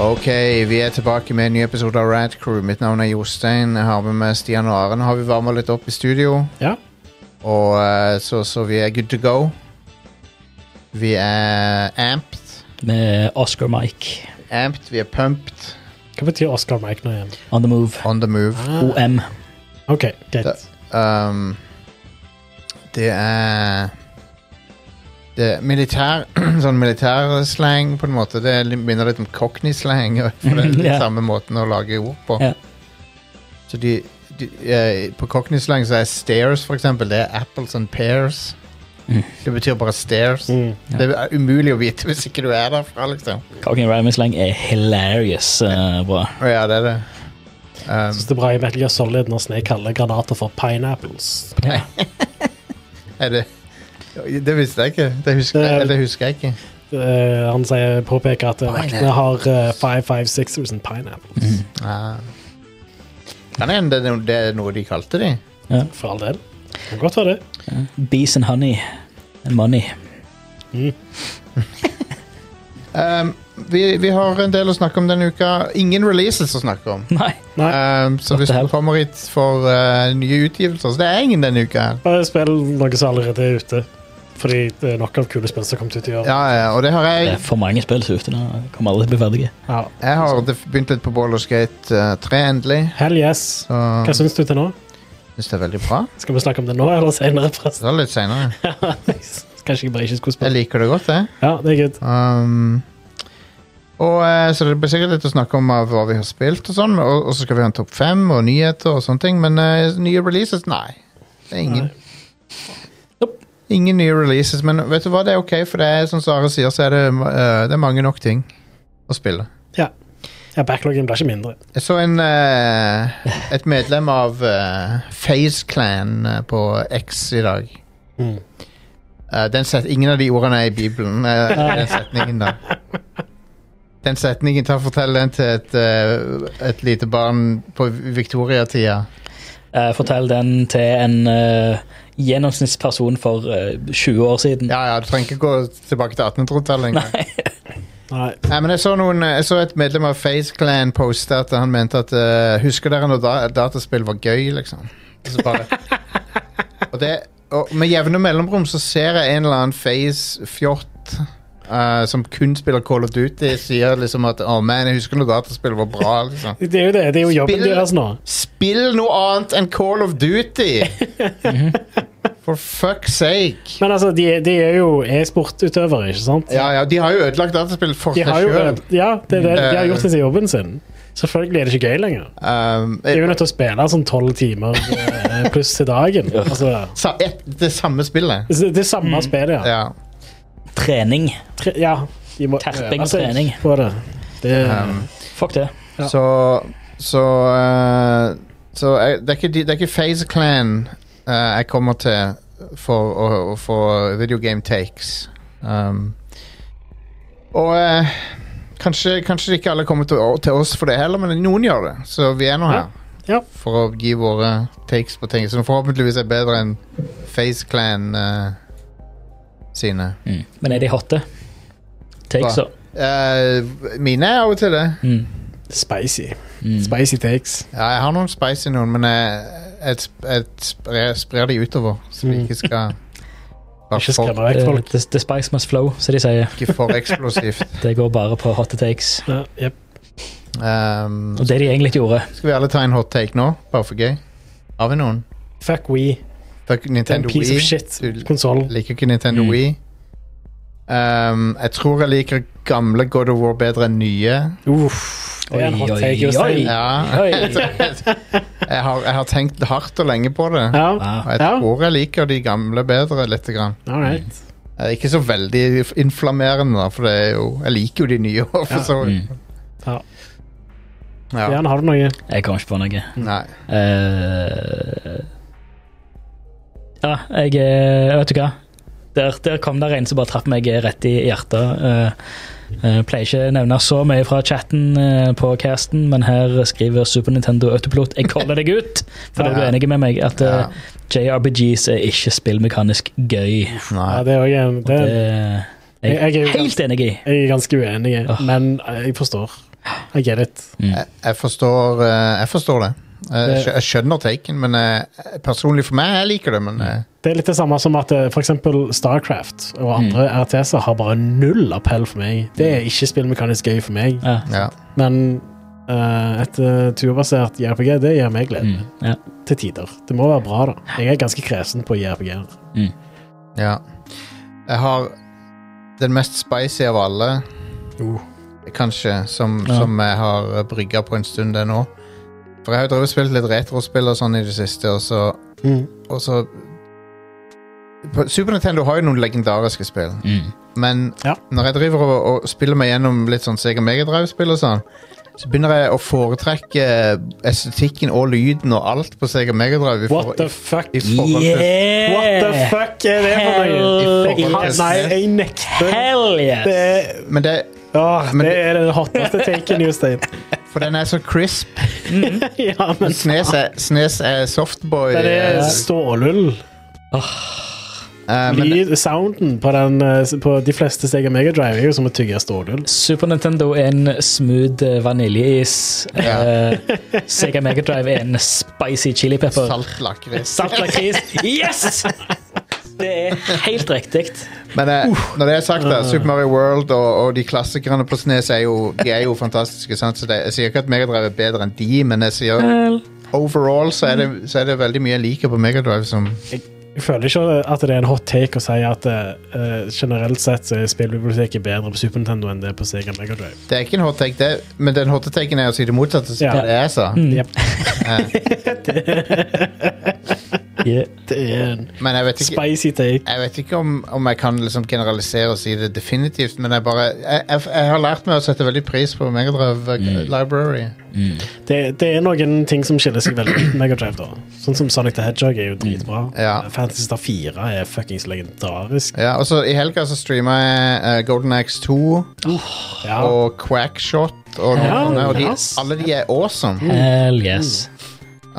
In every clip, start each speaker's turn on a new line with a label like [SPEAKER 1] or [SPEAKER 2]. [SPEAKER 1] Ok, vi er tilbake med en ny episode av Rad Crew. Mitt navn er Jostein. Jeg har med meg Stian og Aren. Har vi varma litt opp i studio,
[SPEAKER 2] Ja.
[SPEAKER 1] og eh, så, så vi er good to go. Vi er amped.
[SPEAKER 3] med Oscar Mike.
[SPEAKER 1] Amped, vi er pumped.
[SPEAKER 2] Hva betyr Oscar Mike nå igjen? Ah,
[SPEAKER 3] On the move.
[SPEAKER 1] On the move.
[SPEAKER 3] OM.
[SPEAKER 2] OK, greit.
[SPEAKER 1] Um, det er Det er militær Sånn militærslang, på en måte. Det er litt- minner litt om cockney-slang. For det er litt
[SPEAKER 3] Ja.
[SPEAKER 1] samme måten å lage ord på.
[SPEAKER 3] Ja.
[SPEAKER 1] Så de, de eh, På cockney-slang så er stairs, for eksempel, det er apples and pears.
[SPEAKER 3] Mm.
[SPEAKER 1] Det betyr bare stairs.
[SPEAKER 2] Mm.
[SPEAKER 3] Ja.
[SPEAKER 1] Det er umulig å vite hvis ikke du er derfra, liksom.
[SPEAKER 3] Cockney rhyming slang er hilarious eh, bra.
[SPEAKER 1] Å ja, det er det. Um,
[SPEAKER 2] Syns det er bra i Metal Gear Solid når Snake kaller granater for pineapples.
[SPEAKER 3] Ja.
[SPEAKER 1] er det Det visste jeg ikke. Det husker,
[SPEAKER 2] Det er-
[SPEAKER 1] eller det husker jeg ikke.
[SPEAKER 2] Eh, han sier, påpeker at eh,
[SPEAKER 1] Pineapple.
[SPEAKER 2] vaktene har eh, 556,000 pineapples.
[SPEAKER 1] Ah. Kan hende det, er no- det er noe de kalte de.
[SPEAKER 2] For all del. Kan godt være det.
[SPEAKER 3] Bees and honey. And money.
[SPEAKER 1] Um, vi, vi har en del å snakke om denne uka. Ingen releases å snakke om.
[SPEAKER 3] Nei.
[SPEAKER 2] Nei,
[SPEAKER 1] Um, så
[SPEAKER 3] What
[SPEAKER 1] hvis
[SPEAKER 3] the
[SPEAKER 1] du
[SPEAKER 3] hell?
[SPEAKER 1] kommer hit for uh, nye utgivelser, så det er ingen denne uka. her
[SPEAKER 2] bare spill noe som allerede er ute. Fordi det er nok av kule spill som har kommet ut i år.
[SPEAKER 1] Ja, ja, og det har
[SPEAKER 3] Det
[SPEAKER 1] jeg.
[SPEAKER 3] er for mange spill som er ute nå. Kommer aldri til å bli ferdige.
[SPEAKER 2] Ja.
[SPEAKER 1] Jeg har def- begynt litt på Baldur's Gate uh, 3 endelig.
[SPEAKER 2] Hell yes.
[SPEAKER 1] Så
[SPEAKER 2] Hva syns du til nå?
[SPEAKER 1] syns det er veldig bra.
[SPEAKER 2] Skal vi snakke om det nå eller senere? forresten?
[SPEAKER 1] Så det er litt senere.
[SPEAKER 2] Kanskje jeg bare ikke skulle
[SPEAKER 1] Jeg
[SPEAKER 2] spille.
[SPEAKER 1] liker det godt, jeg.
[SPEAKER 2] Ja, det er good.
[SPEAKER 1] Um, og eh, Så det blir sikkert litt å snakke om av hva vi har spilt, og sånn Og, og så skal vi ha en topp fem og nyheter og sånne ting. Men eh, nye releases? Nei. Det er ingen.
[SPEAKER 2] Nei.
[SPEAKER 3] Nope.
[SPEAKER 1] Ingen nye releases, men vet du hva, det er ok, for det er som Sara sier, så er det, eh, det er mange nok ting å spille.
[SPEAKER 2] Ja. ja backloggen blir ikke mindre.
[SPEAKER 1] Jeg så en eh, et medlem av uh, Face Clan eh, på X i dag.
[SPEAKER 2] Mm.
[SPEAKER 1] Eh, den set, ingen av de ordene er i Bibelen. eh, den setningen da. Den setningen, ta og fortell den til et, eh, et lite barn på Victoria-tida.
[SPEAKER 3] Eh, fortell den til en eh, gjennomsnittsperson for eh, 20 år siden.
[SPEAKER 1] Ja, ja, du trenger ikke gå tilbake til 1800-tallet engang.
[SPEAKER 3] Nei.
[SPEAKER 2] Nei.
[SPEAKER 1] Nei, men jeg så, noen, eh, jeg så et medlem av Face Clan poste at han mente at eh, Husker dere når da, dataspill var gøy, liksom? Så bare, og, det, og med jevne mellomrom så ser jeg en eller annen Face-fjott eh, som kun spiller Call of Duty, sier liksom at 'Å, man, jeg husker når dataspill var bra', liksom.
[SPEAKER 2] Det er jo det. Det er jo jobben
[SPEAKER 1] Spill-
[SPEAKER 2] deres nå.
[SPEAKER 1] Spill noe annet enn Call of Duty!
[SPEAKER 2] Mhm.
[SPEAKER 1] For fuck's sake.
[SPEAKER 2] Men altså, de, de er jo e-sportutøvere, ikke sant?
[SPEAKER 1] Ja, ja, de har jo ødelagt dataspill for
[SPEAKER 2] De
[SPEAKER 1] seg
[SPEAKER 2] har jo,
[SPEAKER 1] sjøl.
[SPEAKER 2] ja, det er det. De har
[SPEAKER 1] Eh.
[SPEAKER 2] gjort det til jobben sin. Selvfølgelig er det ikke gøy lenger.
[SPEAKER 1] Um,
[SPEAKER 2] De er jo nødt til å spille sånn tolv timer eh, pluss til dagen. Altså,
[SPEAKER 1] sa- et- det samme spillet.
[SPEAKER 2] det det samme
[SPEAKER 3] Mm.
[SPEAKER 2] spillet, ja.
[SPEAKER 1] Ja.
[SPEAKER 3] Trening.
[SPEAKER 2] Tre, ja de må,
[SPEAKER 3] Terping
[SPEAKER 2] øve seg
[SPEAKER 3] trening.
[SPEAKER 2] På det. Det,
[SPEAKER 1] Um,
[SPEAKER 3] Fuck det.
[SPEAKER 2] Ja.
[SPEAKER 1] Så Så, eh, så jeg, det, er ikke, de- det er ikke Phase Clan eh, jeg kommer til for å, å få video game takes. Um, og eh, kanskje, kanskje ikke alle kommer til, å- til oss for det heller, men noen gjør det. Så vi er nå her
[SPEAKER 2] Ja. Ja.
[SPEAKER 1] for å gi våre takes på ting som forhåpentligvis er bedre enn Phase Clan eh, sine.
[SPEAKER 3] Men er de hotte? Takes up.
[SPEAKER 1] Eh, mine er av og til det.
[SPEAKER 3] Mm.
[SPEAKER 2] spicy.
[SPEAKER 3] Mm.
[SPEAKER 2] Spicy takes.
[SPEAKER 1] Ja, jeg har noen spicy noen, men jeg, jeg, sp- jeg, sprer, jeg sprer de utover, så de
[SPEAKER 2] Mm.
[SPEAKER 1] ikke skal
[SPEAKER 2] Ikke
[SPEAKER 1] være for,
[SPEAKER 2] skremme vekk
[SPEAKER 3] Eh,
[SPEAKER 2] folk.
[SPEAKER 3] the, the spice must flow, som de sier.
[SPEAKER 1] ikke for eksplosivt.
[SPEAKER 3] Det går bare på hotte takes.
[SPEAKER 2] Ja, jep.
[SPEAKER 1] Um,
[SPEAKER 3] Og det de egentlig gjorde
[SPEAKER 1] skal vi alle ta en hot take nå, bare for gøy? Har vi noen?
[SPEAKER 2] Fuck we.
[SPEAKER 1] Fuck
[SPEAKER 2] Det er
[SPEAKER 1] Nintendo
[SPEAKER 2] en piece of
[SPEAKER 1] Wii.
[SPEAKER 2] shit. Konsoll.
[SPEAKER 1] Liker ikke Nintendo
[SPEAKER 3] Mm.
[SPEAKER 1] Wii. Um, jeg tror jeg liker gamle God of War bedre enn nye.
[SPEAKER 2] Uff. Det er en
[SPEAKER 3] Oi,
[SPEAKER 2] hot
[SPEAKER 3] oi,
[SPEAKER 2] take. Jostein.
[SPEAKER 3] oi.
[SPEAKER 1] Ja,
[SPEAKER 3] Oi.
[SPEAKER 1] jeg har, jeg har tenkt hardt og lenge på det.
[SPEAKER 2] Ja,
[SPEAKER 3] Wow.
[SPEAKER 1] Og jeg
[SPEAKER 2] Ja.
[SPEAKER 1] tror jeg liker de gamle bedre, lite grann.
[SPEAKER 2] all right.
[SPEAKER 1] Eh, Ikke så veldig inf- inflammerende, da, for det er jo, jeg liker jo de nye. For
[SPEAKER 2] Ja.
[SPEAKER 1] så, vidt.
[SPEAKER 3] Mm.
[SPEAKER 2] Ja.
[SPEAKER 1] ja.
[SPEAKER 2] Jan, har du noe?
[SPEAKER 3] Jeg kom ikke på noe.
[SPEAKER 1] Nei.
[SPEAKER 3] Eh, ja, jeg eh, Vet du hva? Der, der kom det en som bare traff meg rett i hjertet. Eh, eh, pleier ikke nevne så mye fra chatten eh, på casten, men her skriver Super Nintendo Autopilot Jeg kaller deg ut! For da er du
[SPEAKER 1] Ja.
[SPEAKER 3] enig med meg at eh,
[SPEAKER 1] Ja.
[SPEAKER 3] JRPGs er ikke spillmekanisk gøy.
[SPEAKER 2] Ja,
[SPEAKER 1] Nei.
[SPEAKER 2] det er også en, det,
[SPEAKER 3] Det er
[SPEAKER 2] Jeg- jeg er
[SPEAKER 3] jeg
[SPEAKER 2] jo-
[SPEAKER 3] helt enig i.
[SPEAKER 2] jeg er ganske uenig, i,
[SPEAKER 3] Åh.
[SPEAKER 2] men jeg forstår. I get it.
[SPEAKER 3] Mm.
[SPEAKER 1] Jeg, jeg, forstår, eh, jeg forstår det. Jeg,
[SPEAKER 2] Det-
[SPEAKER 1] skjø- jeg skjønner taken, men eh, personlig for meg, jeg liker det, men eh,
[SPEAKER 2] Det er litt det samme som at eh, for eksempel Starcraft og
[SPEAKER 3] Mm.
[SPEAKER 2] andre RTS-er har bare null appell for meg. Det er ikke spillmekanisk gøy for meg,
[SPEAKER 3] Ja.
[SPEAKER 1] ja.
[SPEAKER 2] men eh, et eh, turbasert JRPG, det gir meg glede.
[SPEAKER 3] Mm. ja.
[SPEAKER 2] Til tider. Det må være bra, da. Jeg er ganske kresen på JRPG-er.
[SPEAKER 1] ja. Jeg har den mest spicy av alle,
[SPEAKER 2] Uh.
[SPEAKER 1] kanskje, som,
[SPEAKER 3] Ja.
[SPEAKER 1] som jeg har eh, brygga på en stund det nå. For jeg har jo drevet og spilt litt retrospill og sånn i det siste, og så,
[SPEAKER 2] Mm.
[SPEAKER 1] og så på Super Nintendo har jo noen legendariske spill,
[SPEAKER 3] Mm.
[SPEAKER 1] men
[SPEAKER 2] Ja.
[SPEAKER 1] når jeg driver og, og spiller meg gjennom litt sånn Sega Megadrive-spill og sånn, så begynner jeg å foretrekke estetikken og lyden og alt på Sega Megadrive. i
[SPEAKER 2] What
[SPEAKER 1] for-
[SPEAKER 2] the fuck?
[SPEAKER 1] i forhold til-
[SPEAKER 3] Yeah!
[SPEAKER 2] What the fuck er det for
[SPEAKER 3] Hell
[SPEAKER 1] I
[SPEAKER 2] noe?
[SPEAKER 1] forhold til-
[SPEAKER 2] Nei, jeg nekter.
[SPEAKER 3] Hell yes!
[SPEAKER 2] Det er,
[SPEAKER 1] Men det,
[SPEAKER 2] åh,
[SPEAKER 1] Men
[SPEAKER 2] det er den hotteste taken, Jostein.
[SPEAKER 1] for den er så crisp.
[SPEAKER 2] ja, men
[SPEAKER 1] Snes er, Snes er softboy.
[SPEAKER 2] den er
[SPEAKER 1] eh,
[SPEAKER 2] stålull.
[SPEAKER 1] eh, men
[SPEAKER 2] Lyd, sounden på, den, eh, på de fleste steg av Megadrive er jo som å tygge stålull.
[SPEAKER 3] Super Nintendo er en smooth eh, vaniljeis.
[SPEAKER 1] Ja.
[SPEAKER 3] Eh, Sega Mega Drive er en spicy chili pepper.
[SPEAKER 1] salt lakris.
[SPEAKER 3] Salt lakris. Yes! Det er helt riktig.
[SPEAKER 1] Men eh,
[SPEAKER 2] Uh.
[SPEAKER 1] når det er sagt, da, Super Mario World og, og de klassikerne på Snes er jo, de er jo fantastiske. Sant? Så det, jeg sier ikke at Megadrive er bedre enn de, men jeg sier
[SPEAKER 3] Hell.
[SPEAKER 1] overall så er det, så er det veldig mye jeg liker på Megadrive som
[SPEAKER 2] Jeg føler ikke at det er en hot take å si at eh, generelt sett så er spillbiblioteket bedre på Super Nintendo enn det er på Sega Megadrive.
[SPEAKER 1] Det er ikke en hot take, det, men den hot taken er å si det motsatte. som
[SPEAKER 2] Ja. Mm.
[SPEAKER 1] Det jeg sa.
[SPEAKER 2] Jep,
[SPEAKER 3] Yeah.
[SPEAKER 2] det er en
[SPEAKER 1] Men jeg vet ikke,
[SPEAKER 2] spicy take.
[SPEAKER 1] jeg vet ikke om, om jeg kan liksom generalisere og si det definitivt, men jeg bare Jeg, jeg, jeg har lært meg å sette veldig pris på Megadrive eh, Library.
[SPEAKER 2] Det, det er noen ting som skiller seg veldig ut Megadrive, da. Sånn som Sonic the Hedgehog er jo dritbra.
[SPEAKER 1] Ja.
[SPEAKER 2] Fantasy Star 4 er fuckings legendarisk.
[SPEAKER 1] Ja, og så I helga så streama jeg eh, Golden Axe 2
[SPEAKER 2] Ja.
[SPEAKER 1] og Quackshot. Og, noen
[SPEAKER 2] Ja,
[SPEAKER 1] sånne, og de,
[SPEAKER 2] nice.
[SPEAKER 1] alle de er awesome.
[SPEAKER 3] Hell yes.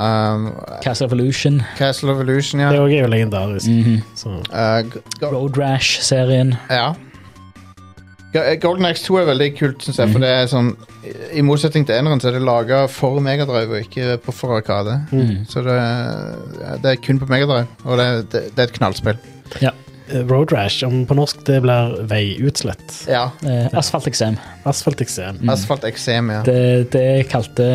[SPEAKER 1] Um,
[SPEAKER 3] Castle Evolution,
[SPEAKER 1] Castle Evolution, ja.
[SPEAKER 2] Det òg er jo legendarisk.
[SPEAKER 3] Mm.
[SPEAKER 2] Så.
[SPEAKER 1] Eh, g- go-
[SPEAKER 3] Road Rash-serien.
[SPEAKER 1] Ja. Go- eh, Golden Axe 2 er veldig kult, syns jeg.
[SPEAKER 3] Mhm.
[SPEAKER 1] For det er sånn i- I motsetning til eneren så er det laga for Megadrive og ikke på for Arkade.
[SPEAKER 2] mm.
[SPEAKER 3] Mm.
[SPEAKER 1] Så det, det er kun på Megadrive, og det, det, det er et knallspill.
[SPEAKER 2] Eh, Road Rash, om på norsk det blir veiutslett.
[SPEAKER 1] Ja.
[SPEAKER 3] Eh, Asfalteksem.
[SPEAKER 2] Asfalteksem.
[SPEAKER 1] Asfalt eksem, ja.
[SPEAKER 3] Mm. Det, det kalte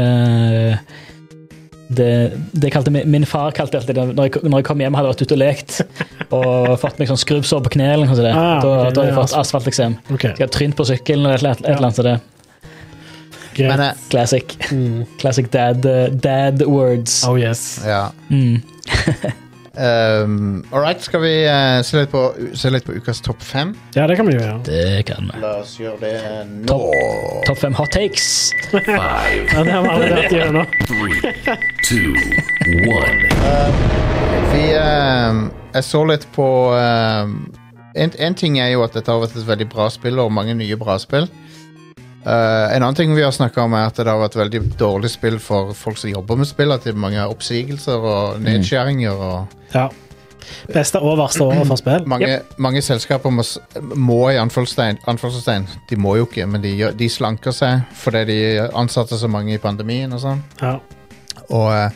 [SPEAKER 3] det, det kalte min, min far kalte alltid det når jeg, når jeg kom hjem, hadde jeg vært ute og lekt og fått meg sånn skrubbsår på kneet. eller noe sånt der.
[SPEAKER 2] Ah,
[SPEAKER 3] da,
[SPEAKER 2] ok,
[SPEAKER 3] da har jeg
[SPEAKER 2] ja,
[SPEAKER 3] fått asfalteksem.
[SPEAKER 2] Ok,
[SPEAKER 3] Jeg har trynt på sykkelen eller et eller annet- et eller annet. sånt der.
[SPEAKER 2] greit.
[SPEAKER 1] Men eh,
[SPEAKER 3] Classic.
[SPEAKER 2] Mm.
[SPEAKER 3] Classic dad, eh, dad words.
[SPEAKER 2] Oh yes.
[SPEAKER 1] ja.
[SPEAKER 3] Mm.
[SPEAKER 1] Um, All right, skal vi eh, se, litt på, se litt på ukas topp fem?
[SPEAKER 2] Ja, det kan vi jo gjøre.
[SPEAKER 3] Det kan vi.
[SPEAKER 1] La oss gjøre det nå.
[SPEAKER 3] Topp top fem hot takes.
[SPEAKER 2] Ja, det har vi allerede vært gjennom.
[SPEAKER 4] two, one.
[SPEAKER 1] Vi eh, Jeg så litt på eh, en, en ting er jo at dette har vært et veldig bra spill, og mange nye bra spill. Eh, en annen ting vi har snakka om, er at det har vært veldig dårlig spill for folk som jobber med spill. At det er mange oppsigelser og nedskjæringer. Og
[SPEAKER 2] Ja. Beste og verste året for spill.
[SPEAKER 1] mange, mange selskaper må, s- må i anførselstegn, anførselstegn De må jo ikke, men de, gjør- de slanker seg fordi de ansatte så mange i pandemien og sånn.
[SPEAKER 2] Ja.
[SPEAKER 1] Og, eh,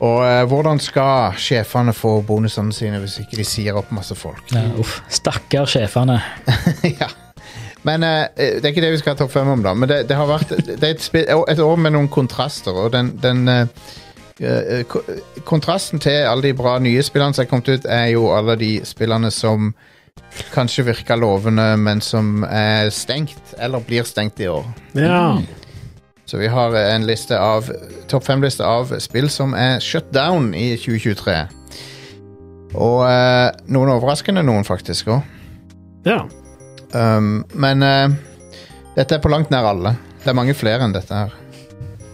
[SPEAKER 1] og eh, hvordan skal sjefene få bonusene sine hvis ikke de sier opp masse folk?
[SPEAKER 3] Ja, uff. Stakkar sjefene.
[SPEAKER 1] ja. Men eh, det er ikke det vi skal ha topp fem om, da. Men det, det har vært det er et, spi- et år med noen kontraster, og den, den eh, eh, ko- Kontrasten til alle de bra nye spillene som er kommet ut, er jo alle de spillene som kanskje virker lovende, men som er stengt, eller blir stengt i år.
[SPEAKER 2] ja.
[SPEAKER 1] Så vi har en liste av topp fem-liste av spill som er shut down i 2023. Og eh, noen overraskende noen, faktisk òg.
[SPEAKER 2] ja.
[SPEAKER 1] Um, men eh, dette er på langt nær alle. Det er mange flere enn dette her.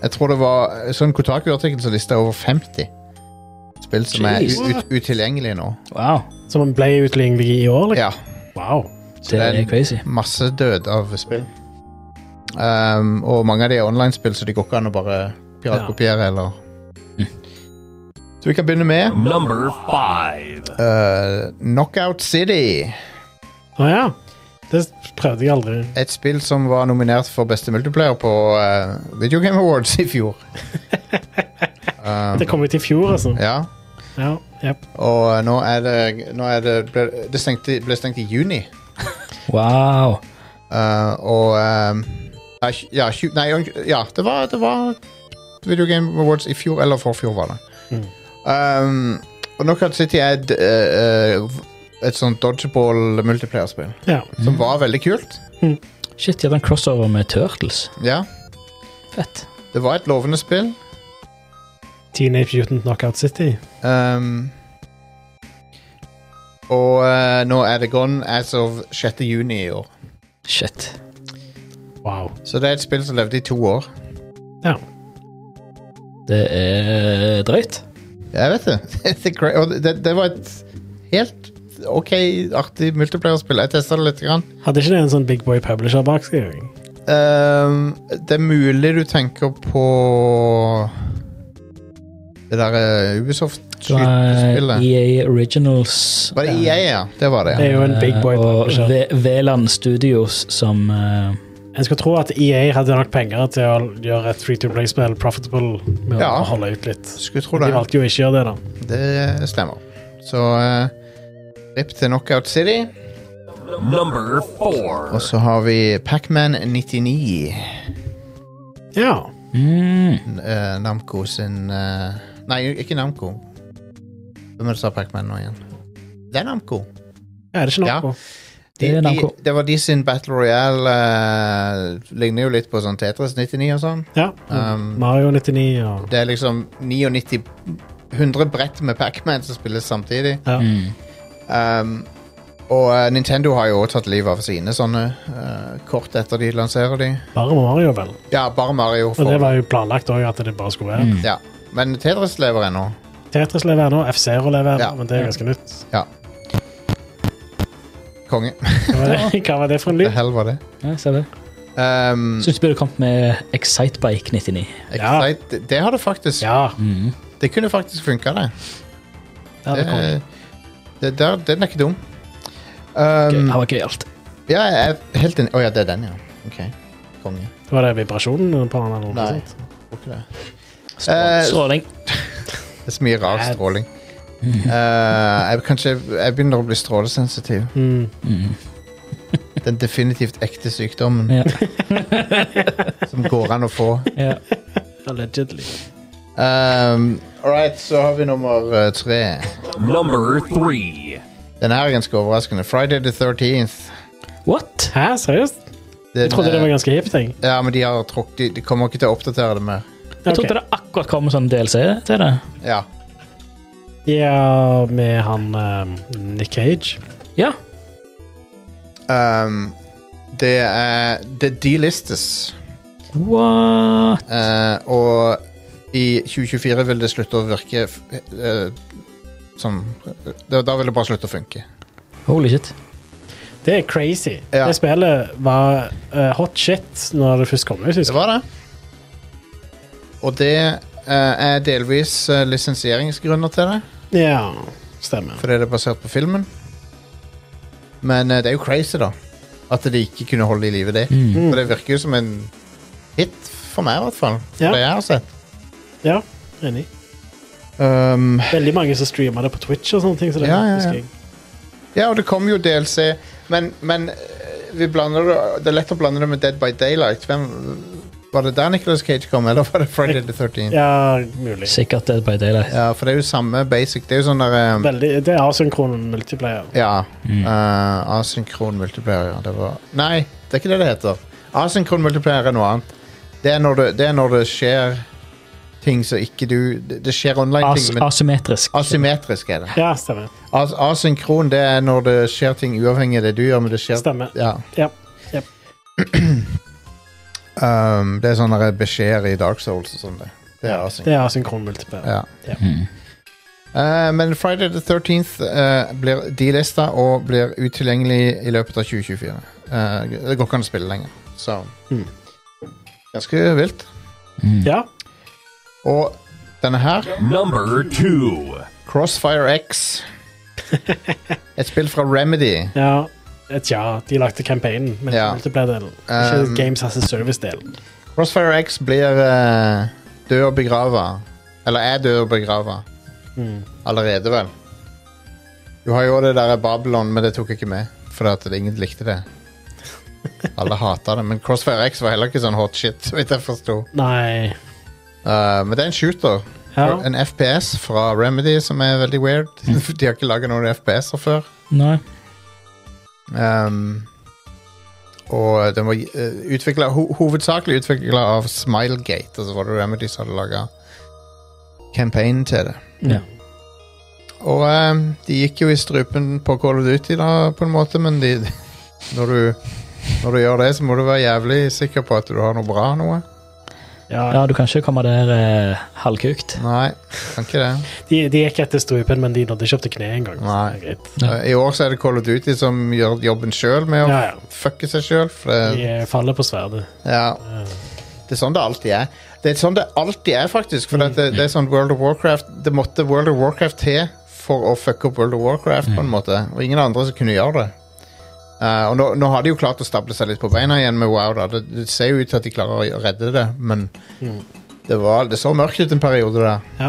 [SPEAKER 1] Jeg tror det var eh, sånn Kotaku-artikkel som lista over 50 spill som
[SPEAKER 3] Jeez.
[SPEAKER 1] er ut, ut, utilgjengelige nå.
[SPEAKER 3] Wow.
[SPEAKER 2] Som ble utlignet i år. Liksom.
[SPEAKER 1] Ja,
[SPEAKER 2] Wow.
[SPEAKER 3] Det er crazy.
[SPEAKER 1] masse død av spill. Um, og mange av de er online-spill, så det går ikke an å bare piratkopiere eller Så vi kan begynne med
[SPEAKER 4] Number five.
[SPEAKER 1] eh, Knockout City.
[SPEAKER 2] Å ja. Det prøvde jeg aldri.
[SPEAKER 1] Et spill som var nominert for beste multiplayer på eh, Video Game Awards i fjor.
[SPEAKER 2] Det kom ut i fjor, altså.
[SPEAKER 1] Ja,
[SPEAKER 2] Ja, jep.
[SPEAKER 1] og eh, nå er det, nå er det ble, Det stengte, ble stengt i juni.
[SPEAKER 3] Wow.
[SPEAKER 1] Eh, og eh, ja, tj- ja, tju- nei, unnskyld, ja, det var, det var Video Game Awards i fjor, eller forfjor, var det. Um, og Knockout City er et, eh, eh, et sånt dodgeball multiplayer-spill
[SPEAKER 2] Ja.
[SPEAKER 1] som var veldig kult.
[SPEAKER 3] Shit, de hadde en crossover med Turtles.
[SPEAKER 1] Ja,
[SPEAKER 3] Fett.
[SPEAKER 1] det var et lovende spill.
[SPEAKER 2] Teenage Mutant Knockout City.
[SPEAKER 1] Um, og eh, nå er det gone as of 6. juni i år.
[SPEAKER 3] Shit.
[SPEAKER 2] Wow.
[SPEAKER 1] Så det er et spill som levde i to år.
[SPEAKER 2] Ja.
[SPEAKER 3] Det er drøyt. Jeg
[SPEAKER 1] Jeg vet det. det, er cra- og det, det var et helt OK, artig multiplayer-spill. Jeg testa det litt. Grann.
[SPEAKER 2] Hadde ikke det en sånn Big Boy Publisher bak seg?
[SPEAKER 1] Ehm, det er mulig du tenker på det eh, derre
[SPEAKER 3] Fra
[SPEAKER 1] Ubisoft-skytespillet.
[SPEAKER 3] EA E Originals.
[SPEAKER 1] Var det E EA, ja? Det var det,
[SPEAKER 2] Det
[SPEAKER 1] ja.
[SPEAKER 2] er jo en big boy
[SPEAKER 3] Eh, Og
[SPEAKER 2] publisher.
[SPEAKER 3] Ve- Veland Studios som eh,
[SPEAKER 2] En skulle tro at EA hadde nok penger til å gjøre et free to play-spill profitable med
[SPEAKER 1] Ja.
[SPEAKER 2] å holde ut litt.
[SPEAKER 1] Skulle tro
[SPEAKER 2] De
[SPEAKER 1] det.
[SPEAKER 2] valgte jo ikke å gjøre det, da.
[SPEAKER 1] Det stemmer. Så eh, Ripp til Knockout City.
[SPEAKER 4] Number four.
[SPEAKER 1] Og så har vi Pacman 99.
[SPEAKER 2] Ja.
[SPEAKER 3] mm,
[SPEAKER 1] eh, Namco sin eh, Nei, ikke Namco. Hvem er det som har Pac-Man nå igjen? Det er Namco.
[SPEAKER 2] ja er det ikke noe
[SPEAKER 1] Ja.
[SPEAKER 2] på?
[SPEAKER 1] De,
[SPEAKER 3] Det er Namco.
[SPEAKER 1] De, det var de sin Battle Royale eh, Ligner jo litt på sånn Tetris 99 og sånn.
[SPEAKER 2] Ja.
[SPEAKER 1] Um,
[SPEAKER 2] Mario 99 og
[SPEAKER 1] Det er liksom 99 100 brett med Pac-Man som spilles samtidig.
[SPEAKER 2] ja.
[SPEAKER 3] mm.
[SPEAKER 1] Um, og eh, Nintendo har jo også tatt livet av sine sånne eh, kort etter de lanserer de.
[SPEAKER 2] Bare Mario, vel.
[SPEAKER 1] Ja, bare Mario.
[SPEAKER 2] Og det
[SPEAKER 1] Får.
[SPEAKER 2] var jo planlagt òg, at det bare skulle være.
[SPEAKER 3] Mm.
[SPEAKER 1] Ja. Men Tetris lever ennå.
[SPEAKER 2] Tetris lever ennå, F-Zero lever ennå,
[SPEAKER 1] Ja.
[SPEAKER 2] men det er ganske nytt.
[SPEAKER 1] Konge.
[SPEAKER 2] Hva var det, Hva var det for en
[SPEAKER 1] Hva
[SPEAKER 2] lyd?
[SPEAKER 1] hell var det?
[SPEAKER 3] Ja, ser det.
[SPEAKER 1] Um,
[SPEAKER 3] Syns du burde kommet med Excitebike 99.
[SPEAKER 2] Ja.
[SPEAKER 1] Excite, det- det har det faktisk.
[SPEAKER 2] Ja.
[SPEAKER 3] Mm.
[SPEAKER 1] Det kunne faktisk funka, det.
[SPEAKER 2] ja det kom.
[SPEAKER 1] det, det der, den er ikke dum. Um,
[SPEAKER 3] Det var gøyalt.
[SPEAKER 1] ja, jeg er helt enig. Å ja, det er den, ja. Ok. Konge.
[SPEAKER 2] Var det vibrasjonen på den? eller noe
[SPEAKER 1] Nei.
[SPEAKER 2] sånt?
[SPEAKER 1] Tror ikke det.
[SPEAKER 3] Strål-
[SPEAKER 1] Eh,
[SPEAKER 3] Stråling.
[SPEAKER 1] Det er så mye rar
[SPEAKER 2] Nei.
[SPEAKER 1] stråling. Uh, jeg, kanskje jeg begynner å bli strålesensitiv.
[SPEAKER 2] Mm.
[SPEAKER 3] Mm.
[SPEAKER 1] Den definitivt ekte sykdommen
[SPEAKER 3] Ja.
[SPEAKER 1] som går an å få.
[SPEAKER 3] ja.
[SPEAKER 2] Allegedly.
[SPEAKER 1] Um, All right, så har vi nummer eh, tre.
[SPEAKER 4] Number three.
[SPEAKER 1] Den her er ganske overraskende. Friday the 13th.
[SPEAKER 3] What?
[SPEAKER 2] Hæ, seriøst?
[SPEAKER 1] Den,
[SPEAKER 2] Jeg trodde det
[SPEAKER 1] eh,
[SPEAKER 2] var ganske hipt, jeg.
[SPEAKER 1] Ja, men de, har trukket, de, de kommer ikke til å oppdatere det mer.
[SPEAKER 3] Jeg
[SPEAKER 2] Ok.
[SPEAKER 3] trodde det akkurat kom en sånn DLC til det.
[SPEAKER 1] Ja.
[SPEAKER 2] Ja, med han ehm, Nick Cage.
[SPEAKER 3] Ja.
[SPEAKER 1] Um, det er Det delistes.
[SPEAKER 3] What?
[SPEAKER 1] Eh, og i 2024 vil det slutte å virke f- eh, som eh, da, da vil det bare slutte å funke.
[SPEAKER 3] Holy shit.
[SPEAKER 2] Det er crazy.
[SPEAKER 1] Ja.
[SPEAKER 2] Det spillet var eh, hot shit når det først kom ut.
[SPEAKER 1] Det
[SPEAKER 2] husker jeg.
[SPEAKER 1] var det. Og det eh, er delvis eh, lisensieringsgrunner til det,
[SPEAKER 2] Ja, stemmer.
[SPEAKER 1] fordi det er basert på filmen. Men eh, det er jo crazy, da. At de ikke kunne holde i live det. For det virker jo som en hit for meg, i hvert fall. For
[SPEAKER 2] Ja.
[SPEAKER 1] det jeg har sett.
[SPEAKER 2] Ja, enig.
[SPEAKER 1] Um,
[SPEAKER 2] Veldig mange som streama det på Twitch og sånne ting. Så det
[SPEAKER 1] Ja, ja, ja.
[SPEAKER 2] husker jeg.
[SPEAKER 1] Ja, og det kom jo DLC, men, men eh, vi blander det, det er lett å blande det med Dead by Daylight. Hvem, var det der Nicolas Cage kom, eller var det Friday the 13th?
[SPEAKER 2] Ja, mulig.
[SPEAKER 3] Sikkert Dead by Daylight.
[SPEAKER 1] Ja, for det er jo samme basic. Det er jo sånn der eh,
[SPEAKER 2] Veldig, det er asynkron multiplayer.
[SPEAKER 1] Ja. eh, asynkron multiplayer, ja. Det var Nei, det er ikke det det heter. Asynkron multiplayer er noe annet. Det er når det, det, er når det skjer ting som ikke du Det det skjer
[SPEAKER 3] As
[SPEAKER 1] online-ting, men
[SPEAKER 3] asymmetrisk.
[SPEAKER 1] asymmetrisk er det.
[SPEAKER 2] Ja, stemmer.
[SPEAKER 1] As asynkron det er når det skjer ting uavhengig av det du gjør, men det skjer
[SPEAKER 2] Stemmer.
[SPEAKER 1] Ja.
[SPEAKER 2] Ja. Jep.
[SPEAKER 1] um, det er sånne der beskjeder i Dark Souls og sånn. Det Det er async.
[SPEAKER 2] Det er asynkron multiplayer.
[SPEAKER 1] Ja.
[SPEAKER 2] Ja.
[SPEAKER 3] Mm.
[SPEAKER 1] Eh, men Friday the 13th eh, blir delista og blir utilgjengelig i løpet av 2024. Eh, det går ikke an å spille lenger. Så
[SPEAKER 2] Mm.
[SPEAKER 1] Ganske vilt.
[SPEAKER 3] Mm.
[SPEAKER 2] Ja.
[SPEAKER 1] Og denne her,
[SPEAKER 4] Number two.
[SPEAKER 1] Crossfire X. Et spill fra Remedy.
[SPEAKER 2] ja. Tja, de lagde campaignen, men
[SPEAKER 1] Ja.
[SPEAKER 2] ikke multiplayer-delen. Ikke
[SPEAKER 1] Um,
[SPEAKER 2] Games as a Service-delen.
[SPEAKER 1] Crossfire X blir eh, død og begrava. Eller er død og begrava. Allerede, vel. Du har jo det der Babylon, men det tok jeg ikke med. Fordi at ingen likte det. Alle hata det. Men Crossfire X var heller ikke sånn hot shit, så vidt jeg forsto.
[SPEAKER 2] Nei
[SPEAKER 1] Eh, men det er en shooter.
[SPEAKER 2] Ja.
[SPEAKER 1] En FPS fra Remedy som er veldig weird. De har ikke laga noen FPS-er før.
[SPEAKER 3] Nei.
[SPEAKER 1] Ehm, og den var eh, utviklet, ho hovedsakelig utvikla av Smilegate, og så var det Remedy som hadde laga campaignen til det.
[SPEAKER 3] Ja.
[SPEAKER 1] Og ehm, de gikk jo i strupen på Call of Duty, da, på en måte, men de, når, du, når du gjør det, så må du være jævlig sikker på at du har noe bra noe.
[SPEAKER 2] Ja,
[SPEAKER 3] ja, du kan ikke komme der eh, halvkukt.
[SPEAKER 1] Nei, kan ikke det.
[SPEAKER 2] de, de gikk etter strupen, men de nådde ikke opp til kneet engang. så
[SPEAKER 1] Nei.
[SPEAKER 2] det er greit.
[SPEAKER 3] Ja.
[SPEAKER 1] Eh, I år så er det Call of Duty som gjør jobben sjøl med å
[SPEAKER 2] Ja, ja.
[SPEAKER 1] fucke seg sjøl.
[SPEAKER 2] De eh, faller på sverdet.
[SPEAKER 1] Ja. Det er sånn det alltid er. Det er sånn det alltid er, faktisk. For at det, det er sånn World of Warcraft Det måtte World of Warcraft til for å fucke opp World of Warcraft, på en måte. Og ingen andre som kunne gjøre det. Eh, og nå, nå har de jo klart å stable seg litt på beina igjen med Wow, da. Det, det ser jo ut til at de klarer å redde det, men det, var, det så mørkt ut en periode der.
[SPEAKER 2] Ja.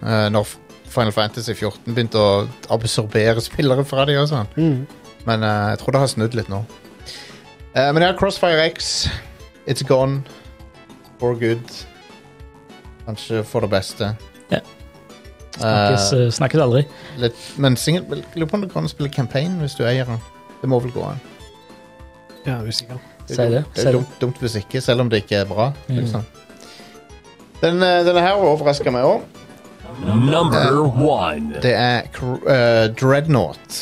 [SPEAKER 1] eh, når Final Fantasy 14 begynte å absorbere spillere fra de og sånn.
[SPEAKER 2] Mm.
[SPEAKER 1] Men eh, jeg tror det har snudd litt nå. Eh, men ja, Crossfire X. It's gone. For good. Kanskje for det beste.
[SPEAKER 3] Ja. Snakkes,
[SPEAKER 1] Eh,
[SPEAKER 3] eh, snakkes aldri.
[SPEAKER 1] litt, men singel- vel, jeg lurer på om det går an å spille campaign hvis du eier den. Det må vel gå an.
[SPEAKER 2] ja, usikker.
[SPEAKER 3] Si det.
[SPEAKER 1] Det
[SPEAKER 3] Si
[SPEAKER 1] er
[SPEAKER 3] det.
[SPEAKER 1] dumt, dumt hvis ikke, selv om det ikke er bra.
[SPEAKER 3] Mm.
[SPEAKER 1] Liksom. Den, eh, denne her overrasker meg òg.
[SPEAKER 4] Number one.
[SPEAKER 1] Det er Cr- eh, Dreadnought.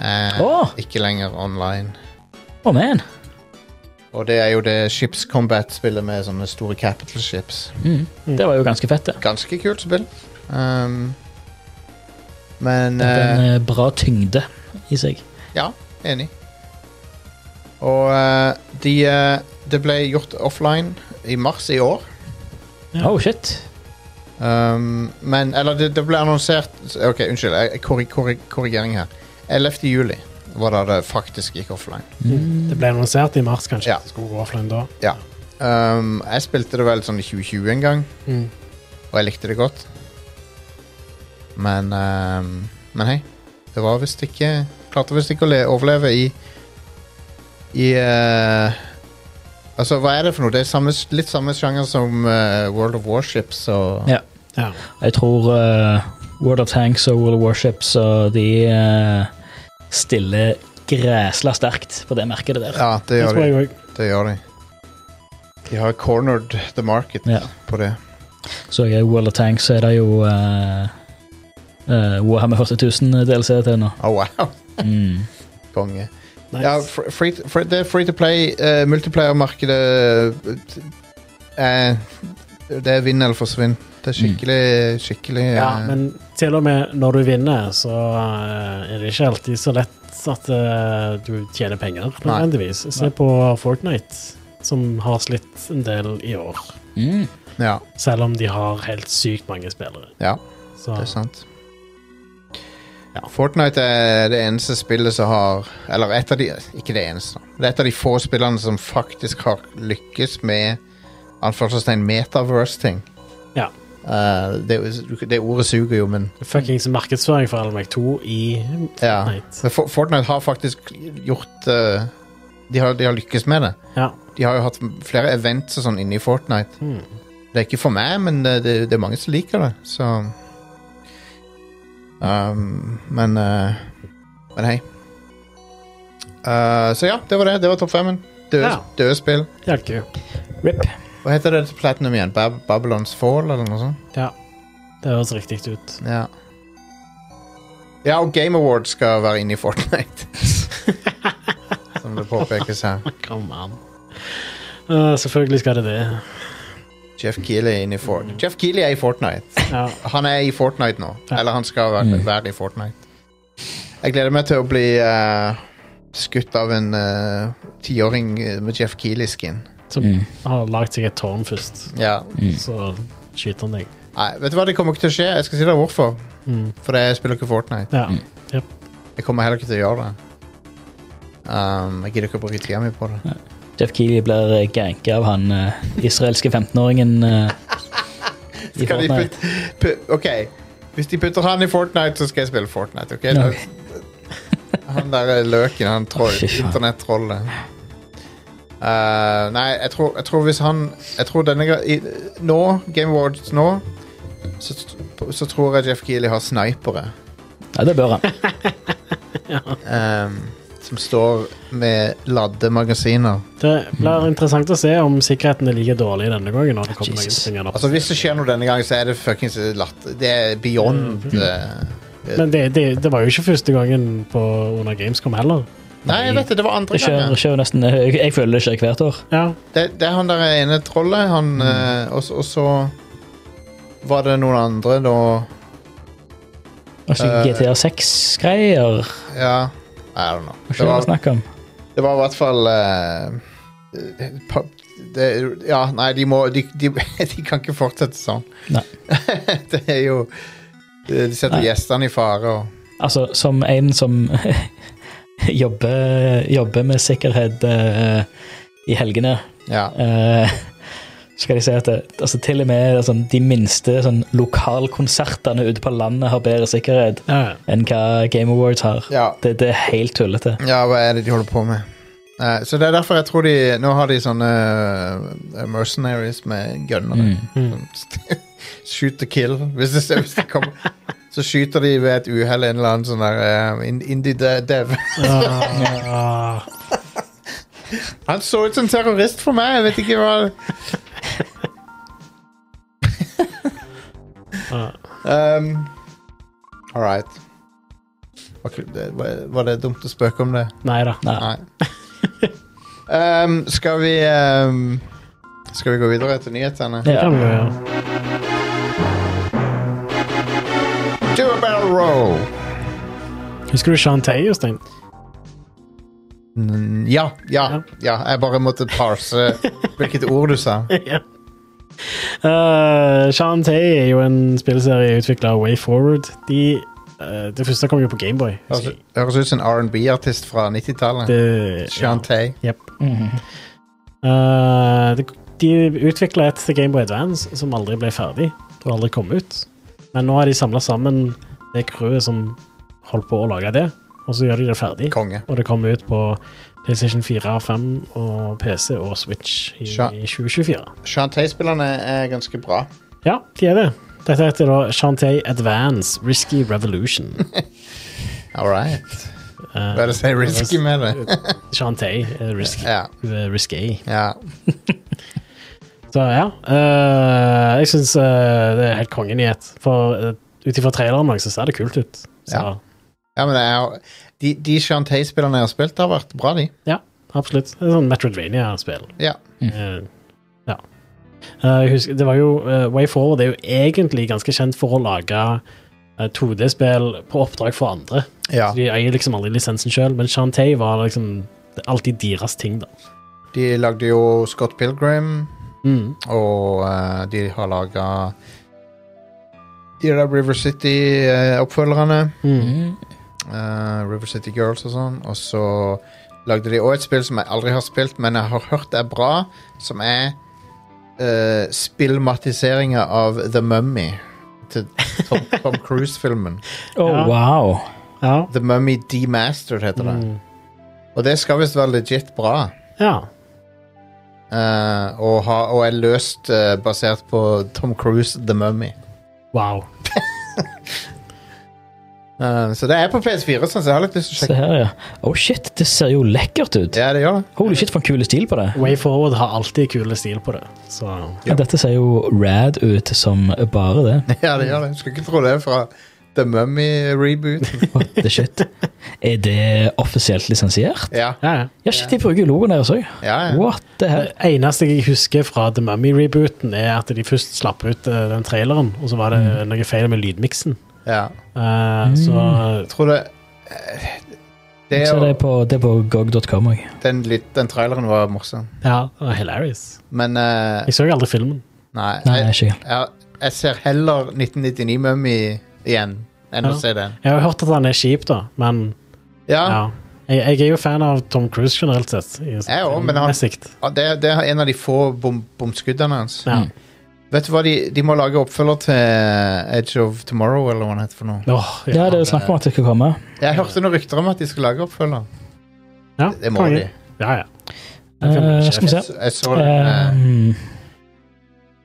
[SPEAKER 1] Eh,
[SPEAKER 3] Åh!
[SPEAKER 1] Ikke lenger online.
[SPEAKER 3] Å, man.
[SPEAKER 1] Og det er jo det Ships Combat-spillet med sånne store capital ships.
[SPEAKER 3] Mm. Det var jo ganske fett, det.
[SPEAKER 1] ganske kult spill. Um, men
[SPEAKER 3] Det er
[SPEAKER 1] eh,
[SPEAKER 3] en eh, bra tyngde i seg.
[SPEAKER 1] ja, enig. Og eh, de, eh, det ble gjort offline i mars i år.
[SPEAKER 3] Oh, shit.
[SPEAKER 1] Um, men Eller det, det ble annonsert Ok, unnskyld. Jeg, korri, korri, korrigering her. 11. juli var da det faktisk gikk offline.
[SPEAKER 3] Mm.
[SPEAKER 2] Det ble annonsert i mars, kanskje.
[SPEAKER 1] Ja.
[SPEAKER 2] Det skulle gå offline da.
[SPEAKER 1] Ja. Um, jeg spilte det vel sånn i 2020 en gang,
[SPEAKER 2] Mm.
[SPEAKER 1] og jeg likte det godt. Men um, Men hei. Det var visst ikke Klarte visst ikke å le overleve i I eh, Altså, hva er det for noe? Det er samme, litt samme sjanger som eh, World of Warships og
[SPEAKER 3] Ja.
[SPEAKER 2] Ja.
[SPEAKER 3] Jeg tror eh, World of Tanks og World of Warships og de eh, stiller græsla sterkt på det markedet der.
[SPEAKER 1] Ja, det
[SPEAKER 2] Det
[SPEAKER 1] gjør
[SPEAKER 2] tror
[SPEAKER 1] de.
[SPEAKER 2] jeg òg.
[SPEAKER 1] Det gjør de. De har cornered the market
[SPEAKER 3] Ja.
[SPEAKER 1] på det.
[SPEAKER 3] Så jeg er World of Tanks, så er det jo eh, eh, Warhammer 40 000 DLC til nå.
[SPEAKER 1] Å, wow!
[SPEAKER 3] Mm.
[SPEAKER 1] Konge.
[SPEAKER 2] Nice.
[SPEAKER 1] Ja, fr- free, to- fr- det er free to play. eh, Multiplayer-markedet eh, Det er vinn eller forsvinn. Det er skikkelig, skikkelig
[SPEAKER 2] Mm. Ja,
[SPEAKER 1] eh,
[SPEAKER 2] men til og med når du vinner, så eh, er det ikke alltid så lett at eh, du tjener penger, nødvendigvis. Se
[SPEAKER 3] Nei.
[SPEAKER 2] på Fortnite, som har slitt en del i år.
[SPEAKER 3] Mm.
[SPEAKER 1] ja,
[SPEAKER 2] Selv om de har helt sykt mange spillere.
[SPEAKER 1] ja.
[SPEAKER 2] Så
[SPEAKER 1] Det er sant.
[SPEAKER 2] Ja.
[SPEAKER 1] Fortnite er det eneste spillet som har Eller et av de Ikke det eneste. Det er et av de få spillene som faktisk har lykkes med anførselstegn metaverse-ting.
[SPEAKER 2] Ja.
[SPEAKER 1] Eh, det, det ordet suger jo, men
[SPEAKER 2] fuckings markedsføring for Almec 2 i
[SPEAKER 1] ja.
[SPEAKER 2] Fortnite.
[SPEAKER 1] Men For- Fortnite har faktisk gjort eh, de, har, de har lykkes med det.
[SPEAKER 2] Ja.
[SPEAKER 1] De har jo hatt flere events og sånn inni Fortnite.
[SPEAKER 2] Hmm.
[SPEAKER 1] Det er ikke for meg, men det, det, det er mange som liker det, så um, Men eh, Men hei. Eh, så ja, det var det. Det var topp femmen. Døde,
[SPEAKER 2] Ja.
[SPEAKER 1] døde spill.
[SPEAKER 2] Det er gøy.
[SPEAKER 3] RIP.
[SPEAKER 1] Hva heter det til Platinum igjen? Bab Babylons Fall, eller noe sånt?
[SPEAKER 2] Ja. Det høres riktig ut.
[SPEAKER 1] Ja. ja, og Game Awards skal være inne i Fortnite. Som det påpekes her.
[SPEAKER 2] Come on. Eh, selvfølgelig skal det det.
[SPEAKER 1] Jeff Keeley er inne i Fortnite. Jeff Keeley er i Fortnite.
[SPEAKER 2] Ja.
[SPEAKER 1] Han er i Fortnite nå.
[SPEAKER 2] Ja.
[SPEAKER 1] Eller han skal være,
[SPEAKER 3] Mm.
[SPEAKER 1] være i Fortnite. Jeg gleder meg til å bli eh, skutt av en eh, tiåring eh, med Jeff Keeley-skin.
[SPEAKER 2] Som
[SPEAKER 3] Mm.
[SPEAKER 2] har lagd seg et tårn først,
[SPEAKER 1] Ja.
[SPEAKER 3] Mm.
[SPEAKER 2] så skyter han deg.
[SPEAKER 1] Nei, vet du hva, det kommer ikke til å skje. Jeg skal si deg hvorfor.
[SPEAKER 2] Mm.
[SPEAKER 1] For jeg spiller ikke Fortnite.
[SPEAKER 2] Ja.
[SPEAKER 3] Mm.
[SPEAKER 2] Jep.
[SPEAKER 1] Jeg kommer heller ikke til å gjøre det. Um, jeg gidder ikke å bruke tida mi på det.
[SPEAKER 3] Jeff Keeley blir eh, ganket av han eh, israelske 15-åringen eh, i
[SPEAKER 1] Skal de
[SPEAKER 3] Fortnite.
[SPEAKER 1] putte, pu- ok, Hvis de putter han i Fortnite, så skal jeg spille Fortnite. ok?
[SPEAKER 3] Ja.
[SPEAKER 1] Han der eh, løken, han troll,
[SPEAKER 3] Å, fy faen.
[SPEAKER 1] internettrollet. Eh, nei, jeg tror, jeg tror hvis han Jeg tror denne ga- i, Nå, Game Awards nå, så, så tror jeg Jeff Keeley har snipere.
[SPEAKER 3] Ja, det bør han.
[SPEAKER 1] ehm, som står med ladde magasiner.
[SPEAKER 2] Det blir interessant å se om sikkerheten er like dårlig denne gangen. når det kommer noen
[SPEAKER 3] Jesus.
[SPEAKER 2] springende opp.
[SPEAKER 1] Altså Hvis det skjer noe denne gangen, så er det fuckings latter. Det er beyond
[SPEAKER 3] Mm.
[SPEAKER 1] eh,
[SPEAKER 2] Men det, det, det var jo ikke første gangen på under Gamescom heller.
[SPEAKER 1] Nei, jeg vet det. Det var andre
[SPEAKER 3] Det skjer,
[SPEAKER 1] gangen.
[SPEAKER 3] skjer jo nesten, jeg, jeg føler det skjer hvert år.
[SPEAKER 2] Ja,
[SPEAKER 1] Det, det er han der ene trollet,
[SPEAKER 3] Mm.
[SPEAKER 1] han eh, og, så- og så var det noen andre, da
[SPEAKER 3] Altså,
[SPEAKER 1] Eh,
[SPEAKER 3] GTA 6-greier.
[SPEAKER 1] Ja, I don't know.
[SPEAKER 3] Hva
[SPEAKER 1] Det
[SPEAKER 3] skjer det
[SPEAKER 1] var,
[SPEAKER 3] snakk om?
[SPEAKER 1] det var i hvert fall eh, pa- det, Ja, nei, de må De, de, de kan ikke fortsette sånn.
[SPEAKER 3] Nei.
[SPEAKER 1] det er jo De setter
[SPEAKER 3] Nei.
[SPEAKER 1] gjestene i fare og
[SPEAKER 3] Altså, som en som jobber, jobber med sikkerhet eh, i helgene,
[SPEAKER 1] Ja.
[SPEAKER 3] eh, så skal de si at det, altså, til og med altså, de minste sånn, lokalkonsertene ute på landet har bedre sikkerhet
[SPEAKER 2] ja.
[SPEAKER 3] enn hva Game Awards har.
[SPEAKER 1] ja.
[SPEAKER 3] Det, det er helt tullete.
[SPEAKER 1] Ja, hva er det de holder på med? Eh, så det er derfor jeg tror de Nå har de sånne eh, mercenaries med gunnere.
[SPEAKER 3] Mm.
[SPEAKER 2] Mm.
[SPEAKER 1] Shoot to kill. Hvis det, hvis det kommer Så skyter de ved et uhell en eller annen sånn der eh, in- indie de- dev.
[SPEAKER 2] Ah,
[SPEAKER 1] Han så ut som terrorist for meg, jeg vet ikke hva
[SPEAKER 2] ah.
[SPEAKER 1] um, All right. Var ikke- det- var- Var det dumt å spøke om det?
[SPEAKER 2] Nei da.
[SPEAKER 3] Nei.
[SPEAKER 1] Nei. Um, skal vi um, Skal vi gå videre til nyhetene?
[SPEAKER 2] Det
[SPEAKER 3] Ja.
[SPEAKER 2] kan vi jo gjøre.
[SPEAKER 1] Do a barrel roll!
[SPEAKER 2] Husker du Shantay, Jostein?
[SPEAKER 1] Mm, Ja, ja, ja. Jeg bare måtte parse hvilket ord du sa.
[SPEAKER 2] Uh, Sean Tay er jo en spillserie utvikla av WayForward. De, eh, det første kom jo på Gameboy.
[SPEAKER 1] Høres- Høres ut som en R&B-artist fra 90-tallet. Shantae.
[SPEAKER 2] Yep.
[SPEAKER 3] Mhm.
[SPEAKER 2] Eh, de de utvikla et til Gameboy Advance som aldri ble ferdig. Det har aldri kommet ut. Men nå har de samla sammen det crewet som holdt på å lage det, og så gjør de det ferdig.
[SPEAKER 1] Konge.
[SPEAKER 2] Og det kommer ut på PlayStation 4, 5 og PC og Switch i,
[SPEAKER 1] Sha-
[SPEAKER 2] i 2024.
[SPEAKER 1] Shantae-spillerne er ganske bra.
[SPEAKER 2] Ja, de er det. Dette heter da Shantae Advance Risky Revolution.
[SPEAKER 1] All right.
[SPEAKER 2] Eh,
[SPEAKER 1] Hva er det som er risky med det?
[SPEAKER 2] Shantae er risky.
[SPEAKER 1] Ja.
[SPEAKER 2] Hun er risky.
[SPEAKER 1] ja.
[SPEAKER 2] Så ja, eh, jeg syns det er helt kongenyhet. For uh, ut ifra traileren også, så ser det kult ut. Så
[SPEAKER 1] Ja. ja men det er, jo- de de Shantae-spillerne jeg har spilt, har vært bra, de.
[SPEAKER 2] absolutt. Det er sånn Metrodvania-spill.
[SPEAKER 1] Ja.
[SPEAKER 2] Eh, ja. Eh, jeg husker, det var jo eh, Way Forward er jo egentlig ganske kjent for å lage eh, 2D-spill på oppdrag for andre.
[SPEAKER 1] ja.
[SPEAKER 2] Så de eier liksom aldri lisensen sjøl, men Shantae var liksom alltid deres ting, da.
[SPEAKER 1] De lagde jo Scott Pilgrim,
[SPEAKER 2] Mm.
[SPEAKER 1] og eh, de har laga de der River City-oppfølgerne.
[SPEAKER 2] Mm.
[SPEAKER 3] Mhm.
[SPEAKER 1] eh, River City Girls og sånn. Og så lagde de òg et spill som jeg aldri har spilt, men jeg har hørt er bra, som er uh, spillmatiseringa av The Mummy. Til Tom, Tom Cruise-filmen.
[SPEAKER 3] Å,
[SPEAKER 2] Ja.
[SPEAKER 3] Oh, wow.
[SPEAKER 2] Ja.
[SPEAKER 1] The Mummy Demastered heter det.
[SPEAKER 2] Mm.
[SPEAKER 1] Og det skal visst være legit bra.
[SPEAKER 2] ja.
[SPEAKER 1] eh, og, ha, og er løst eh, basert på Tom Cruise The Mummy.
[SPEAKER 2] Wow.
[SPEAKER 1] Eh, så det er på PS4, sånn, så jeg har litt lyst til å
[SPEAKER 3] Se
[SPEAKER 1] sjekke.
[SPEAKER 3] her, ja. Oh shit, det ser jo lekkert ut.
[SPEAKER 1] Ja, det gjør det.
[SPEAKER 3] Holy shit, for en kul stil på det.
[SPEAKER 2] Way Forward har alltid kule stil på det. Så
[SPEAKER 1] Ja.
[SPEAKER 3] Dette ser jo rad ut som bare det.
[SPEAKER 1] Ja, det gjør det. Skulle ikke tro det er fra The Mummy-reboot.
[SPEAKER 3] What the shit? Er det offisielt lisensiert?
[SPEAKER 1] Ja,
[SPEAKER 2] ja, ja.
[SPEAKER 3] Ja, shit, de bruker jo logoen deres òg.
[SPEAKER 1] ja, ja.
[SPEAKER 3] What the hell?
[SPEAKER 2] Det Eh, eneste jeg husker fra The Mummy-rebooten, er at de først slapp ut eh, den traileren, og så var det
[SPEAKER 3] Mm.
[SPEAKER 2] noe feil med lydmiksen.
[SPEAKER 1] ja.
[SPEAKER 2] Eh, Så
[SPEAKER 1] Jeg tror det eh, Det
[SPEAKER 3] Jeg
[SPEAKER 1] er
[SPEAKER 3] ser
[SPEAKER 1] jo
[SPEAKER 3] det på, det er på gog.com òg.
[SPEAKER 1] den, lyt- den traileren var morsom.
[SPEAKER 2] ja, det var hilarious.
[SPEAKER 1] Men eh,
[SPEAKER 2] Jeg så jo aldri filmen.
[SPEAKER 1] nei.
[SPEAKER 3] Nei,
[SPEAKER 1] Jeg,
[SPEAKER 3] ikke.
[SPEAKER 1] jeg, jeg ser heller 1999-mummy igjen enn
[SPEAKER 2] Ja.
[SPEAKER 1] å se den.
[SPEAKER 2] Jeg har hørt at han er kjip, da, men
[SPEAKER 1] Ja,
[SPEAKER 2] ja. Jeg, jeg er jo fan av Tom Cruise generelt sett. i-
[SPEAKER 1] Jeg også, men han-
[SPEAKER 2] med sikt.
[SPEAKER 1] Ja, Det, det er en av de få bom, bomskuddene hans.
[SPEAKER 2] Ja.
[SPEAKER 3] Mm.
[SPEAKER 1] Vet du hva, de, de må lage oppfølger til Edge of Tomorrow, eller hva den heter for noe.
[SPEAKER 2] Åh, ja.
[SPEAKER 3] Ja, det er jo snakk om at det skal komme.
[SPEAKER 1] Jeg hørte noen rykter om at de skal lage oppfølger.
[SPEAKER 2] Ja,
[SPEAKER 1] Det må de.
[SPEAKER 2] Ja, ja.
[SPEAKER 3] Eh, skal vi se.
[SPEAKER 1] Jeg, jeg så den, eh,
[SPEAKER 3] Eh,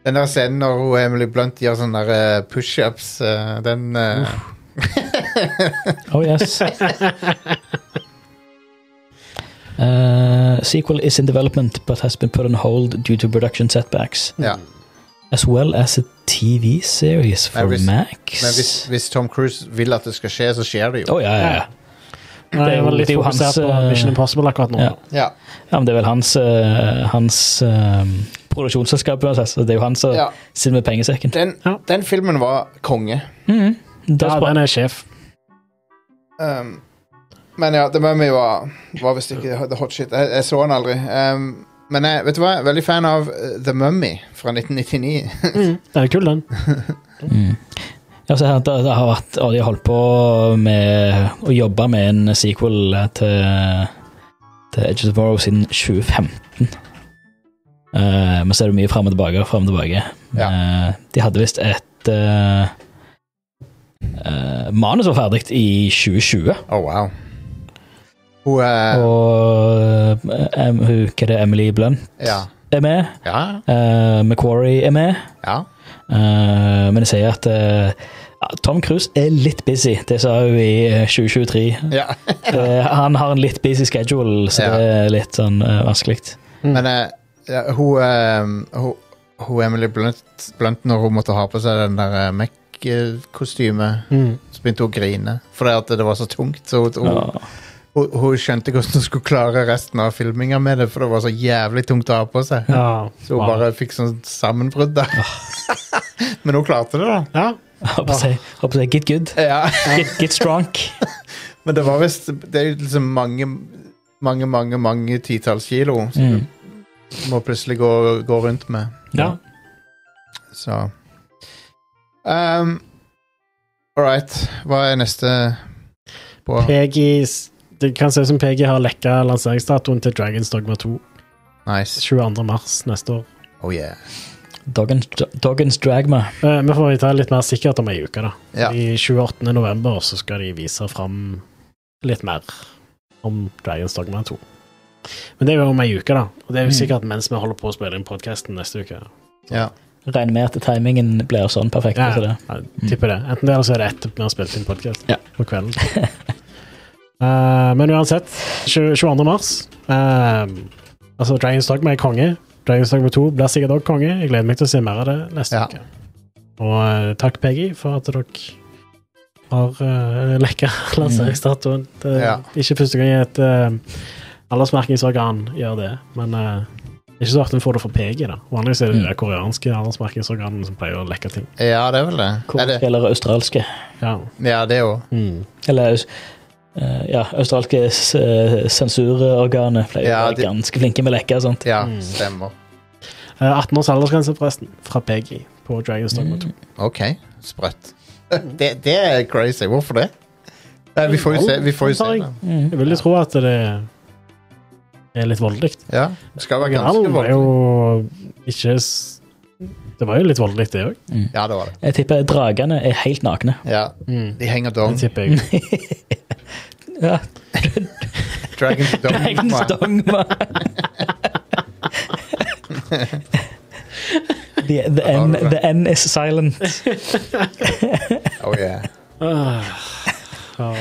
[SPEAKER 1] den der scenen når hun, Emily Blunt gjør sånne der, eh, pushups. eh, Den eh,
[SPEAKER 3] Oh yes. Uh, sequel is in development but has been put on hold due to production setbacks,
[SPEAKER 1] Ja.
[SPEAKER 3] as well as a TV series for
[SPEAKER 1] Men hvis-
[SPEAKER 3] Max.
[SPEAKER 1] Men hvis, hvis Tom Cruise vil at det skal skje, så skjer det jo.
[SPEAKER 3] Å, ja, ja, ja.
[SPEAKER 2] Nei, jeg var
[SPEAKER 3] jo-
[SPEAKER 2] litt
[SPEAKER 3] det er jo
[SPEAKER 2] fokusert
[SPEAKER 3] hans,
[SPEAKER 2] på
[SPEAKER 3] eh,
[SPEAKER 2] Mission Impossible akkurat nå.
[SPEAKER 3] ja.
[SPEAKER 1] Ja.
[SPEAKER 3] ja, men det er vel hans, eh, hans eh, produksjonsselskap uansett, så det er jo han som
[SPEAKER 1] Ja.
[SPEAKER 3] sitter med pengesekken.
[SPEAKER 1] Den,
[SPEAKER 2] Ja.
[SPEAKER 1] den filmen var konge.
[SPEAKER 3] Mhm. Det er
[SPEAKER 2] Ja,
[SPEAKER 3] bra.
[SPEAKER 2] den er sjef.
[SPEAKER 1] Um, men ja, The Mummy var, var visst ikke the hot shit. Jeg, jeg så den aldri. Um, men jeg, vet du hva? jeg er veldig fan av eh, The Mummy fra 1999.
[SPEAKER 2] Den er kul, den.
[SPEAKER 3] Mm. Ja, så her, det, det har vært, og de har holdt på med å jobbe med en sequel til, til Edge of Tomorrow siden 2015. Eh, men så er det mye fram og tilbake. Frem og tilbake. Eh, de hadde visst et eh, eh, manus var ferdig i 2020,
[SPEAKER 1] Oh, wow. Hun eh,
[SPEAKER 3] og eh, em, hun, hva er det, Emily Blunt
[SPEAKER 1] ja.
[SPEAKER 3] er med.
[SPEAKER 1] ja.
[SPEAKER 3] Uh, Macquarie er med.
[SPEAKER 1] Ja.
[SPEAKER 3] Eh, men jeg sier at eh, ja, Tom Cruise er litt busy, det sa hun i eh, 2023.
[SPEAKER 1] ja.
[SPEAKER 3] Eh, han har en litt busy schedule, så det er litt sånn eh, vanskelig.
[SPEAKER 1] Men eh, ja, hun, eh, hun, hun Emily Blunt, Blunt, når hun måtte ha på seg den der eh, Mac-kostymet,
[SPEAKER 2] Mm.
[SPEAKER 1] så begynte hun å grine fordi at det var så tungt. Så hun, hun,
[SPEAKER 3] Ja.
[SPEAKER 1] hun, hun skjønte ikke hvordan hun skulle klare resten av filminga med det, for det var så jævlig tungt å ha på seg.
[SPEAKER 2] Ja.
[SPEAKER 1] Så hun bare fikk sånn sammenbrudd der.
[SPEAKER 3] Ah.
[SPEAKER 1] Men hun klarte det, da.
[SPEAKER 2] Ja.
[SPEAKER 3] Håper jeg håper jeg get good.
[SPEAKER 1] Ja.
[SPEAKER 3] Get, get strong.
[SPEAKER 1] Men det var visst Det er jo liksom mange, mange, mange mange titalls kilo som
[SPEAKER 3] Mm.
[SPEAKER 1] du må plutselig gå, gå rundt med.
[SPEAKER 2] ja.
[SPEAKER 1] Så um, All right. Hva er neste på
[SPEAKER 2] PG s- Det kan se ut som PG har lekka lanseringsdatoen til Dragons Dogma 2.
[SPEAKER 1] Nice.
[SPEAKER 2] 22. mars neste år.
[SPEAKER 1] Oh yeah.
[SPEAKER 3] Doggins, Doggins Dragma.
[SPEAKER 2] Eh, Vi får ta litt mer sikkert om ei uke, da.
[SPEAKER 1] Ja.
[SPEAKER 2] I 28. november så skal de vise fram litt mer om Dragons Dogma 2. Men det er jo om ei uke, da. Og det er jo
[SPEAKER 3] Mm.
[SPEAKER 2] sikkert mens vi holder på å spille inn podkasten neste uke.
[SPEAKER 1] ja.
[SPEAKER 3] Regner med at timingen blir sånn perfekt.
[SPEAKER 2] Ja,
[SPEAKER 3] så det.
[SPEAKER 2] jeg tipper det. Enten det, eller så er det etter vi har spilt inn podkast
[SPEAKER 3] Ja.
[SPEAKER 2] på kvelden. Eh, men uansett, 20, 22. mars eh, Altså, Dragons Dogma er konge. Dragons Dogma 2 blir sikkert òg konge. Jeg gleder meg til å se mer av det neste
[SPEAKER 1] Ja.
[SPEAKER 2] uke. Og eh, takk, Peggy, for at dere har uh, lekka lanseringsdatoen. Det er
[SPEAKER 1] Mm. Ja.
[SPEAKER 2] ikke første gang et uh, aldersmerkingsorgan gjør det, men eh, det er ikke så ofte vi får det fra PG. da. Vanligvis er det
[SPEAKER 1] Mm.
[SPEAKER 2] de koreanske aldersmerkingsorganene som pleier å lekke ting.
[SPEAKER 1] ja, det er vel det. Er det
[SPEAKER 3] Eller australske.
[SPEAKER 2] Ja.
[SPEAKER 1] ja, det òg.
[SPEAKER 2] Mm.
[SPEAKER 3] Eller eh, ja, australske uh, sensurorganet pleier å
[SPEAKER 1] Ja,
[SPEAKER 3] være
[SPEAKER 1] de-
[SPEAKER 3] ganske flinke med å leke og sånt.
[SPEAKER 1] Ja,
[SPEAKER 2] Mm.
[SPEAKER 1] stemmer.
[SPEAKER 2] Eh, 18 års aldersgrense, forresten, fra PG på Dragons
[SPEAKER 1] Mm.
[SPEAKER 2] Dogma 2.
[SPEAKER 1] OK. Sprøtt. Det, det er crazy. Hvorfor det? Nei, vi får jo se. Vi får jo se det.
[SPEAKER 3] Mm.
[SPEAKER 2] Jeg vil jo tro at det er litt voldelig.
[SPEAKER 1] Ja, det skal være ganske
[SPEAKER 2] Originalen var
[SPEAKER 1] voldelig.
[SPEAKER 2] jo ikke s- Det var jo litt voldelig, det òg.
[SPEAKER 1] Ja, det var det.
[SPEAKER 3] Jeg tipper dragene er helt nakne.
[SPEAKER 1] Ja, De henger dong.
[SPEAKER 2] Mm. Det tipper jeg.
[SPEAKER 3] Ja,
[SPEAKER 1] Dragons dong.
[SPEAKER 3] Dragon's
[SPEAKER 1] faen.
[SPEAKER 3] Dogma. the, the, N, the N is silent.
[SPEAKER 1] Oh yeah.
[SPEAKER 2] Ah. Ja.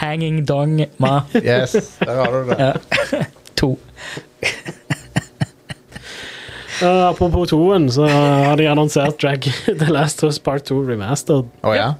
[SPEAKER 3] Hanging Dogma
[SPEAKER 1] Yes, der har du det.
[SPEAKER 3] 2.
[SPEAKER 2] Eh, Apropos toen, så har de annonsert Drag The Last of Us Part 2 Remastered.
[SPEAKER 1] Å ja?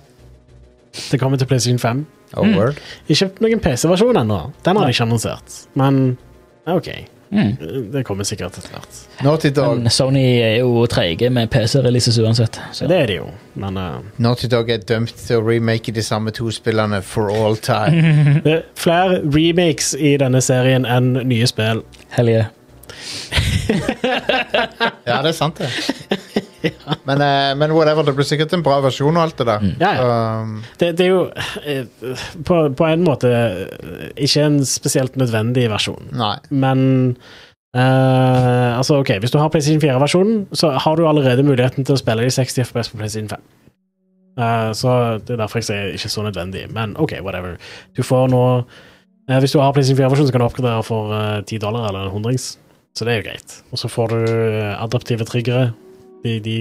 [SPEAKER 2] Det kommer til PlayStation 5.
[SPEAKER 1] Oh, word.
[SPEAKER 2] Jeg kjøpte noen PC-versjon ennå. Den har de ikke annonsert. Men ja, OK. Eh,
[SPEAKER 3] Mm.
[SPEAKER 2] Det kommer sikkert etter hvert.
[SPEAKER 1] Naughty Dog.
[SPEAKER 3] Men Sony er jo treige med PC-releases uansett. Så.
[SPEAKER 2] Det er det jo, men eh,
[SPEAKER 1] Naughty Dog er dømt til å remake de samme to spillene for all time.
[SPEAKER 2] Det er flere remakes i denne serien enn nye spill.
[SPEAKER 3] Hell yeah.
[SPEAKER 1] Ja, det er sant, det. Men, eh, men whatever, det blir sikkert en bra versjon og alt det der.
[SPEAKER 2] Mm. Ja, ja.
[SPEAKER 1] Um,
[SPEAKER 2] Det, det er jo eh, på, på en måte eh, ikke en spesielt nødvendig versjon,
[SPEAKER 1] nei.
[SPEAKER 2] men eh, altså, ok, Hvis du har PlayStation 4-versjonen, så har du allerede muligheten til å spille i 60 FPS på PlayStation 5. Eh, så Det er derfor jeg sier ikke så nødvendig, men ok, whatever. Du får nå eh, Hvis du har PlayStation 4-versjonen, så kan du oppgradere for eh, 10 dollar eller en hundrings, så det er jo greit. Og så får du eh, adaptive triggere. De, de,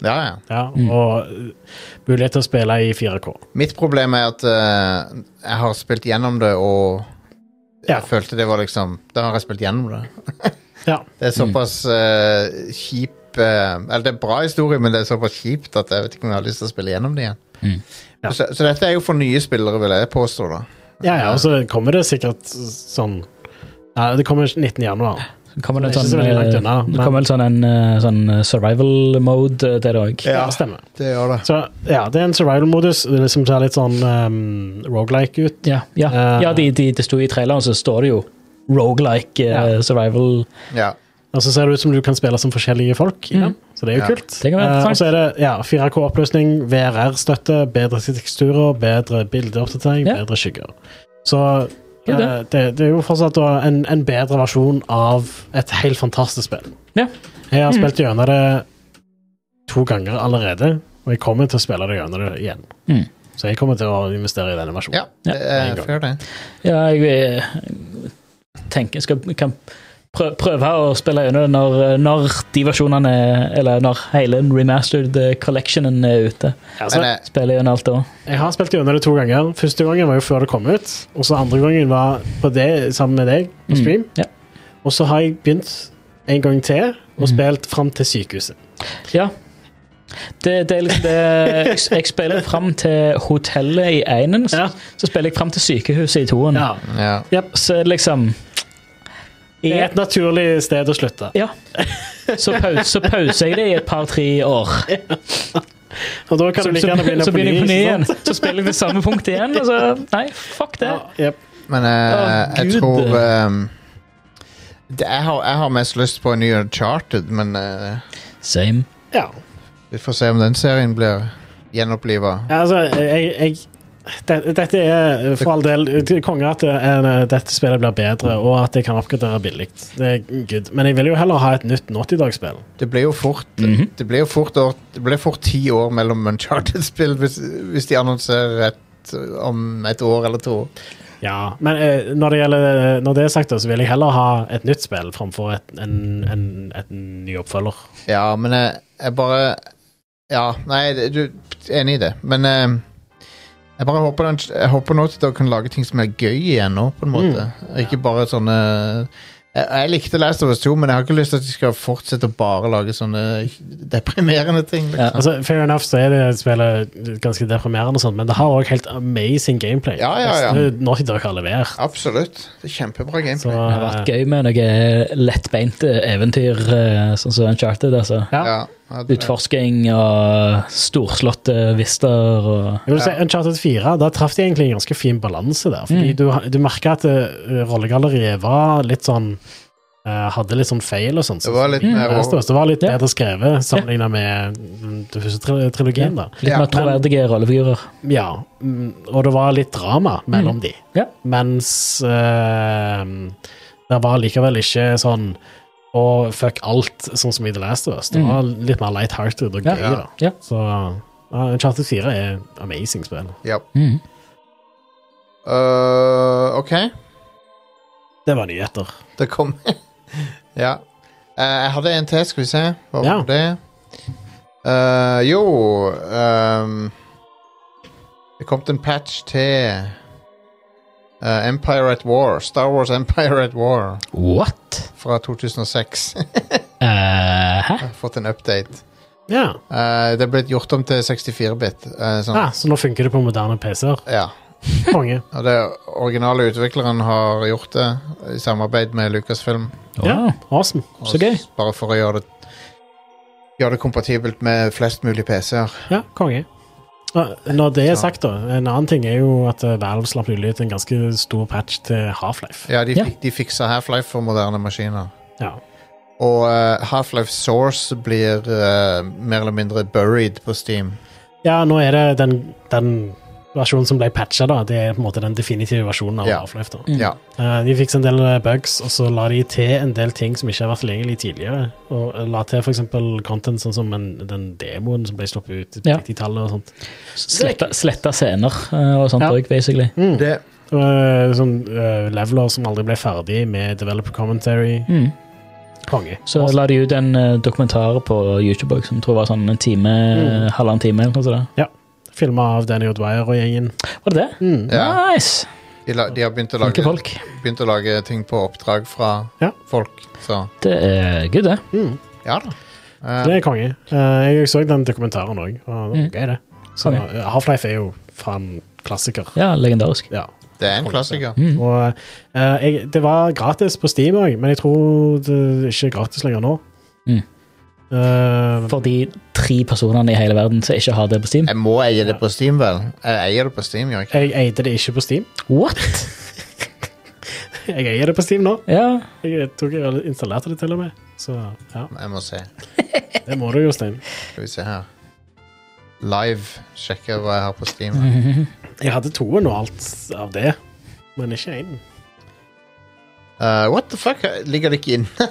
[SPEAKER 1] Ja, ja.
[SPEAKER 2] ja,
[SPEAKER 3] Mm.
[SPEAKER 2] Og eh, mulighet til å spille i 4K.
[SPEAKER 1] Mitt problem er at eh, jeg har spilt gjennom det, og
[SPEAKER 2] Ja.
[SPEAKER 1] jeg følte det var liksom Da har jeg spilt gjennom det.
[SPEAKER 2] Ja. Mm.
[SPEAKER 1] Det er såpass eh, kjip eh, Eller det er bra historie, men det er såpass kjipt at jeg vet ikke om jeg har lyst til å spille gjennom det igjen.
[SPEAKER 3] Mm.
[SPEAKER 2] Ja.
[SPEAKER 1] Så, så dette er jo for nye spillere, vil jeg påstå, da.
[SPEAKER 2] Ja, ja, og så kommer det sikkert sånn Nei, Det kommer 19. januar.
[SPEAKER 3] Så Kommer det,
[SPEAKER 2] Det er
[SPEAKER 3] sånn,
[SPEAKER 2] ikke så veldig langt unna,
[SPEAKER 3] eh, det
[SPEAKER 2] men-
[SPEAKER 3] kommer vel sånn en eh, sånn survival mode eh, til det òg.
[SPEAKER 2] Ja, stemmer.
[SPEAKER 1] Det gjør det.
[SPEAKER 2] Så ja, det er en survival-modus. Det er liksom ser litt sånn um, rogelike ut.
[SPEAKER 3] Ja, ja.
[SPEAKER 2] Eh.
[SPEAKER 3] ja de, de, det sto i traileren, så står det jo rogelike eh,
[SPEAKER 2] Ja.
[SPEAKER 3] survival.
[SPEAKER 1] Ja.
[SPEAKER 2] Og så ser det ut som du kan spille som forskjellige folk. i
[SPEAKER 1] Mm.
[SPEAKER 2] den, Så det er jo
[SPEAKER 1] Ja.
[SPEAKER 2] kult.
[SPEAKER 3] Det kan være
[SPEAKER 2] Eh,
[SPEAKER 3] interessant.
[SPEAKER 2] og så er det ja, 4K-oppløsning, VRR-støtte, bedre teksturer, bedre bildeoppdatering,
[SPEAKER 3] Ja.
[SPEAKER 2] bedre skygger. Så
[SPEAKER 3] Det er det.
[SPEAKER 2] eh, det, det er jo fortsatt da en, en bedre versjon av et helt fantastisk spill.
[SPEAKER 3] Ja. Mm.
[SPEAKER 2] Jeg har spilt gjennom det to ganger allerede, og jeg kommer til å spille det gjennom det igjen.
[SPEAKER 3] Mm.
[SPEAKER 2] Så jeg kommer til å investere i denne versjonen.
[SPEAKER 1] ja, det
[SPEAKER 2] en
[SPEAKER 1] er
[SPEAKER 2] gang.
[SPEAKER 1] fair, det.
[SPEAKER 3] Ja, jeg eh, tenker skal, kan prø- prøve å spille gjennom når, eh, når de versjonene er- Eller når hele remastered eh, collectionen er ute.
[SPEAKER 2] Altså,
[SPEAKER 1] Men eh,
[SPEAKER 3] Spiller gjennom alt da.
[SPEAKER 2] jeg har spilt gjennom det to ganger. Første gangen var jo før det kom ut, og så andre gangen var på det sammen med deg på stream.
[SPEAKER 3] Mm. Ja.
[SPEAKER 2] Og så har jeg begynt en gang til, og
[SPEAKER 3] Mm.
[SPEAKER 2] spilt fram til sykehuset.
[SPEAKER 3] ja. Det, det er liksom det Jeg, jeg spiller fram til hotellet i einen, så,
[SPEAKER 2] Ja.
[SPEAKER 3] så spiller jeg fram til sykehuset i toen.
[SPEAKER 2] Ja.
[SPEAKER 1] ja.
[SPEAKER 3] Så er det liksom
[SPEAKER 2] Det er et naturlig sted å slutte.
[SPEAKER 3] Ja. Så, pause, så pauser jeg det i et par-tre år.
[SPEAKER 2] Og da kan
[SPEAKER 3] Så,
[SPEAKER 2] du like
[SPEAKER 3] så,
[SPEAKER 2] gjerne begynne
[SPEAKER 3] så begynner jeg på ny
[SPEAKER 2] ikke
[SPEAKER 3] igjen.
[SPEAKER 2] sant?
[SPEAKER 3] Så spiller jeg det samme punktet igjen. Og så, nei, fuck det.
[SPEAKER 2] Ja, jep.
[SPEAKER 1] Men eh,
[SPEAKER 3] Å,
[SPEAKER 1] jeg
[SPEAKER 3] Gud.
[SPEAKER 1] tror ehm, det, jeg, har, jeg har mest lyst på en ny Uncharted, men eh,
[SPEAKER 3] Same.
[SPEAKER 2] ja.
[SPEAKER 1] vi får se om den serien blir gjenoppliva.
[SPEAKER 2] Ja, altså, jeg, jeg det, Dette er for all del konge at det er- dette spillet blir bedre, og at jeg kan oppgradere billig. Det er good. Men jeg vil jo heller ha et nytt Naughty-dag-spill.
[SPEAKER 1] Det ble jo fort
[SPEAKER 3] Mhm.
[SPEAKER 1] Det ble jo fort, år, det ble fort ti år mellom Uncharted-spill hvis, hvis de annonserer et, om et år eller to.
[SPEAKER 2] Ja. Men eh, når, det gjelder, når det er sagt, da, så vil jeg heller ha et nytt spill framfor et, en, en, et ny oppfølger.
[SPEAKER 1] Ja, men jeg, jeg bare Ja, nei, det- du enig i det, men ehm, jeg bare håper, den, jeg håper nå at dere kan lage ting som er gøy igjen nå, på en måte. Ikke bare sånne jeg, jeg likte Last of Us 2, men jeg har ikke lyst til at de skal fortsette å bare lage sånne deprimerende ting.
[SPEAKER 3] Ja.
[SPEAKER 1] Liksom.
[SPEAKER 2] Altså, fair enough så er det spillet ganske deprimerende, og sånt, men det har òg helt amazing gameplay.
[SPEAKER 1] Ja, ja, ja.
[SPEAKER 2] Det beste Naughty Dog har levert.
[SPEAKER 1] Absolutt. Det er kjempebra
[SPEAKER 2] Så, eh,
[SPEAKER 1] gameplay.
[SPEAKER 3] Det har vært gøy med noe lettbeint eventyr, eh, sånn som Uncharted. Altså.
[SPEAKER 2] ja.
[SPEAKER 1] Ja, ja, det-
[SPEAKER 3] Utforsking og storslåtte vister og
[SPEAKER 2] Jeg vil si Uncharted 4, da traff de egentlig en ganske fin balanse der.
[SPEAKER 1] Mm.
[SPEAKER 2] Fordi du, du merka at eh, rollegalleriet var litt sånn eh, Hadde litt sånn feil og sånt.
[SPEAKER 1] Det var litt
[SPEAKER 2] Mm.
[SPEAKER 1] mer
[SPEAKER 2] Last of Us, Det var litt
[SPEAKER 3] Ja.
[SPEAKER 2] bedre skrevet sammenligna med mm, den første tri- trilogien, da.
[SPEAKER 3] litt
[SPEAKER 1] Ja,
[SPEAKER 3] mer troverdige rollefigurer.
[SPEAKER 2] Ja, mm, og det var litt drama mellom de.
[SPEAKER 3] Mm. Ja.
[SPEAKER 2] Mens eh, det var likevel ikke sånn å fuck alt, sånn som i The Last of Us. Det var litt mer light-hearted og
[SPEAKER 3] Mm. Ja.
[SPEAKER 2] gøy, da.
[SPEAKER 3] Ja.
[SPEAKER 2] Så ja, Uncharted 4 er amazing spill.
[SPEAKER 1] Ja.
[SPEAKER 3] Mhm.
[SPEAKER 2] Mm.
[SPEAKER 1] Øh, OK,
[SPEAKER 2] Det var nyheter.
[SPEAKER 1] det kom Ja. Eh, jeg hadde en til, skal vi se. Hva
[SPEAKER 2] Ja.
[SPEAKER 1] var det? Eh, jo ehm, Det kom til en patch til eh, Empire at War. Star Wars Empire at War
[SPEAKER 3] What?
[SPEAKER 1] fra 2006. Jeg
[SPEAKER 3] Eh, hæ?
[SPEAKER 1] har Fått en update.
[SPEAKER 2] Ja.
[SPEAKER 1] Eh, det er blitt gjort om til 64-bit. eh, sånn.
[SPEAKER 2] Ah, så nå funker det på moderne PC-er.
[SPEAKER 1] Ja.
[SPEAKER 2] Konge.
[SPEAKER 1] Og det originale utvikleren har gjort det i samarbeid med Lucasfilm.
[SPEAKER 2] Ja,
[SPEAKER 3] Wow.
[SPEAKER 2] awesome.
[SPEAKER 1] Og
[SPEAKER 3] Så gøy.
[SPEAKER 1] s- Bare for å gjøre det Gjøre det kompatibelt med flest mulig PC-er.
[SPEAKER 2] Ja, konge. Ah, Når det er sagt, da, en annen ting er jo at eh, Valve slapp nylig ut en ganske stor patch til Half-Life.
[SPEAKER 1] Ja, de,
[SPEAKER 3] Ja.
[SPEAKER 1] fik- de fiksa Half-Life for moderne maskiner.
[SPEAKER 2] Ja.
[SPEAKER 1] Og eh, Half-Life Source blir eh, mer eller mindre buried på Steam.
[SPEAKER 2] Ja, nå er det den, den versjonen som ble patcha, da. Det er på en måte den definitive versjonen av
[SPEAKER 1] Ja.
[SPEAKER 2] Half-Life. da.
[SPEAKER 3] Mm.
[SPEAKER 1] Ja.
[SPEAKER 2] Eh, de fikk en del eh, bugs, og så la de til en del ting som ikke har vært tilgjengelig tidligere. Og eh, la til f.eks. content sånn som en, den demoen som ble sluppet ut i
[SPEAKER 3] Ja.
[SPEAKER 2] 90-tallet og sånt.
[SPEAKER 3] Sletta, sletta scener eh, og sånt
[SPEAKER 2] Ja.
[SPEAKER 3] òg, basically.
[SPEAKER 1] Det,
[SPEAKER 2] Og, sånn eh, leveler som aldri ble ferdig med developer commentary.
[SPEAKER 3] Mm.
[SPEAKER 2] Konge.
[SPEAKER 3] Så la de ut en eh, dokumentar på YouTube også, som tror var sånn en time,
[SPEAKER 2] Mm.
[SPEAKER 3] eh, halvannen time eller noe sånt.
[SPEAKER 2] Filma av Danny O'Dwyer og gjengen.
[SPEAKER 3] Var det det?
[SPEAKER 2] Mm.
[SPEAKER 1] ja.
[SPEAKER 3] Nice!
[SPEAKER 1] De, la, de har begynt å,
[SPEAKER 3] Flinke
[SPEAKER 1] lage,
[SPEAKER 3] folk.
[SPEAKER 1] begynt å lage ting på oppdrag fra
[SPEAKER 2] Ja.
[SPEAKER 1] folk, så
[SPEAKER 3] Det er good, det.
[SPEAKER 2] Mm.
[SPEAKER 1] ja da. Eh,
[SPEAKER 2] Det er konge. Eh, jeg så den dokumentaren òg, og det var
[SPEAKER 3] Mm.
[SPEAKER 2] gøy, det. Så
[SPEAKER 3] Konge.
[SPEAKER 2] eh, Half-Life er jo faen klassiker.
[SPEAKER 3] Ja, legendarisk.
[SPEAKER 2] Ja.
[SPEAKER 1] det er en klassiker.
[SPEAKER 3] Mm.
[SPEAKER 2] Og eh, jeg, det var gratis på Steam òg, men jeg tror det ikke er gratis lenger nå.
[SPEAKER 3] Mm.
[SPEAKER 2] Eh,
[SPEAKER 3] For de tre personene i hele verden som ikke har det på Steam.
[SPEAKER 1] Jeg må eie det på Steam, vel? Jeg eier det på Steam, gjør jeg ikke?
[SPEAKER 2] jeg eide det ikke på Steam.
[SPEAKER 3] What?!
[SPEAKER 2] Jeg eier det på Steam nå.
[SPEAKER 3] Ja.
[SPEAKER 2] Jeg tok jeg installerte det til og med. Så ja,
[SPEAKER 1] Jeg må se.
[SPEAKER 2] det må du jo, Stein.
[SPEAKER 1] Skal vi se her. Live. Sjekke hva jeg har på Steam.
[SPEAKER 2] Jeg hadde toen og alt av det, men ikke én.
[SPEAKER 1] Eh, what the fuck? Ligger det ikke inne?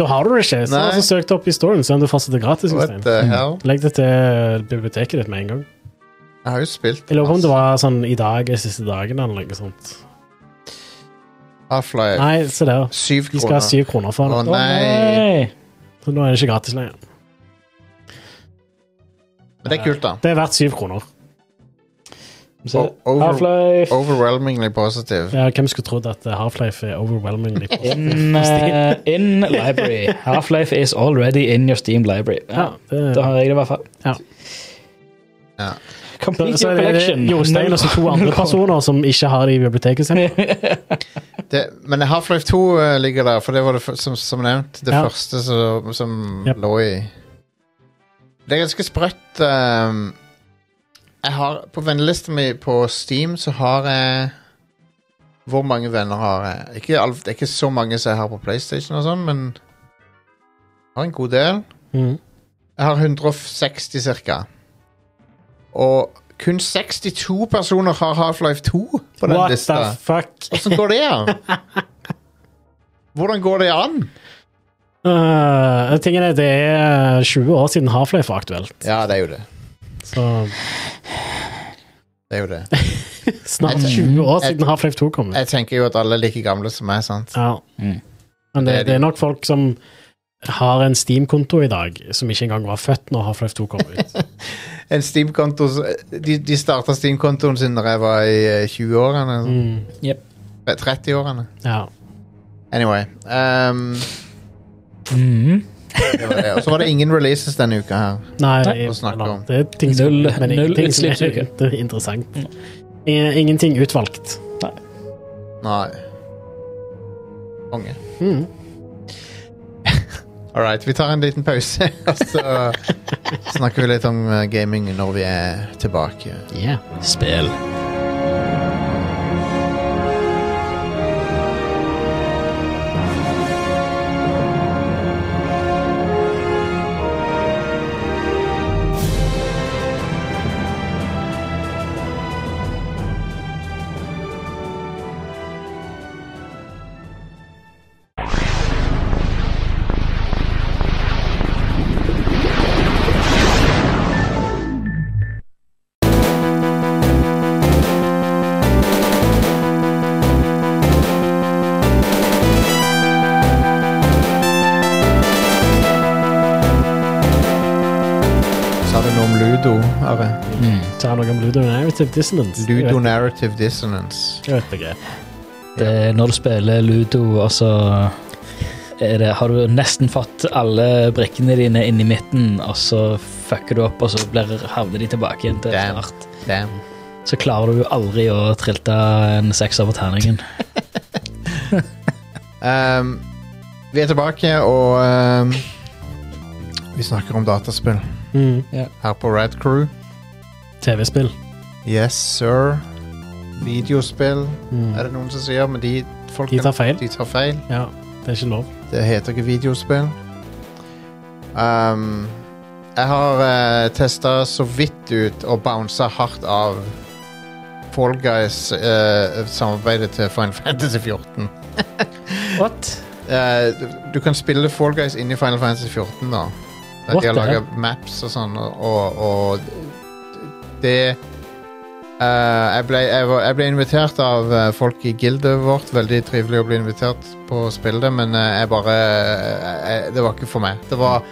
[SPEAKER 2] Da har du det ikke. Så
[SPEAKER 1] Nei.
[SPEAKER 2] altså, søk det opp i storen, se om du fortsatt er gratis.
[SPEAKER 1] What
[SPEAKER 2] Jostein.
[SPEAKER 1] the hell?
[SPEAKER 2] Legg det til biblioteket ditt med en gang.
[SPEAKER 1] Jeg har jo spilt
[SPEAKER 2] Jeg lurer på om det var sånn i dag er siste dagen eller noe sånt.
[SPEAKER 1] Half-Life.
[SPEAKER 2] Nei, se der.
[SPEAKER 1] Syv
[SPEAKER 2] De skal ha
[SPEAKER 1] kroner.
[SPEAKER 2] syv kroner for
[SPEAKER 1] Å
[SPEAKER 2] den.
[SPEAKER 1] nei.
[SPEAKER 2] Så nå er det ikke gratis lenger.
[SPEAKER 1] Men det er kult, da.
[SPEAKER 2] Det er verdt syv kroner.
[SPEAKER 3] Så,
[SPEAKER 1] O- Over,
[SPEAKER 3] Half-Life.
[SPEAKER 1] overwhelmingly positive.
[SPEAKER 2] Ja, hvem skulle trodd at eh, Half-Life er overwhelmingly positiv?
[SPEAKER 3] In, eh, in library. Half-Life is already in your Steam library.
[SPEAKER 2] Ja,
[SPEAKER 3] Ja,
[SPEAKER 2] det,
[SPEAKER 3] Da har jeg det i hvert fall.
[SPEAKER 2] Ja.
[SPEAKER 1] Ja.
[SPEAKER 2] så,
[SPEAKER 3] Complete
[SPEAKER 2] så
[SPEAKER 3] your
[SPEAKER 2] er det
[SPEAKER 3] collection.
[SPEAKER 2] Jostein og så to andre personer som ikke har det i biblioteket sitt.
[SPEAKER 1] Det, men Half-Life 2 eh, ligger der, for det var det, fyr- som, som nevnt det
[SPEAKER 2] Ja.
[SPEAKER 1] første som, som
[SPEAKER 2] Yep.
[SPEAKER 1] lå i Det er ganske sprøtt. ehm, jeg har, på vennelista mi på Steam så har jeg Hvor mange venner har jeg? Ikke, all, det er ikke så mange som jeg har på PlayStation, og sånn, men jeg har en god del.
[SPEAKER 2] Mm.
[SPEAKER 1] Jeg har 160 cirka. Og kun 62 personer har Half-Life 2 på den
[SPEAKER 2] What
[SPEAKER 1] lista.
[SPEAKER 2] the fuck?
[SPEAKER 1] Hvordan går det an? Hvordan går det an?
[SPEAKER 2] Uh, tingen er, det er 20 år siden Half-Life var aktuelt,
[SPEAKER 1] Ja, det er jo det.
[SPEAKER 2] så
[SPEAKER 1] det, er jo det.
[SPEAKER 2] snart
[SPEAKER 1] Jeg-
[SPEAKER 2] 20 år
[SPEAKER 1] jeg-
[SPEAKER 2] siden Half-Life 2 kom ut.
[SPEAKER 1] Jeg tenker jo at alle er like gamle som meg, sant?
[SPEAKER 2] Ja.
[SPEAKER 3] Mm.
[SPEAKER 2] Men
[SPEAKER 1] Det er det
[SPEAKER 2] det, det er nok folk som har en Steam-konto i dag, som ikke engang var født når Half-Life 2 kom ut.
[SPEAKER 1] En Steam-konto s- De, de starta Steam-kontoen sin da jeg var i eh, 20-årene. sånn.
[SPEAKER 2] Mm.
[SPEAKER 3] Yep.
[SPEAKER 1] 30-årene.
[SPEAKER 2] Ja.
[SPEAKER 1] Anyway. ehm,
[SPEAKER 3] Mhm.
[SPEAKER 1] det var det. Og så var det ingen releases denne uka her.
[SPEAKER 2] Nei,
[SPEAKER 1] å snakke
[SPEAKER 2] eller,
[SPEAKER 1] om.
[SPEAKER 2] det er ting som,
[SPEAKER 3] Null-
[SPEAKER 2] men
[SPEAKER 3] null
[SPEAKER 2] ingenting som er
[SPEAKER 3] utslippsuke.
[SPEAKER 2] det er interessant. I- Ingenting utvalgt.
[SPEAKER 1] Nei. Konge.
[SPEAKER 2] Mm.
[SPEAKER 1] All right, vi tar en liten pause, og så snakker vi litt om eh, gaming når vi er tilbake.
[SPEAKER 2] Yeah.
[SPEAKER 3] Spill.
[SPEAKER 1] Sa du noe om ludo, Are?
[SPEAKER 2] Så er det noe om ludonarrative dissonance. Jeg vet-
[SPEAKER 1] Ludo narrative dissonance.
[SPEAKER 2] Jeg vet ikke.
[SPEAKER 3] Det er når du spiller ludo, og så er det, har du nesten fått alle brikkene dine inn i midten, og så fucker du opp, og så blir, havner de tilbake igjen til
[SPEAKER 1] Damn.
[SPEAKER 3] start.
[SPEAKER 1] Damn.
[SPEAKER 3] Så klarer du aldri å trilte en sekser på terningen.
[SPEAKER 1] Ehm, vi er tilbake, og ehm, vi snakker om dataspill
[SPEAKER 2] Mm.
[SPEAKER 1] her på Rad Crew.
[SPEAKER 2] TV-spill.
[SPEAKER 1] Yes, sir. Videospill,
[SPEAKER 2] Mm.
[SPEAKER 1] er det noen som sier, men de, folk,
[SPEAKER 2] De tar feil.
[SPEAKER 1] de tar feil.
[SPEAKER 2] Ja. Det er ikke lov.
[SPEAKER 1] Det heter ikke videospill. Um, jeg har uh, testa så vidt ut og bounsa hardt av Fall Guys-samarbeidet til Final Fantasy 14.
[SPEAKER 3] What?
[SPEAKER 1] Eh, du, du kan spille Fall Guys inni Final Fantasy 14, da.
[SPEAKER 3] What
[SPEAKER 1] de har
[SPEAKER 3] the
[SPEAKER 1] laga maps og sånn, og, og, og det eh, jeg, ble, jeg, var, jeg ble invitert av eh, folk i gildet vårt. Veldig trivelig å bli invitert på å spille det, men eh, jeg bare eh, jeg, Det var ikke for meg. Det var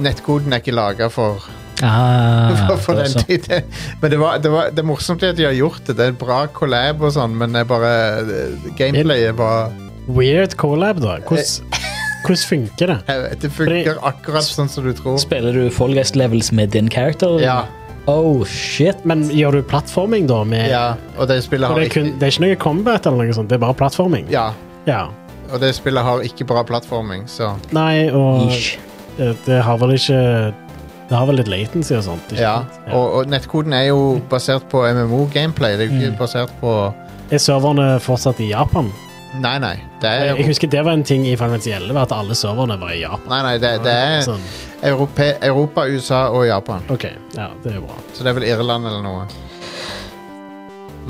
[SPEAKER 1] Nettkoden er ikke laga for,
[SPEAKER 3] Ah,
[SPEAKER 1] for, for den
[SPEAKER 3] altså.
[SPEAKER 1] tiden. Men det, var, det, var, det er morsomt at de har gjort det. Det er bra collab og sånn, men jeg bare eh, Gameplayet var
[SPEAKER 2] Weird collab, da. Hvordan
[SPEAKER 1] Eh.
[SPEAKER 2] hvordan funker det?
[SPEAKER 1] Jeg vet, Det funker akkurat sånn som du tror.
[SPEAKER 3] Spiller du Fall Guys Levels med din character?
[SPEAKER 1] Ja,
[SPEAKER 3] Oh, shit.
[SPEAKER 2] Men gjør du plattforming, da? Med,
[SPEAKER 1] ja. Og det spillet
[SPEAKER 2] For
[SPEAKER 1] har
[SPEAKER 2] det, er kun,
[SPEAKER 1] ikke
[SPEAKER 2] det er ikke noe combat, eller noe sånt, det er bare plattforming?
[SPEAKER 1] Ja,
[SPEAKER 2] Ja.
[SPEAKER 1] og det spillet har ikke bra plattforming, så
[SPEAKER 2] Nei, og
[SPEAKER 3] Ish.
[SPEAKER 2] eh, det har vel ikke Det har vel litt latency og sånt. Ikke
[SPEAKER 1] Ja.
[SPEAKER 2] sant?
[SPEAKER 1] Og, og nettkoden er
[SPEAKER 2] Mm.
[SPEAKER 1] jo basert på MMO-gameplay. Det er jo ikke basert på
[SPEAKER 2] Er serverne fortsatt i Japan?
[SPEAKER 1] Nei, nei. Det er,
[SPEAKER 2] Jeg husker det var en ting i Final Fantasy 11, at alle serverne var i Japan.
[SPEAKER 1] nei, nei, det, det er
[SPEAKER 2] Sånn.
[SPEAKER 1] Europe, Europa, USA og Japan.
[SPEAKER 2] OK. Ja, det er bra.
[SPEAKER 1] Så det er vel Irland eller noe.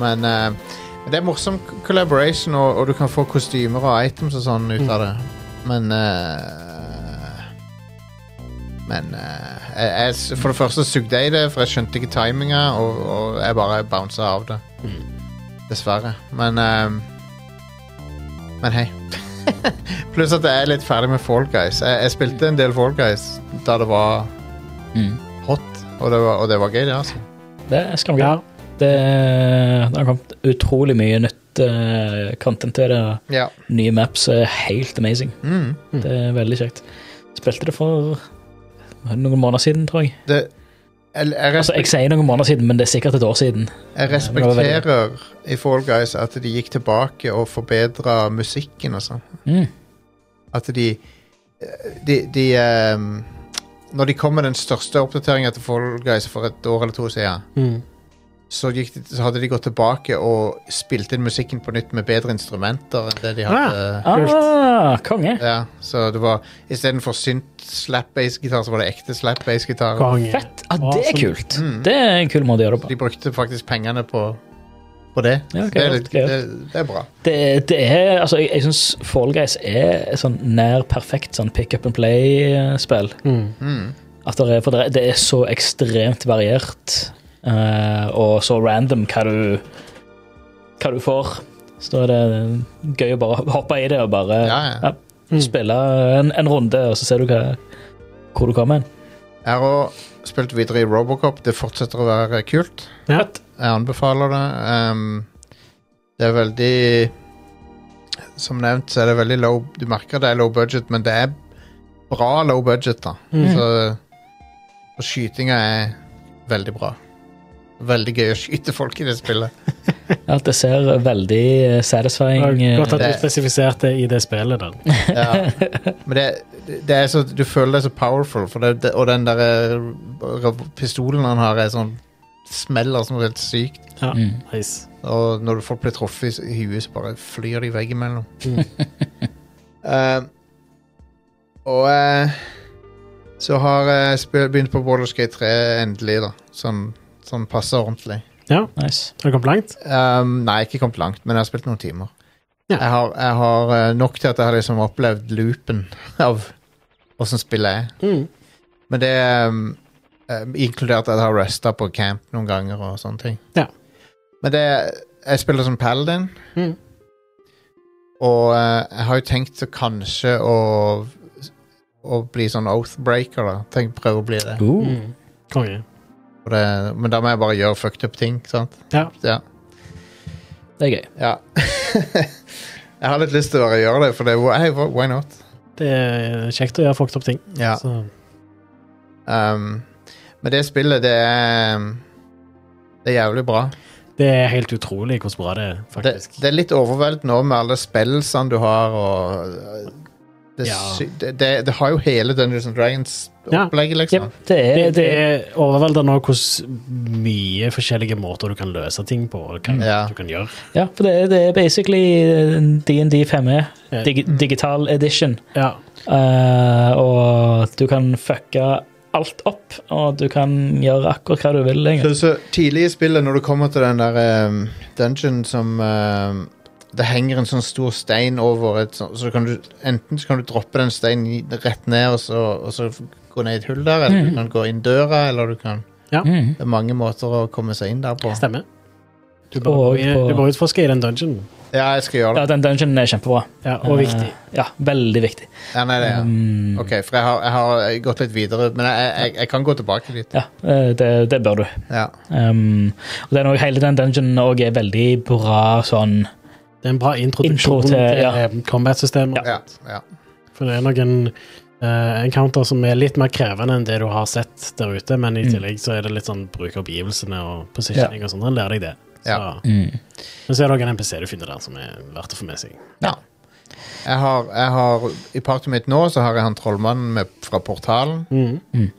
[SPEAKER 1] Men eh, det er morsom collaboration, og, og du kan få kostymer og items og sånn ut av det. Men eh, Men eh, jeg, jeg, s- For det første sugde jeg i det, for jeg skjønte ikke timinga, og, og jeg bare bounsa av det. Dessverre. Men eh, Men hei. Pluss at jeg er litt ferdig med Fall Guys. Jeg, jeg spilte en del Fall Guys da det var
[SPEAKER 3] Mm.
[SPEAKER 1] hot, og det var, og det var gøy, det, altså.
[SPEAKER 3] Det er skamgøy.
[SPEAKER 2] Ja.
[SPEAKER 3] Det, det har kommet utrolig mye nytt eh, content til det.
[SPEAKER 1] Ja.
[SPEAKER 3] Nye maps er helt amazing.
[SPEAKER 1] Mm.
[SPEAKER 3] Det er veldig kjekt. Spilte det for noen måneder siden, tror jeg.
[SPEAKER 1] Det, jeg, jeg,
[SPEAKER 3] Altså,
[SPEAKER 1] respek,
[SPEAKER 3] jeg sier noen måneder siden, men det er sikkert et år siden.
[SPEAKER 1] jeg respekterer i Fall Guys at de gikk tilbake og forbedra musikken og sånn.
[SPEAKER 3] Mm.
[SPEAKER 1] At de De, de ehm, Når de kom med den største oppdateringa til Fall Guys for et år eller to siden,
[SPEAKER 2] Mm.
[SPEAKER 1] så, gikk de, så hadde de gått tilbake og spilt inn musikken på nytt med bedre instrumenter enn det de
[SPEAKER 2] Ah.
[SPEAKER 1] hadde.
[SPEAKER 3] Ah, konge.
[SPEAKER 1] Ja, så det var Istedenfor synt slap bass-gitar, så var det ekte slap bass-gitar.
[SPEAKER 2] Konge.
[SPEAKER 3] Fett. Ah, det er
[SPEAKER 2] Awesome.
[SPEAKER 3] kult.
[SPEAKER 1] Mm.
[SPEAKER 3] Det er en kul måte å gjøre det på.
[SPEAKER 1] De brukte faktisk pengene på, på det.
[SPEAKER 3] Ja,
[SPEAKER 1] Så det, er
[SPEAKER 3] greit,
[SPEAKER 1] litt,
[SPEAKER 3] greit.
[SPEAKER 1] det, det er bra.
[SPEAKER 3] Det, det er, altså, jeg, jeg syns Fall Guys er et sånn nær perfekt sånn pick up and play-spill.
[SPEAKER 2] Mm.
[SPEAKER 1] Hmm.
[SPEAKER 3] At det er, for det, er- det er så ekstremt variert, eh, og så random hva du, hva du får. Så da er det gøy å bare hoppe i det og bare
[SPEAKER 1] Ja, ja.
[SPEAKER 3] Mm.
[SPEAKER 2] Mm.
[SPEAKER 3] spille en, en runde, og så ser du hva, hvor du kommer hen.
[SPEAKER 1] Jeg har også spilt videre i Robocop. Det fortsetter å være kult.
[SPEAKER 2] Ja.
[SPEAKER 1] Jeg anbefaler det. Ehm, det er veldig Som nevnt, så er det veldig low Du merker det er low budget, men det er bra low budget, da.
[SPEAKER 2] Mm.
[SPEAKER 1] Så Og skytinga er veldig bra. Veldig gøy å skyte folk i det spillet.
[SPEAKER 3] At det ser veldig eh,
[SPEAKER 2] Det var
[SPEAKER 3] satisfying eh,
[SPEAKER 2] Godt at du
[SPEAKER 1] Det-
[SPEAKER 2] spesifiserte i det spillet. Den.
[SPEAKER 1] Ja. Men det, det er så Du føler deg så powerful, for det, det, og den der eh, pistolen han har, er sånn Smeller som helt sykt.
[SPEAKER 2] Ja.
[SPEAKER 3] Mm.
[SPEAKER 2] Nice.
[SPEAKER 1] Og når folk blir truffet i huet, så bare flyr de veggimellom.
[SPEAKER 2] Mm.
[SPEAKER 1] Eh, og eh, så har jeg spil- begynt på Baldur's Gate 3 endelig, da. Som, som passer ordentlig.
[SPEAKER 3] Nice.
[SPEAKER 2] Har du kommet langt?
[SPEAKER 1] Um, nei, ikke kommet langt, men jeg har spilt noen timer.
[SPEAKER 2] Ja.
[SPEAKER 1] Jeg har, jeg har eh, nok til at jeg har liksom opplevd loopen av åssen spillet er.
[SPEAKER 2] Mm.
[SPEAKER 1] Men det um, eh, Inkludert at jeg har resta på camp noen ganger og sånne ting.
[SPEAKER 2] Ja.
[SPEAKER 1] Men det Jeg spiller som paladin.
[SPEAKER 2] Mm.
[SPEAKER 1] Og eh, jeg har jo tenkt å kanskje å, å bli sånn oathbreaker, da. Tenk prøve å bli det.
[SPEAKER 3] Uh.
[SPEAKER 2] Mm. Konge.
[SPEAKER 1] Og det. Men da må jeg bare gjøre fucked up ting, sant?
[SPEAKER 2] Ja.
[SPEAKER 3] Det er gøy.
[SPEAKER 1] Ja. jeg har litt lyst til å bare gjøre det, for det hey, why not?
[SPEAKER 2] Det er kjekt å gjøre fucked opp ting.
[SPEAKER 1] Ja.
[SPEAKER 2] Så,
[SPEAKER 1] Um, men det spillet, det er um, Det er jævlig bra.
[SPEAKER 2] det er helt utrolig hvor bra det er,
[SPEAKER 1] Det,
[SPEAKER 2] faktisk.
[SPEAKER 1] det er litt overveldende nå med alle spillsene du har, og uh, Det, er
[SPEAKER 2] Ja.
[SPEAKER 1] sy- det, det, det har jo hele Dungeons and
[SPEAKER 2] Ja.
[SPEAKER 1] Dragons-opplegget, liksom.
[SPEAKER 3] Jep, det er,
[SPEAKER 2] Det, det er overveldende hvordan mye forskjellige måter du kan løse ting på. Og hva
[SPEAKER 1] Ja.
[SPEAKER 2] du kan gjøre.
[SPEAKER 3] Ja, for det er, det er basically eh, DND 5E,
[SPEAKER 2] Ja.
[SPEAKER 3] E, dig, digital edition.
[SPEAKER 2] Ja.
[SPEAKER 3] Eh, og du kan fucke alt opp, og du kan gjøre akkurat hva du vil.
[SPEAKER 1] Så,
[SPEAKER 3] egentlig.
[SPEAKER 1] så tidlig i spillet, når du kommer til den der um, dungeon som um, Det henger en sånn stor stein over et sånt, så kan du enten så kan du droppe den steinen i- rett ned og så, og så gå ned i et hull der, eller
[SPEAKER 3] Mhm.
[SPEAKER 1] du kan gå inn døra, eller du kan
[SPEAKER 3] Mm.
[SPEAKER 1] Det er mange måter å komme seg inn der på.
[SPEAKER 2] Stemmer. Du
[SPEAKER 3] Og
[SPEAKER 2] bør,
[SPEAKER 3] på-
[SPEAKER 2] du bør utforske i den dungeonen.
[SPEAKER 1] Ja, jeg skal gjøre
[SPEAKER 3] Ja,
[SPEAKER 1] det.
[SPEAKER 3] den dungeonen er kjempebra.
[SPEAKER 2] Ja, og
[SPEAKER 3] Eh,
[SPEAKER 2] viktig.
[SPEAKER 3] Ja, veldig viktig.
[SPEAKER 1] Ja, nei, det er.
[SPEAKER 3] Mm,
[SPEAKER 1] OK, for jeg har, jeg har gått litt videre, men jeg, jeg, jeg kan gå tilbake dit.
[SPEAKER 3] Ja, eh, det, det bør du.
[SPEAKER 1] Ja.
[SPEAKER 3] Um, og den, og hele den dungeonen også er veldig bra sånn
[SPEAKER 2] Det er en bra introduksjon
[SPEAKER 3] Intro til-
[SPEAKER 2] til,
[SPEAKER 3] ja.
[SPEAKER 2] eh, combat-systemet.
[SPEAKER 1] Ja, ja.
[SPEAKER 2] For det er noen eh, encounter som er litt mer krevende enn det du har sett der ute, men i
[SPEAKER 3] Mm.
[SPEAKER 2] tillegg så er det litt sånn bruk av omgivelsene og positioning og sånn. Han lærer deg det. Så,
[SPEAKER 1] Ja.
[SPEAKER 2] Mm. Men så er det òg en NPC du finner der som er verdt å få med seg.
[SPEAKER 1] ja. Jeg har, jeg har, I partiet mitt nå så har jeg han trollmannen med, fra Portalen.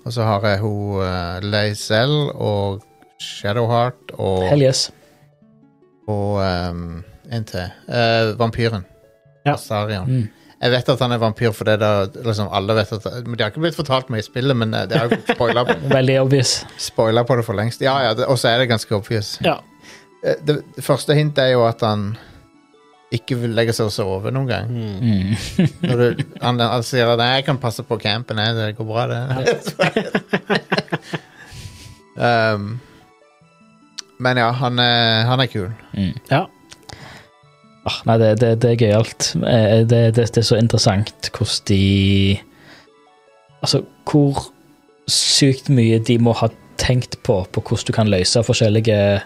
[SPEAKER 1] Og så har jeg hun uh, Leisel og Shadowheart og,
[SPEAKER 3] Hell yes.
[SPEAKER 1] og ehm, en til. Eh, vampyren.
[SPEAKER 2] Ja.
[SPEAKER 1] Astarion.
[SPEAKER 3] Mm.
[SPEAKER 1] Jeg vet at han er vampyr, for det er da liksom alle vet at Men De har ikke blitt fortalt meg i spillet, men eh, det er jo spoila på,
[SPEAKER 3] Veldig obvious.
[SPEAKER 1] spoiler på det for lengst. Ja, ja, det- Og så er det ganske obvious.
[SPEAKER 2] Ja.
[SPEAKER 1] Eh, Det, det første hintet er jo at han ikke vil legge seg og sove noen gang.
[SPEAKER 2] Mm.
[SPEAKER 3] Mm.
[SPEAKER 1] Når du, han, han sier at 'nei, jeg kan passe på campen, jeg, det går bra, det'. um, men ja, han er, han er kul.
[SPEAKER 3] Mm.
[SPEAKER 2] Ja.
[SPEAKER 3] Ah, nei, det, det, det er gøyalt. Eh, Det, det, det er så interessant hvordan de Altså, hvor sykt mye de må ha tenkt på på hvordan du kan løse forskjellige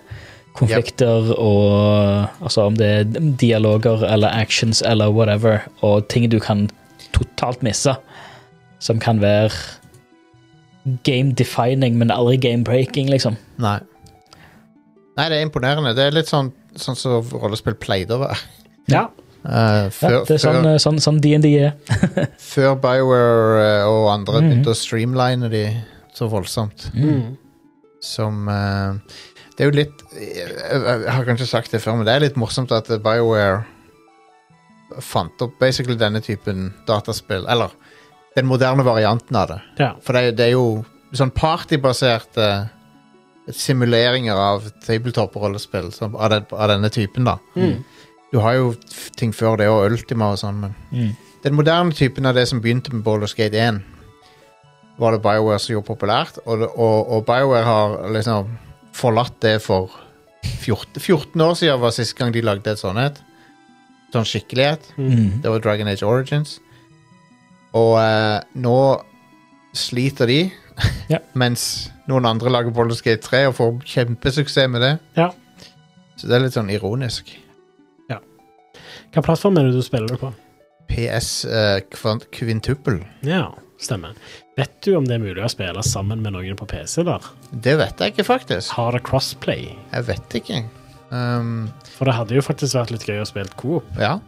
[SPEAKER 3] konflikter og Altså om det er dialoger eller actions eller whatever, og ting du kan totalt misse, som kan være game defining, men aldri game breaking, liksom.
[SPEAKER 1] Nei. Nei, det er imponerende. Det er litt sånn, sånn som rollespill pleide å være.
[SPEAKER 2] Ja.
[SPEAKER 1] Eh,
[SPEAKER 3] Ja,
[SPEAKER 1] før,
[SPEAKER 3] det er sånn
[SPEAKER 1] før,
[SPEAKER 3] eh, sånn, sånn D&D er.
[SPEAKER 1] før Bioware eh, og andre
[SPEAKER 3] Mhm.
[SPEAKER 1] begynte å streamline de så voldsomt.
[SPEAKER 2] Mm.
[SPEAKER 1] Som eh, Det er jo litt jeg, jeg, jeg har kanskje sagt det før, men det er litt morsomt at eh, BioWare fant opp basically denne typen dataspill. Eller den moderne varianten av det.
[SPEAKER 2] Ja.
[SPEAKER 1] For det, er- det er jo sånn partybaserte simuleringer av tabletop-rollespill som- av, den, av denne typen, da.
[SPEAKER 2] Mm.
[SPEAKER 1] Du har jo f- ting før det, og Ultima og sånn, men
[SPEAKER 3] Mm.
[SPEAKER 1] den moderne typen av det som begynte med Baldur's Gate 1, var det BioWare som gjorde populært, og, det- og, og BioWare har liksom forlatt det for 14, 14 år siden var sist gang de lagde et sånt et. Sånn skikkelighet.
[SPEAKER 3] Mm.
[SPEAKER 1] Det var Dragon Age Origins. Og eh, nå sliter de,
[SPEAKER 3] Ja.
[SPEAKER 1] mens noen andre lager Baldur's Gate 3 og får kjempesuksess med det.
[SPEAKER 2] Ja.
[SPEAKER 1] Så det er litt sånn ironisk.
[SPEAKER 2] Hva plattform er det du spiller det på?
[SPEAKER 1] PS eh, kvant- kvintupel.
[SPEAKER 2] Ja, stemmer. Vet du om det er mulig å spille sammen med noen på PC der?
[SPEAKER 1] Det vet jeg ikke, faktisk.
[SPEAKER 2] Har det crossplay?
[SPEAKER 1] Jeg vet ikke. Um,
[SPEAKER 2] For det hadde jo faktisk vært litt gøy å spille coop.
[SPEAKER 1] ja.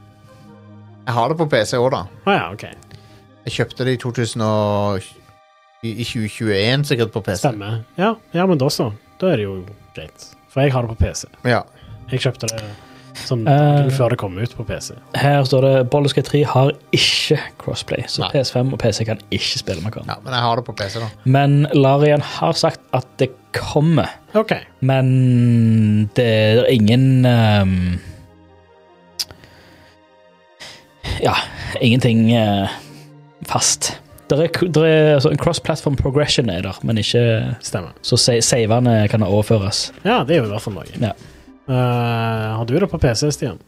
[SPEAKER 1] Jeg har det på PC òg, da.
[SPEAKER 2] Å ja, OK.
[SPEAKER 1] Jeg kjøpte det i 2000 og, i, i 2021, sikkert, på PC.
[SPEAKER 2] Stemmer. Ja, ja, men da så. Da er det jo greit. For jeg har det på PC.
[SPEAKER 1] Ja.
[SPEAKER 2] Jeg kjøpte det som
[SPEAKER 3] Eh.
[SPEAKER 2] før det kom ut på PC.
[SPEAKER 3] Her står det Baldur's Gate 3 har ikke crossplay, så
[SPEAKER 1] Nei.
[SPEAKER 3] PS5 og PC kan ikke spille med hverandre.
[SPEAKER 1] ja, men jeg har det på PC, da.
[SPEAKER 3] Men Larian har sagt at det kommer,
[SPEAKER 2] OK.
[SPEAKER 3] men det er ingen ehm, Ja, ingenting eh, fast. Det er, det er altså, en cross-platform progression er der, men ikke
[SPEAKER 2] Stemmer.
[SPEAKER 3] så sa- savene kan overføres.
[SPEAKER 2] Ja, det er jo i hvert fall noe.
[SPEAKER 3] Ja.
[SPEAKER 2] Eh, har du det på PC, Stian?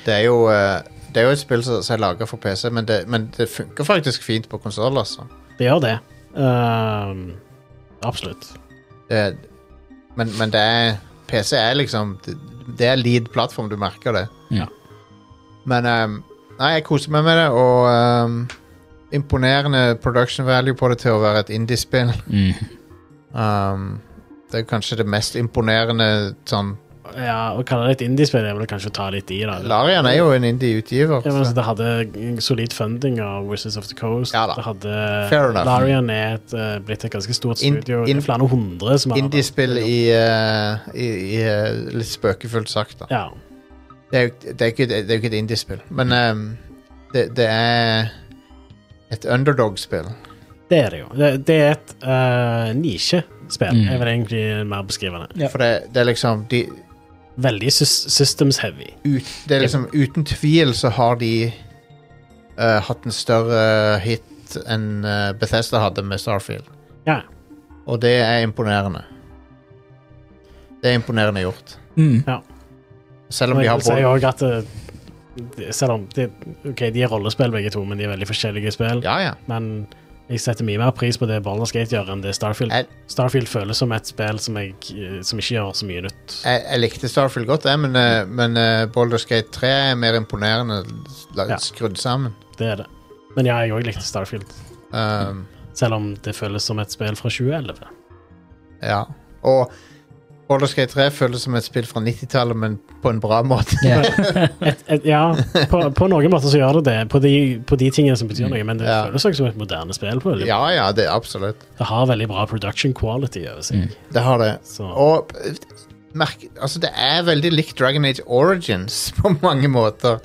[SPEAKER 1] Det er jo, eh, det er jo et spill som som er laga for PC, men det, men det funker faktisk fint på konsoll, altså.
[SPEAKER 2] Det gjør det. Eh, absolutt.
[SPEAKER 1] Det, men, men det er PC er liksom Det, det er lead plattform, du merker det.
[SPEAKER 3] Ja.
[SPEAKER 1] Men ehm, Nei, jeg koser meg med det, og ehm, imponerende production value på det til å være et indiespill.
[SPEAKER 3] Mm.
[SPEAKER 1] Um, det er kanskje det mest imponerende sånn
[SPEAKER 2] Ja, Å kalle det et indiespill er vel kanskje å ta litt i, da.
[SPEAKER 1] Larian er jo en indie-utgiver.
[SPEAKER 2] Ja, men altså,
[SPEAKER 1] så-
[SPEAKER 2] det hadde solid funding av Wizards of the Coast.
[SPEAKER 1] Ja da.
[SPEAKER 2] det hadde,
[SPEAKER 1] Fair enough.
[SPEAKER 2] Larian er et, eh, blitt et ganske stort
[SPEAKER 1] In-
[SPEAKER 2] studio.
[SPEAKER 1] in-
[SPEAKER 2] det er flere hundre som har
[SPEAKER 1] Indiespill i, eh, i, i eh, litt spøkefullt sagt, da.
[SPEAKER 2] Ja.
[SPEAKER 1] Det er jo det er ikke, det er jo ikke et indiespill, men ehm, det, det er et underdog-spill.
[SPEAKER 2] Det er det jo. Det, det er et eh, nisjespill,
[SPEAKER 3] Mm.
[SPEAKER 2] er vel egentlig mer beskrivende.
[SPEAKER 3] Ja.
[SPEAKER 1] For det, det er liksom de,
[SPEAKER 2] Veldig sys systems heavy.
[SPEAKER 1] ut, Det er liksom uten tvil så har de eh, hatt en større hit enn eh, Bethesda hadde med Starfield.
[SPEAKER 2] Ja.
[SPEAKER 1] Og det er imponerende. Det er imponerende gjort.
[SPEAKER 3] Mm.
[SPEAKER 1] Selv om
[SPEAKER 2] Og
[SPEAKER 1] de
[SPEAKER 2] jeg
[SPEAKER 1] har
[SPEAKER 2] vil si
[SPEAKER 1] både
[SPEAKER 2] også at eh, det- selv om det, Ok, de er rollespill begge to, men de er veldig forskjellige spill.
[SPEAKER 1] Ja, ja.
[SPEAKER 2] Men jeg setter mye mer pris på det Baldur's Gate gjør, enn det Starfield.
[SPEAKER 1] Jeg-
[SPEAKER 2] Starfield føles som et spill som, jeg, eh, som ikke gjør så mye nytt.
[SPEAKER 1] Jeg, jeg likte Starfield godt, jeg, men, eh, men eh, Baldur's Gate 3 er mer imponerende la-
[SPEAKER 2] Ja.
[SPEAKER 1] skrudd sammen.
[SPEAKER 2] Det er det. Men ja, jeg òg likte Starfield.
[SPEAKER 1] Um,
[SPEAKER 2] Selv om det føles som et spill fra 2011.
[SPEAKER 1] ja. Og Baldur's Gate 3 føles som et spill fra 90-tallet, men på en bra måte.
[SPEAKER 3] Ja.
[SPEAKER 2] Et, et, ja, på, på noen måter så gjør det det, på de, på de tingene som betyr noe, men det
[SPEAKER 1] Mm, Ja.
[SPEAKER 2] føles også som et moderne spill. på veldig-
[SPEAKER 1] ja, ja, det absolutt.
[SPEAKER 2] Det har veldig bra production quality over seg.
[SPEAKER 3] Mm.
[SPEAKER 1] Det har det.
[SPEAKER 2] Så
[SPEAKER 1] Og eh, merk, altså det er veldig likt Dragon Age Origins på mange måter.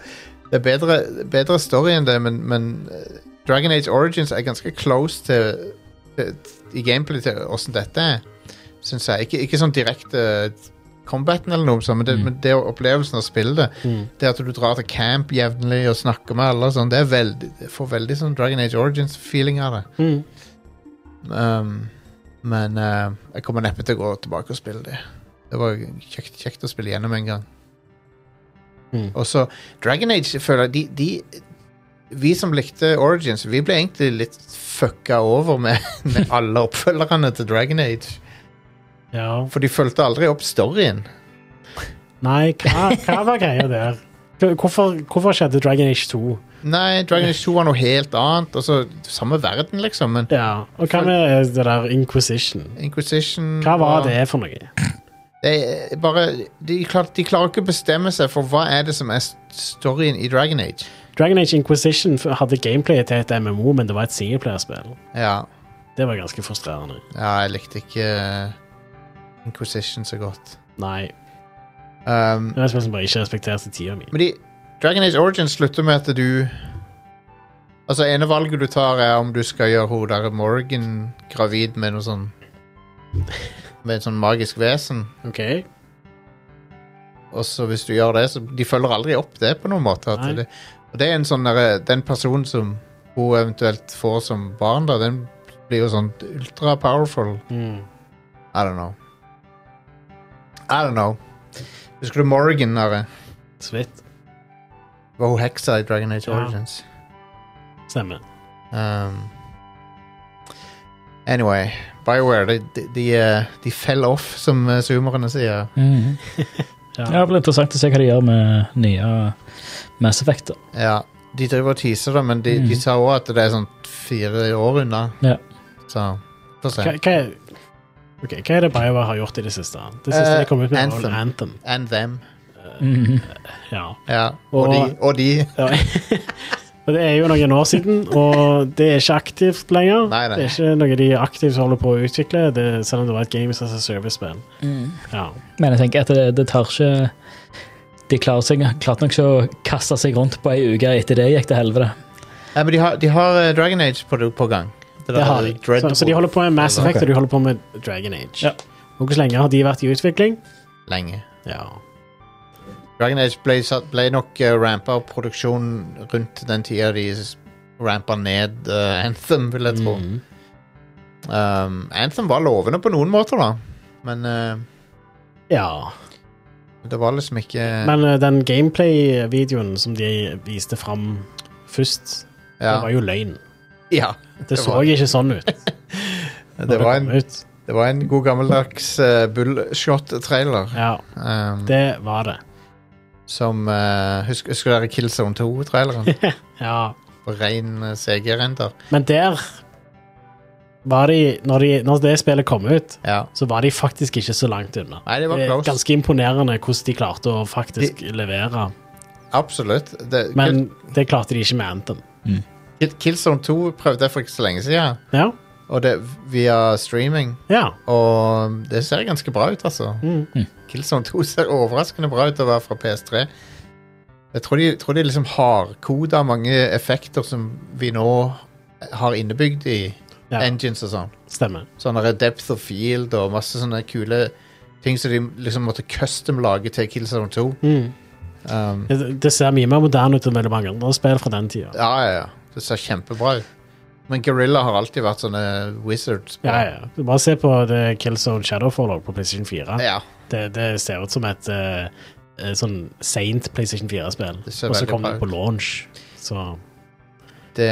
[SPEAKER 1] Det er bedre, bedre story enn det, men, men eh, Dragon Age Origins er ganske close til, til, i gameplay til åssen dette er, syns jeg. Ikke, ikke sånn direkte combaten eller noe sånt, men det,
[SPEAKER 3] Mm.
[SPEAKER 1] men det er opplevelsen av å spille det.
[SPEAKER 2] mm.
[SPEAKER 1] Det at du drar til camp jevnlig og snakker med alle og sånn, det er veldig, jeg får veldig sånn Dragon Age Origins-feeling av det.
[SPEAKER 2] Mm.
[SPEAKER 1] Um, men eh, jeg kommer neppe til å gå tilbake og spille det. Det var kjekt, kjekt å spille gjennom en gang.
[SPEAKER 2] Mm.
[SPEAKER 1] Og så Dragon Age føler jeg de, de, Vi som likte Origins, vi ble egentlig litt fucka over med, med alle oppfølgerne til Dragon Age.
[SPEAKER 2] ja.
[SPEAKER 1] For de fulgte aldri opp storyen.
[SPEAKER 2] Nei, hva, hva var greia der? Hvorfor, hvorfor skjedde Dragon Age 2?
[SPEAKER 1] Nei, Dragon Age 2 var noe helt annet. Og så samme verden, liksom. Men
[SPEAKER 2] Ja, Og hva med det der Inquisition?
[SPEAKER 1] Inquisition
[SPEAKER 2] Hva
[SPEAKER 1] og-
[SPEAKER 2] var det for noe?
[SPEAKER 1] Det er Eh, bare, de, klar, de klarer ikke å bestemme seg for hva er det som er storyen i Dragon Age.
[SPEAKER 2] Dragon Age Inquisition hadde gameplayet til et MMO, men det var et singleplayerspill.
[SPEAKER 1] Ja,
[SPEAKER 2] Det var ganske frustrerende.
[SPEAKER 1] ja jeg likte ikke eh, Inquisition så godt.
[SPEAKER 2] Nei.
[SPEAKER 1] Um,
[SPEAKER 2] Det var et spill som bare ikke respekterte tida mi.
[SPEAKER 1] men de, Dragon Age Origins slutter med at du Altså, ene valget du tar, er om du skal gjøre hun der Morgan gravid med noe sånn Med et sånn magisk vesen.
[SPEAKER 2] Ok?
[SPEAKER 1] Og så hvis du gjør det, så De følger aldri opp det på noen måte.
[SPEAKER 2] Nei.
[SPEAKER 1] At det, og det er en sånn derre Den personen som hun eventuelt får som barn, da, den blir jo sånn ultra-powerful.
[SPEAKER 2] Mm.
[SPEAKER 1] I don't know. I don't know. Husker du Morgan, Are?
[SPEAKER 2] Svitt.
[SPEAKER 1] Var hun heksa i Dragon Age
[SPEAKER 2] Ja.
[SPEAKER 1] Origins?
[SPEAKER 2] Stemmer.
[SPEAKER 1] Um, anyway, BioWare, de, de, de, eh, de fell off, som eh, zoomerne sier.
[SPEAKER 3] Mm. Ja,
[SPEAKER 2] Ja.
[SPEAKER 3] det blir interessant å se hva de gjør med nye Mass Effect. da.
[SPEAKER 1] Ja, de driver og teaser det, men de, de
[SPEAKER 2] Mm.
[SPEAKER 3] Mhm.
[SPEAKER 1] sa òg at det er sånn fire år unna.
[SPEAKER 3] Ja.
[SPEAKER 1] Så få
[SPEAKER 2] Hva,
[SPEAKER 1] se.
[SPEAKER 2] hva, er- ok, hva er det BioWare har gjort i det siste? Det siste
[SPEAKER 1] Eh,
[SPEAKER 2] de kom ut med, var
[SPEAKER 1] Anthem.
[SPEAKER 2] vel Anthem. Eh,
[SPEAKER 1] And them.
[SPEAKER 3] Mm.
[SPEAKER 2] Ja.
[SPEAKER 1] Ja. Og,
[SPEAKER 2] Og-
[SPEAKER 1] de. Og de.
[SPEAKER 2] Ja. Og det er jo noen år siden, og det er ikke aktivt lenger.
[SPEAKER 1] Nei, nei.
[SPEAKER 2] Det er ikke noe de aktivt holder på å utvikle, det, selv om det var et Games as a Service-spill. Ja.
[SPEAKER 3] Men jeg tenker at det, det tar ikke De klarer seg, klarte nok ikke å kaste seg rundt på ei uke etter det gikk til helvete.
[SPEAKER 1] Nei, men de har, de har eh, Dragon Age på, på gang. Det der
[SPEAKER 2] Det har de. Så,
[SPEAKER 1] Dreadful
[SPEAKER 2] så de holder på med Mass Effect,
[SPEAKER 3] Ok.
[SPEAKER 2] og de holder på med Dragon Age.
[SPEAKER 3] Ja.
[SPEAKER 2] Og hvor lenge har de vært i utvikling?
[SPEAKER 1] lenge.
[SPEAKER 2] Ja.
[SPEAKER 1] Dragon Age ble, satt- ble nok uh, rampa opp produksjonen rundt den tida de s- rampa ned eh, Anthem, vil jeg tro.
[SPEAKER 2] Mm.
[SPEAKER 1] Um, Anthem var lovende på noen måter, da. Men eh,
[SPEAKER 2] Ja.
[SPEAKER 1] det var liksom ikke
[SPEAKER 2] Men eh, den gameplay-videoen som de viste fram først, det var
[SPEAKER 1] Ja.
[SPEAKER 2] jo løgn.
[SPEAKER 1] ja
[SPEAKER 2] Det så
[SPEAKER 1] var-
[SPEAKER 2] ikke sånn ut. når
[SPEAKER 1] det, var
[SPEAKER 2] kom
[SPEAKER 1] en,
[SPEAKER 2] ut.
[SPEAKER 1] det var en god gammeldags eh, bullshot-trailer.
[SPEAKER 2] Ja,
[SPEAKER 1] Um,
[SPEAKER 2] det var det.
[SPEAKER 1] som eh, husker, husker dere Killzone 2-traileren?
[SPEAKER 2] Ja.
[SPEAKER 1] Rein eh, CG-render.
[SPEAKER 2] Men der var de, når, de, når det spillet kom ut,
[SPEAKER 1] Ja.
[SPEAKER 2] så var de faktisk ikke så langt unna.
[SPEAKER 1] Nei, det var
[SPEAKER 2] er
[SPEAKER 1] close.
[SPEAKER 2] ganske imponerende hvordan de klarte å faktisk levere.
[SPEAKER 1] Absolutt. Det,
[SPEAKER 2] Men det klarte de ikke med Anthem.
[SPEAKER 1] Kill- Killzone 2 prøvde jeg for ikke så lenge siden,
[SPEAKER 2] Ja,
[SPEAKER 1] og det via streaming.
[SPEAKER 2] ja.
[SPEAKER 1] Og det ser ganske bra ut, altså.
[SPEAKER 2] Mm.
[SPEAKER 1] Killzone 2 ser overraskende bra ut til å være fra PS3. Jeg tror de, tror de liksom hardkoda mange effekter som vi nå har innebygd i
[SPEAKER 2] Ja.
[SPEAKER 1] engines og sånn.
[SPEAKER 2] stemmer.
[SPEAKER 1] Sånne depth of field og masse sånne kule ting som de liksom måtte custom-lage til Killzone 2.
[SPEAKER 2] Mm.
[SPEAKER 1] Um,
[SPEAKER 2] Det, det ser mye mer moderne ut enn veldig mange andre spill fra den tida.
[SPEAKER 1] ja, ja, ja. Det ser kjempebra ut. Men Gorilla har alltid vært sånne wizards.
[SPEAKER 2] Ja, ja. Du Bare se på det Killzone Shadowfall også på PlayStation 4.
[SPEAKER 1] ja.
[SPEAKER 2] Det, det ser ut som et eh, eh, sånn seint PlayStation 4-spill.
[SPEAKER 1] Det ser
[SPEAKER 2] Og så
[SPEAKER 1] veldig
[SPEAKER 2] kom
[SPEAKER 1] bra
[SPEAKER 2] det
[SPEAKER 1] ut.
[SPEAKER 2] på launch. Så
[SPEAKER 1] Det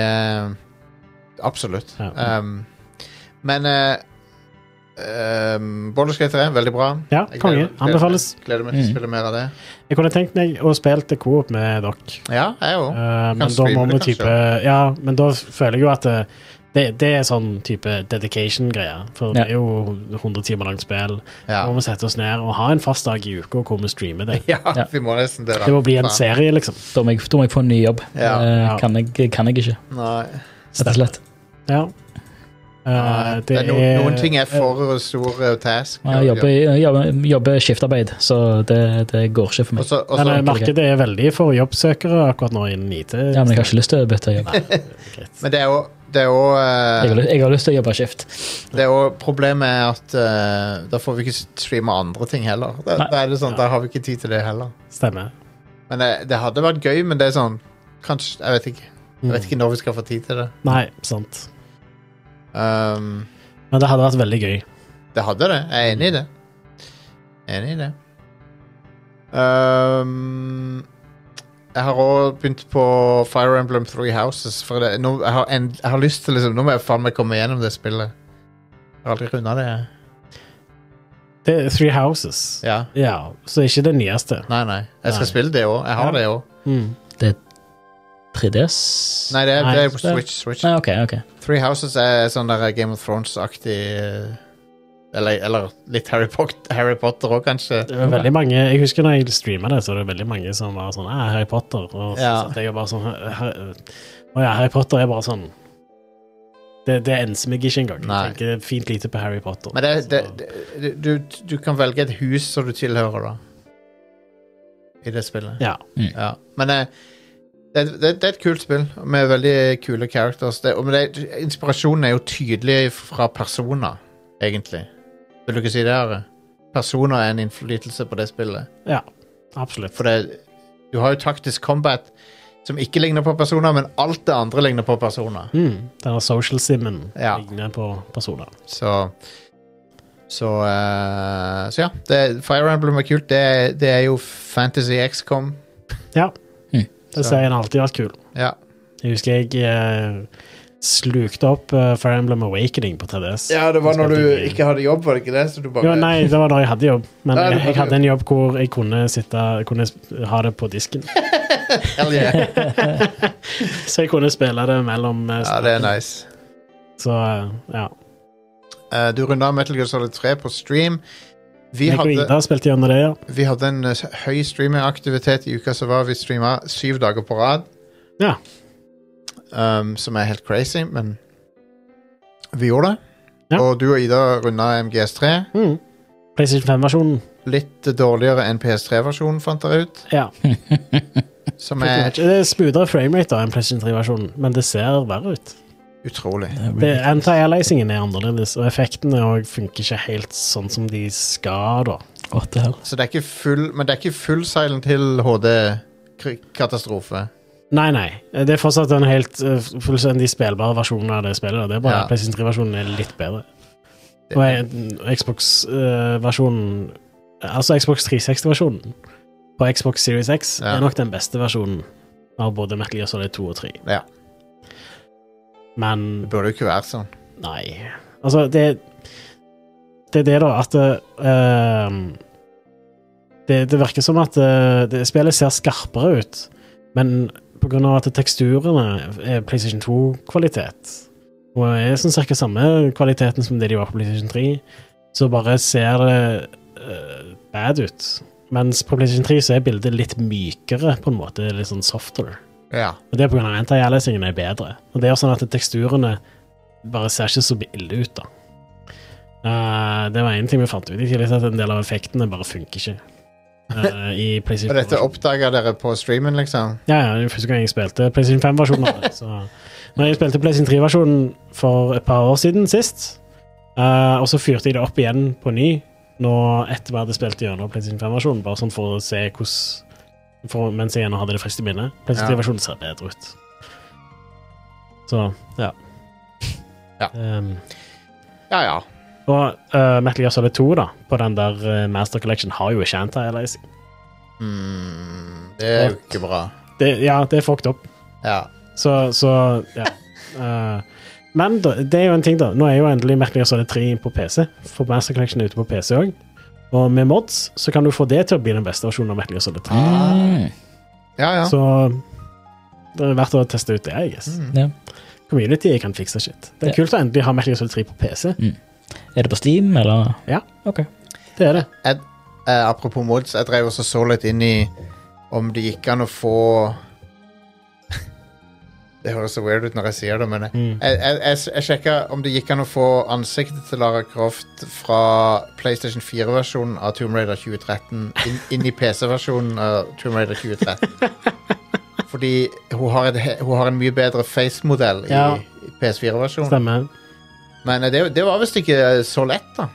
[SPEAKER 1] Absolutt.
[SPEAKER 2] Ja.
[SPEAKER 1] Um, men uh, um, Boulderskate 3, veldig bra.
[SPEAKER 2] ja,
[SPEAKER 1] Jeg
[SPEAKER 2] konge.
[SPEAKER 1] gleder-
[SPEAKER 2] Anbefales.
[SPEAKER 1] Gleder, gleder meg til å
[SPEAKER 3] Mm.
[SPEAKER 1] spille mer av det.
[SPEAKER 2] Jeg kunne tenkt meg å spille til Coop med dere.
[SPEAKER 1] Ja, jeg òg.
[SPEAKER 2] Eh, men da
[SPEAKER 1] streame
[SPEAKER 2] må vi
[SPEAKER 1] det,
[SPEAKER 2] type Ja, men da føler jeg jo at det, det, det er sånn type dedication-greie. For det er jo 100 timer langt spill.
[SPEAKER 1] Ja.
[SPEAKER 2] Nå må vi sette oss ned og ha en fast dag i uka hvor vi streamer det.
[SPEAKER 1] Ja,
[SPEAKER 3] Ja.
[SPEAKER 1] vi må nesten det, da.
[SPEAKER 2] Det må bli en
[SPEAKER 1] Faen.
[SPEAKER 2] serie, liksom.
[SPEAKER 3] Da må jeg, da må jeg få en ny jobb.
[SPEAKER 1] Ja.
[SPEAKER 3] Eh,
[SPEAKER 2] Ja.
[SPEAKER 3] Kan, jeg, kan jeg ikke,
[SPEAKER 1] Nei.
[SPEAKER 3] rett og slett.
[SPEAKER 2] Ja.
[SPEAKER 1] Nei,
[SPEAKER 2] Eh,
[SPEAKER 1] det er noen, noen ting er for stor eh, task.
[SPEAKER 3] Jeg jobber, jeg jobber, jobber skiftarbeid, så det, det går ikke
[SPEAKER 1] Og
[SPEAKER 3] for meg.
[SPEAKER 1] så- og
[SPEAKER 2] Men eh,
[SPEAKER 1] så-
[SPEAKER 2] markedet er veldig for jobbsøkere akkurat nå innen IT.
[SPEAKER 3] Ja, men jeg har ikke lyst til å bytte jobb.
[SPEAKER 1] Men det er jo det er jo, eh,
[SPEAKER 3] Jeg har, lyst- jeg har lyst til å jobbe skift.
[SPEAKER 1] det er jo Problemet er at eh, da får vi ikke streame andre ting heller. Da,
[SPEAKER 3] Nei.
[SPEAKER 1] da er det sånn,
[SPEAKER 2] Ja.
[SPEAKER 1] da har vi ikke tid til det heller.
[SPEAKER 2] Stemmer.
[SPEAKER 1] Men det, det hadde vært gøy, men det er sånn Kanskje, jeg vet ikke Jeg
[SPEAKER 2] Mm.
[SPEAKER 1] vet ikke når vi skal få tid til det
[SPEAKER 2] Nei, sant.
[SPEAKER 1] um,
[SPEAKER 2] Men det hadde vært veldig gøy.
[SPEAKER 1] Det hadde det, jeg er enig i det Enig i det um, Jeg har også begynt på Fire Emblem Three Houses For det, nå, jeg, har en, jeg har lyst til liksom Nå må jeg faen meg komme gjennom det spillet Jeg har aldri rundet det jeg.
[SPEAKER 2] Det er Three Houses. Ja,
[SPEAKER 1] Ja,
[SPEAKER 2] så ikke det nyeste.
[SPEAKER 1] nei nei Jeg skal
[SPEAKER 2] Nei.
[SPEAKER 1] spille det også, jeg har
[SPEAKER 2] Ja.
[SPEAKER 1] det også
[SPEAKER 3] 3DS?
[SPEAKER 1] Nei, det, er-
[SPEAKER 2] Nei,
[SPEAKER 1] det er på
[SPEAKER 3] det-
[SPEAKER 1] Switch, Switch.
[SPEAKER 3] Nei, Ah, ok, ok.
[SPEAKER 1] Three Houses er sånn der Game of Thrones-aktig eh, eller, eller litt Harry Potter, Harry Potter også, kanskje.
[SPEAKER 2] Det var veldig mange, Jeg husker når jeg streama det, så var det veldig mange som var sånn «Ah, Harry Potter. Og så
[SPEAKER 1] Ja.
[SPEAKER 2] satt jeg og bare sånn «Hæ- hæ- Å ja, Harry Potter er bare sånn Det, det enser meg ikke engang.
[SPEAKER 1] Nei.
[SPEAKER 2] Jeg tenker fint lite på Harry Potter.
[SPEAKER 1] Men det, det,
[SPEAKER 2] Så-
[SPEAKER 1] det, du, du kan velge et hus som du tilhører, da. I det spillet.
[SPEAKER 2] Ja.
[SPEAKER 3] Mm.
[SPEAKER 1] Ja. Men eh, det, det, det er et kult spill med veldig kule characters. Det, og men det, inspirasjonen er jo tydelig fra personer, egentlig. Vil du ikke si det? Are? Personer er en innflytelse på det spillet.
[SPEAKER 2] ja, absolutt.
[SPEAKER 1] For det, du har jo taktisk combat som ikke ligner på personer, men alt det andre ligner på personer.
[SPEAKER 2] Mm, denne social simmen
[SPEAKER 1] Ja.
[SPEAKER 2] ligner på personer.
[SPEAKER 1] Så Så, eh, så ja. Det, Fire Emblem er kult. Det, er- det er jo Fantasy XCOM.
[SPEAKER 2] Ja.
[SPEAKER 3] Mm.
[SPEAKER 2] Det
[SPEAKER 1] Så.
[SPEAKER 2] sier en alltid har vært kul.
[SPEAKER 1] Ja.
[SPEAKER 2] Jeg husker jeg eh, slukte opp eh, Fire Emblem Awakening på 3DS.
[SPEAKER 1] det
[SPEAKER 2] var når du ikke
[SPEAKER 1] hadde jobb, var det ikke det? Så du bare
[SPEAKER 2] Jo, nei, det var da jeg hadde jobb, men
[SPEAKER 1] Ja, du
[SPEAKER 2] jeg,
[SPEAKER 1] hadde
[SPEAKER 2] jeg hadde en jobb hvor jeg kunne, sitte, kunne sp- ha det på disken. Så jeg kunne spille det mellom eh,
[SPEAKER 1] Ja, det er nice.
[SPEAKER 2] Så eh, ja.
[SPEAKER 1] Eh, du runda Metal Gear Solid 3 på stream. Vi
[SPEAKER 2] Jeg og
[SPEAKER 1] hadde,
[SPEAKER 2] Ida spilte gjennom det, ja.
[SPEAKER 1] vi hadde en eh, høy streamingaktivitet i uka som var. Vi streama syv dager på rad.
[SPEAKER 2] Ja.
[SPEAKER 1] Um, som er helt crazy, men vi gjorde det.
[SPEAKER 2] Ja.
[SPEAKER 1] Og du og Ida runda MGS3.
[SPEAKER 2] Mm. PlayStation 5-versjonen.
[SPEAKER 1] Litt dårligere enn PS3-versjonen, fant dere ut.
[SPEAKER 2] Ja.
[SPEAKER 1] Som er
[SPEAKER 2] Det er smoothere framerate da, enn PlayStation 3-versjonen, men det ser verre ut.
[SPEAKER 1] utrolig.
[SPEAKER 2] Det- Anti-aliasingen er annerledes, og effektene òg funker ikke helt sånn som de skal, da.
[SPEAKER 3] What the hell?
[SPEAKER 1] Så det er ikke full Men det er ikke full Silent Hill HD-katastrofe.
[SPEAKER 2] Nei, nei. Det er fortsatt en helt eh, fullstendig spillbar versjon av det spillet. da. Det er bare
[SPEAKER 1] Ja.
[SPEAKER 2] at PlayStation 3-versjonen er litt bedre. Og Xbox-versjonen Altså Xbox 360-versjonen på Xbox Series X
[SPEAKER 1] Ja.
[SPEAKER 2] er nok den beste versjonen av både Metal Gear Solid 2 og 3.
[SPEAKER 1] Ja.
[SPEAKER 2] Men
[SPEAKER 1] Det burde jo ikke være sånn.
[SPEAKER 2] Nei. Altså, det Det er det, da, at eh, det, det virker som at eh, det, spillet ser skarpere ut, men på grunn av at teksturene er PlayStation 2-kvalitet, Og er sånn cirka samme kvaliteten som det de var på PlayStation 3. Så bare ser det eh, bad ut. Mens på PlayStation 3 så er bildet litt mykere, på en måte. Litt sånn softere.
[SPEAKER 1] Ja.
[SPEAKER 2] Og det er pga. anti-aliasingen er bedre. Og det er også sånn at teksturene bare ser ikke så ille ut, da. Eh, det var en ting vi fant ut i tillegg, at en del av effektene bare funker ikke. eh, I
[SPEAKER 1] Og
[SPEAKER 2] PlayStation
[SPEAKER 1] dette oppdaga dere på streamen, liksom?
[SPEAKER 2] Ja, ja, det er første gang jeg spilte PlayStation 5-versjonen av det. Så. Men jeg spilte PlayStation 3-versjonen for et par år siden sist, eh, og så fyrte jeg det opp igjen på ny nå etter vi hadde spilt gjennom PlayStation 5-versjonen, bare sånn for å se hvordan for, Mens jeg ennå hadde det friskt i minnet. PlayStation
[SPEAKER 1] Ja.
[SPEAKER 2] 3-versjonen ser bedre ut. Så, ja.
[SPEAKER 1] Ja.
[SPEAKER 2] Ehm,
[SPEAKER 1] Ja ja.
[SPEAKER 2] og eh, Metal Gear Solid 2 da, på den der eh, Master Collection har jo ikke anti-aliasing.
[SPEAKER 1] Mm, det er jo ikke bra.
[SPEAKER 2] Det- Ja, det er fucked up.
[SPEAKER 1] Ja.
[SPEAKER 2] Så, så ja. Eh, men da, det er jo en ting, da. Nå er jo endelig Metal Gear Solid 3 på PC. For Master Collection er ute på PC òg. Og med mods så kan du få det til å bli den beste versjonen av Metal Gear Solid 3.
[SPEAKER 3] Mm.
[SPEAKER 1] Ja Ah, ja. Mm.
[SPEAKER 2] Så det er verdt å teste ut det, I guess.
[SPEAKER 3] Ja.
[SPEAKER 2] Community kan fikse shit. Det er
[SPEAKER 3] Ja.
[SPEAKER 2] kult å endelig ha Metal Gear Solid 3 på PC.
[SPEAKER 3] Er det på Steam, eller?
[SPEAKER 2] Ja.
[SPEAKER 3] Ok.
[SPEAKER 2] Det er det.
[SPEAKER 1] Jeg, eh, apropos mods, jeg drev også så litt inn i om det gikk an å få Det høres så weird ut når jeg sier det, men jeg,
[SPEAKER 2] Mm.
[SPEAKER 1] jeg, jeg, jeg, jeg sjekka om det gikk an å få ansiktet til Lara Croft fra PlayStation 4-versjonen av Tomb Raider 2013 inn, inn i PC-versjonen av Tomb Raider 2013. Fordi hun har, et, he- hun har en mye bedre face-modell i,
[SPEAKER 2] Ja.
[SPEAKER 1] i PS4-versjonen.
[SPEAKER 2] Stemmer.
[SPEAKER 1] Men eh, det, det var visst ikke eh, så lett, da.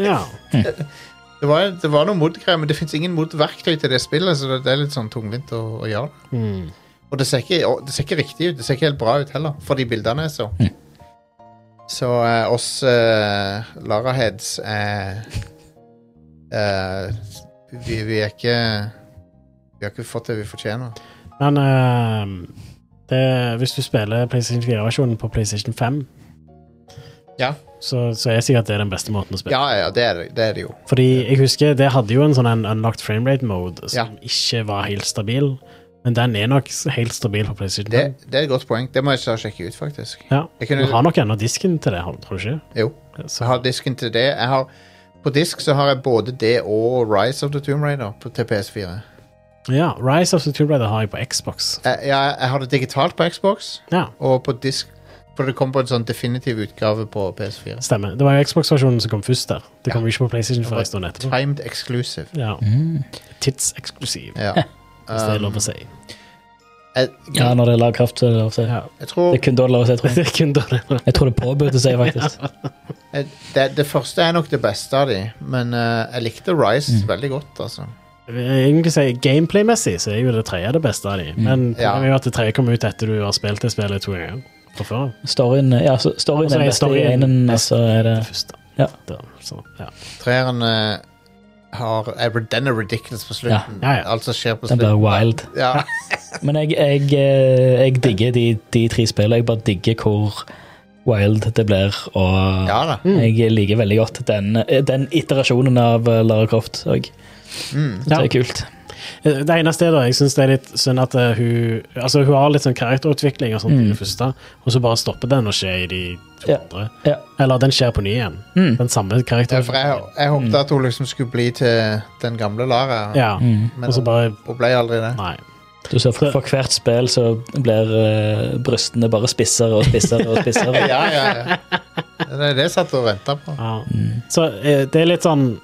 [SPEAKER 2] Ja.
[SPEAKER 1] Det var, det var noen mod-greier, men det fins ingen mod-verktøy til det spillet, så det, det er litt sånn tungvint å, å gjøre.
[SPEAKER 2] Mm.
[SPEAKER 1] Og det ser, ikke, og det ser ikke riktig ut. Det ser ikke helt bra ut heller, for de bildene jeg så. Så eh, oss eh, Laraheads eh, eh, vi, vi er ikke Vi har ikke fått det vi fortjener.
[SPEAKER 2] Men eh, det, hvis du spiller PlayStation 4-versjonen på PlayStation 5,
[SPEAKER 1] Ja.
[SPEAKER 2] så, så er sikkert det den beste måten å spille
[SPEAKER 1] Ja, ja, det er det, det, er det jo.
[SPEAKER 2] Fordi jeg husker det hadde jo en sånn en unlocked framerate mode som
[SPEAKER 1] Ja.
[SPEAKER 2] ikke var helt stabil, men den er nok s- helt stabil på PlayStation.
[SPEAKER 1] Det,
[SPEAKER 2] 5.
[SPEAKER 1] det er et godt poeng. Det må jeg snart sjekke ut, faktisk.
[SPEAKER 2] Ja.
[SPEAKER 1] Jeg
[SPEAKER 2] Du
[SPEAKER 1] kunne-
[SPEAKER 2] har nok ennå disken til det, har- tror du ikke?
[SPEAKER 1] Jo.
[SPEAKER 2] Så,
[SPEAKER 1] Jeg har disken til det. Jeg har, på disk så har jeg både det og Rise of the Tomb Raider på, til PS4.
[SPEAKER 2] ja, Rise of the Tomb Raider har jeg på Xbox.
[SPEAKER 1] jeg, jeg, jeg har det digitalt på Xbox
[SPEAKER 2] Ja,
[SPEAKER 1] og på disk. For det kom på en sånn definitiv utgave på PS4.
[SPEAKER 2] stemmer. Det var jo Xbox-versjonen som kom først der. Det kom jo ikke på PlayStation
[SPEAKER 1] var
[SPEAKER 2] før en stund etterpå.
[SPEAKER 1] Timed exclusive.
[SPEAKER 2] Ja.
[SPEAKER 3] Mm.
[SPEAKER 2] Tidseksklusiv,
[SPEAKER 1] Ja.
[SPEAKER 2] hvis det er lov
[SPEAKER 1] Um,
[SPEAKER 2] å si.
[SPEAKER 1] jeg,
[SPEAKER 3] Ja, når det er lagkraft, så er det lov til.
[SPEAKER 2] Ja.
[SPEAKER 1] jeg tror
[SPEAKER 3] Det er kun da det er lov til, tror jeg.
[SPEAKER 2] Det er kun da det
[SPEAKER 3] Jeg tror det er påbudt å si, faktisk.
[SPEAKER 1] jeg, det, det første er nok det beste av de, men eh, jeg likte Rise
[SPEAKER 2] Mm.
[SPEAKER 1] veldig godt, altså.
[SPEAKER 2] Jeg vil egentlig si Gameplay-messig så er jo det tredje det beste av
[SPEAKER 3] Mm.
[SPEAKER 2] de, men
[SPEAKER 1] Ja.
[SPEAKER 2] problemet er jo at det tredje kom ut etter du har spilt det spillet to ganger fra før.
[SPEAKER 3] Storyen, ja, så storyen
[SPEAKER 2] Altså,
[SPEAKER 3] er den
[SPEAKER 2] er
[SPEAKER 3] beste i
[SPEAKER 2] storyen
[SPEAKER 3] enen, og
[SPEAKER 2] best-
[SPEAKER 3] så er det
[SPEAKER 2] Det første.
[SPEAKER 3] Ja.
[SPEAKER 2] Da, så, ja.
[SPEAKER 1] Treeren eh, har er, Den er ridiculous på slutten.
[SPEAKER 2] Ja, ja, ja.
[SPEAKER 1] Alt som skjer på
[SPEAKER 3] den blir
[SPEAKER 1] slutten.
[SPEAKER 3] wild.
[SPEAKER 1] Ja.
[SPEAKER 3] Men jeg, jeg, eh, jeg digger de, de tre spillene. Jeg bare digger hvor wild det blir. Og
[SPEAKER 1] ja Mm. da.
[SPEAKER 3] jeg liker veldig godt den, eh, den iterasjonen av eh, Lara Croft òg.
[SPEAKER 1] Mm.
[SPEAKER 3] Det
[SPEAKER 2] Ja.
[SPEAKER 3] er kult.
[SPEAKER 2] Eh, Det eneste er da, jeg syns det er litt synd at eh, hun Altså, hun har litt sånn karakterutvikling og sånt i det første, og så bare stopper den å skje i de to
[SPEAKER 3] Mm. Ja.
[SPEAKER 2] andre.
[SPEAKER 3] Ja.
[SPEAKER 2] Eller den skjer på ny igjen.
[SPEAKER 3] Mm.
[SPEAKER 2] Den samme
[SPEAKER 1] Ja, for jeg,
[SPEAKER 2] karakteren.
[SPEAKER 1] jeg håpet at hun liksom skulle bli til den gamle Lara,
[SPEAKER 2] Mm. Ja,
[SPEAKER 3] Mm.
[SPEAKER 1] men
[SPEAKER 2] og så bare
[SPEAKER 1] hun ble aldri det.
[SPEAKER 2] Nei.
[SPEAKER 3] Du ser for, for hvert spill så blir eh, brystene bare spissere og spissere og spissere.
[SPEAKER 1] Ja, ja, ja. Det er det jeg satt og venta på.
[SPEAKER 2] Ja.
[SPEAKER 3] Mm.
[SPEAKER 2] Så eh, det er litt sånn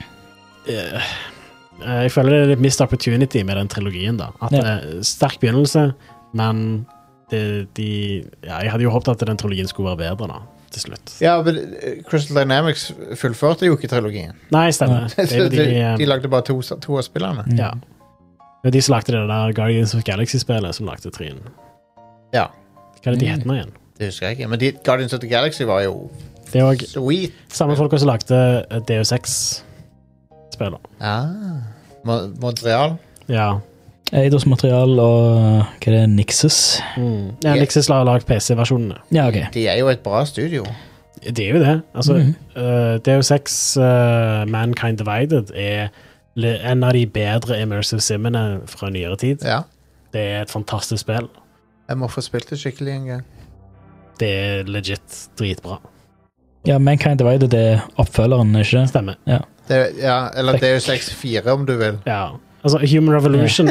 [SPEAKER 2] eh, eh, Jeg føler det er litt missed opportunity med den trilogien, da. At
[SPEAKER 3] Ja.
[SPEAKER 2] det er sterk begynnelse, men det, de Ja, jeg hadde jo håpet at den trilogien skulle være bedre, da, til slutt.
[SPEAKER 1] Ja, men eh, Crystal Dynamics fullførte jo ikke trilogien.
[SPEAKER 2] Nei, stemmer.
[SPEAKER 1] De,
[SPEAKER 2] Det er jo de, eh,
[SPEAKER 1] de lagde bare to, to av spillene.
[SPEAKER 2] Ja. Det er de som lagde det der Guardians of Galaxy-spillet, som lagde trien.
[SPEAKER 1] Ja.
[SPEAKER 2] Hva er det de
[SPEAKER 3] Mm.
[SPEAKER 2] heter nå igjen?
[SPEAKER 1] Det husker jeg ikke. Men de, Guardians of the Galaxy var jo
[SPEAKER 2] Det er òg
[SPEAKER 1] sweet.
[SPEAKER 2] samme folka som lagde eh, DU6-spillet.
[SPEAKER 1] Ah. Mo- Montreal.
[SPEAKER 2] Ja.
[SPEAKER 3] Eidos material og eh, hva er det, Nixus?
[SPEAKER 2] Mm. ja
[SPEAKER 1] Yeah.
[SPEAKER 2] Lixis har lagd PC-versjonene.
[SPEAKER 3] Ja, ok.
[SPEAKER 1] De er jo et bra studio.
[SPEAKER 2] Det er jo det. Altså,
[SPEAKER 3] Mhm.
[SPEAKER 2] eh, DU6 eh, Mankind Divided er le- en av de bedre immersive simmene fra nyere tid.
[SPEAKER 1] Ja.
[SPEAKER 2] Det er et fantastisk spill.
[SPEAKER 1] Jeg må få spilt det skikkelig en gang.
[SPEAKER 2] Det er legit dritbra.
[SPEAKER 3] Ja, Mankind Divided er oppfølgeren, ikke det?
[SPEAKER 2] Stemmer.
[SPEAKER 1] Det, ja, eller Deus Ex 4, om du vil.
[SPEAKER 2] Ja. Altså, Human Revolution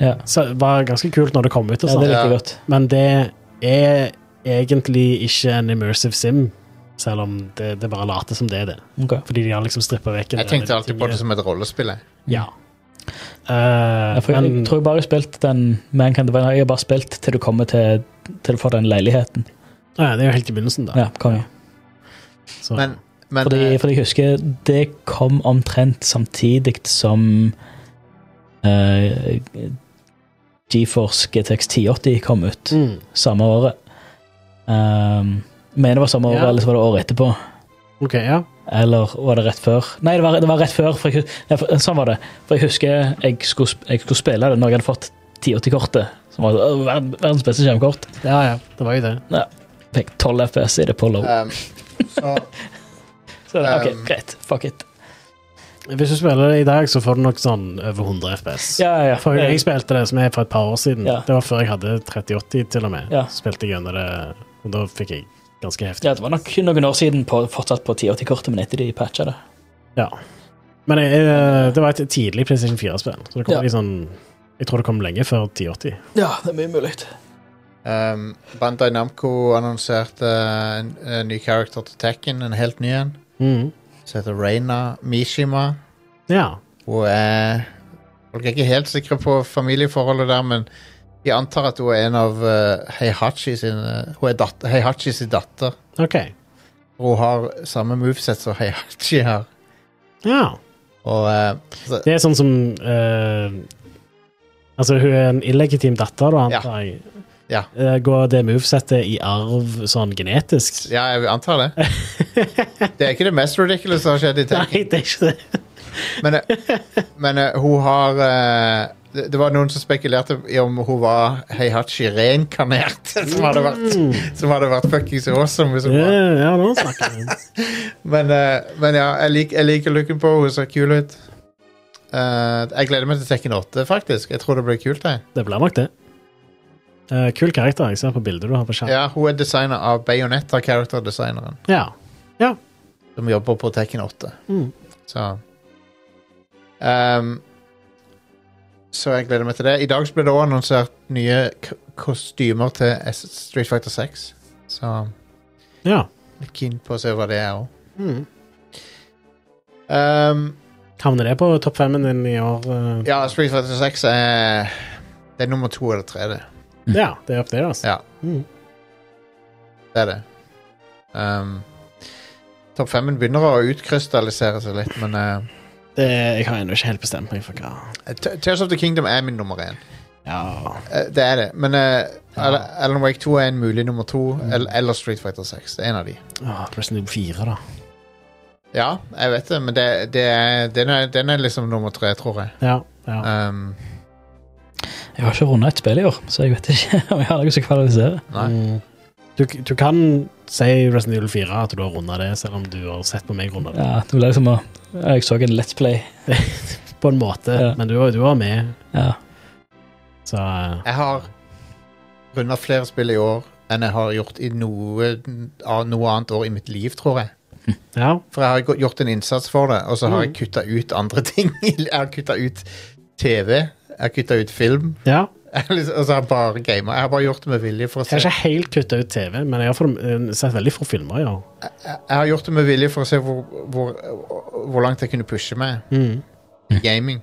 [SPEAKER 3] Ja.
[SPEAKER 2] så var ganske kult når det kom ut, og sånn.
[SPEAKER 3] Ja,
[SPEAKER 2] sånt,
[SPEAKER 3] det liker
[SPEAKER 1] Ja.
[SPEAKER 3] jeg godt.
[SPEAKER 2] men det er egentlig ikke en immersive sim, selv om det, det bare later som det er det.
[SPEAKER 3] Ok.
[SPEAKER 2] Fordi de har liksom strippa vekk en
[SPEAKER 1] Jeg
[SPEAKER 2] del
[SPEAKER 1] tenkte alltid på
[SPEAKER 2] ting.
[SPEAKER 1] det som et rollespill. jeg.
[SPEAKER 2] Ja. Eh,
[SPEAKER 3] Ja, for jeg,
[SPEAKER 2] men
[SPEAKER 3] tror jeg bare har spilt den Mankind Divided. Jeg har bare spilt til du kommer til, til du får den leiligheten.
[SPEAKER 2] Ja, det er jo helt i begynnelsen, da.
[SPEAKER 3] Ja, konge.
[SPEAKER 2] Så,
[SPEAKER 1] Men, men
[SPEAKER 3] Fordi,
[SPEAKER 1] eh,
[SPEAKER 3] fordi jeg husker det kom omtrent samtidig som eh, GeForce GTX 1080 kom ut
[SPEAKER 2] mm,
[SPEAKER 3] samme året. Um, mener det var samme året,
[SPEAKER 2] Ja.
[SPEAKER 3] eller så var det året etterpå.
[SPEAKER 2] OK, ja.
[SPEAKER 3] Eller var det rett før? Nei, det var, det var rett før. For jeg, hus- nei, for, sånn var det. For jeg husker jeg skulle, sp- jeg skulle spille det når jeg hadde fått 1080-kortet. Som var øh, verden- verdens beste skjermkort.
[SPEAKER 2] Ja, ja. Det var jo det.
[SPEAKER 3] Fikk 12 FPS i det på low.
[SPEAKER 1] ehm, så,
[SPEAKER 3] Så, ok,
[SPEAKER 1] um,
[SPEAKER 3] greit. Fuck it.
[SPEAKER 2] Hvis du spiller det i dag, så får du nok sånn over 100 FPS.
[SPEAKER 3] Ja, ja, ja.
[SPEAKER 2] For jeg spilte det som er for et par år siden.
[SPEAKER 3] Ja.
[SPEAKER 2] Det var før jeg hadde 3080, til og med.
[SPEAKER 3] Ja.
[SPEAKER 2] Spilte jeg gjennom det, og da fikk jeg ganske heftig.
[SPEAKER 3] Ja, det var nok noen år siden på, fortsatt på 1080-kortet, men etter de patcha det.
[SPEAKER 2] Men jeg, eh, det var et tidlig PlayStation 4-spill, så det kom
[SPEAKER 3] Ja.
[SPEAKER 2] litt sånn Jeg tror det kom lenge før 1080.
[SPEAKER 3] Ja, det er mye mulig.
[SPEAKER 1] ehm, Bandai Namco annonserte eh, en, en ny character til Tekken, en helt ny en,
[SPEAKER 2] Mm.
[SPEAKER 1] som heter Reina Mishima.
[SPEAKER 2] Ja.
[SPEAKER 1] Hun er Folk er ikke helt sikre på familieforholdet der, men de antar at hun er en av eh, Heihachi sin eh, Hun er dat Heihachi sin datter.
[SPEAKER 2] OK.
[SPEAKER 1] Hun har samme moveset som Heihachi har.
[SPEAKER 2] Ja.
[SPEAKER 1] Og eh, så,
[SPEAKER 2] Det er sånn som eh, Altså, hun er en illegitim datter, da,
[SPEAKER 1] Ja.
[SPEAKER 2] antar jeg.
[SPEAKER 1] Ja.
[SPEAKER 2] Eh, går det movesettet i arv sånn genetisk?
[SPEAKER 1] Ja, jeg antar det. Det er ikke det mest ridiculous som har skjedd i Tekken.
[SPEAKER 2] Nei, det er ikke det.
[SPEAKER 1] Men, eh, men eh, hun har eh, det, det var noen som spekulerte i om hun var Heihachi reinkarnert. Som hadde vært,
[SPEAKER 2] Mm.
[SPEAKER 1] som hadde vært fuckings awesome. Hvis hun var.
[SPEAKER 2] Ja, ja, nå snakker vi.
[SPEAKER 1] Men, eh, men ja, jeg, lik, jeg liker looken på henne. Hun ser kul ut. Eh, jeg gleder meg til Tekken 8, faktisk. Jeg tror det blir kult. Jeg.
[SPEAKER 2] Det blir nok det. Eh, kul karakter. Jeg ser på bildet du har på skjermen.
[SPEAKER 1] Ja, Hun er designer av Bayonetta, character-designeren,
[SPEAKER 2] Ja.
[SPEAKER 1] som jobber på Tekken 8.
[SPEAKER 2] Mm.
[SPEAKER 1] Så Ehm, Så jeg gleder meg til det. I dag så ble det også annonsert nye k kostymer til S Street Fighter 6. Så jeg
[SPEAKER 2] ja.
[SPEAKER 1] er keen på å se hva det er òg.
[SPEAKER 2] Mm. Havner det på topp femmen din i år? eh?
[SPEAKER 1] ja, Street Fighter 6 er Det er nummer to eller tre, det.
[SPEAKER 2] ja. Det er opp det, altså.
[SPEAKER 1] Ja.
[SPEAKER 2] Mm.
[SPEAKER 1] Det er det. Ehm, Topp femmen begynner å utkrystallisere seg litt, men eh,
[SPEAKER 2] Det, jeg har ennå ikke helt bestemt meg for hva
[SPEAKER 1] Te- Tears of the Kingdom er min nummer én.
[SPEAKER 2] Ja.
[SPEAKER 1] Eh, det er det. Men eh, Alan- Alan Wake 2 er en mulig nummer to, eller, eller Street Fighter 6. Det er en av de.
[SPEAKER 2] Åh, Resident Evil 4, da.
[SPEAKER 1] Ja, jeg vet det, men det, det er, den, er, den er liksom nummer tre, tror jeg.
[SPEAKER 2] Ja. ja.
[SPEAKER 1] Um,
[SPEAKER 3] Jeg har ikke runda et spill i år, så jeg vet ikke om jeg har noe som kvalifiserer.
[SPEAKER 1] nei.
[SPEAKER 2] Mm. Du, du kan si Resident Evil 4 at du har runda det, selv om du har sett på meg runde det.
[SPEAKER 3] Ja, det ble liksom å Jeg så en Let's Play.
[SPEAKER 2] På en måte,
[SPEAKER 3] Ja.
[SPEAKER 2] men du, var- du var med,
[SPEAKER 3] Ja.
[SPEAKER 2] så eh,
[SPEAKER 1] Jeg har runda flere spill i år enn jeg har gjort i noe, av noe annet år i mitt liv, tror jeg.
[SPEAKER 2] Ja.
[SPEAKER 1] For jeg har gå- gjort en innsats for det, og så har
[SPEAKER 2] Mm.
[SPEAKER 1] jeg kutta ut andre ting. Jeg har kutta ut TV, jeg har kutta ut film,
[SPEAKER 2] ja.
[SPEAKER 1] jeg har liksom- og så har jeg bare gama. Jeg har bare gjort det med vilje for å
[SPEAKER 2] Jeg har
[SPEAKER 1] se
[SPEAKER 2] ikke helt kutta ut TV, men jeg har for, eh, sett veldig få filmer i år.
[SPEAKER 1] Jeg jeg har gjort det med vilje for å se hvor, hvor, hvor langt jeg kunne pushe meg
[SPEAKER 2] Mm.
[SPEAKER 1] i gaming.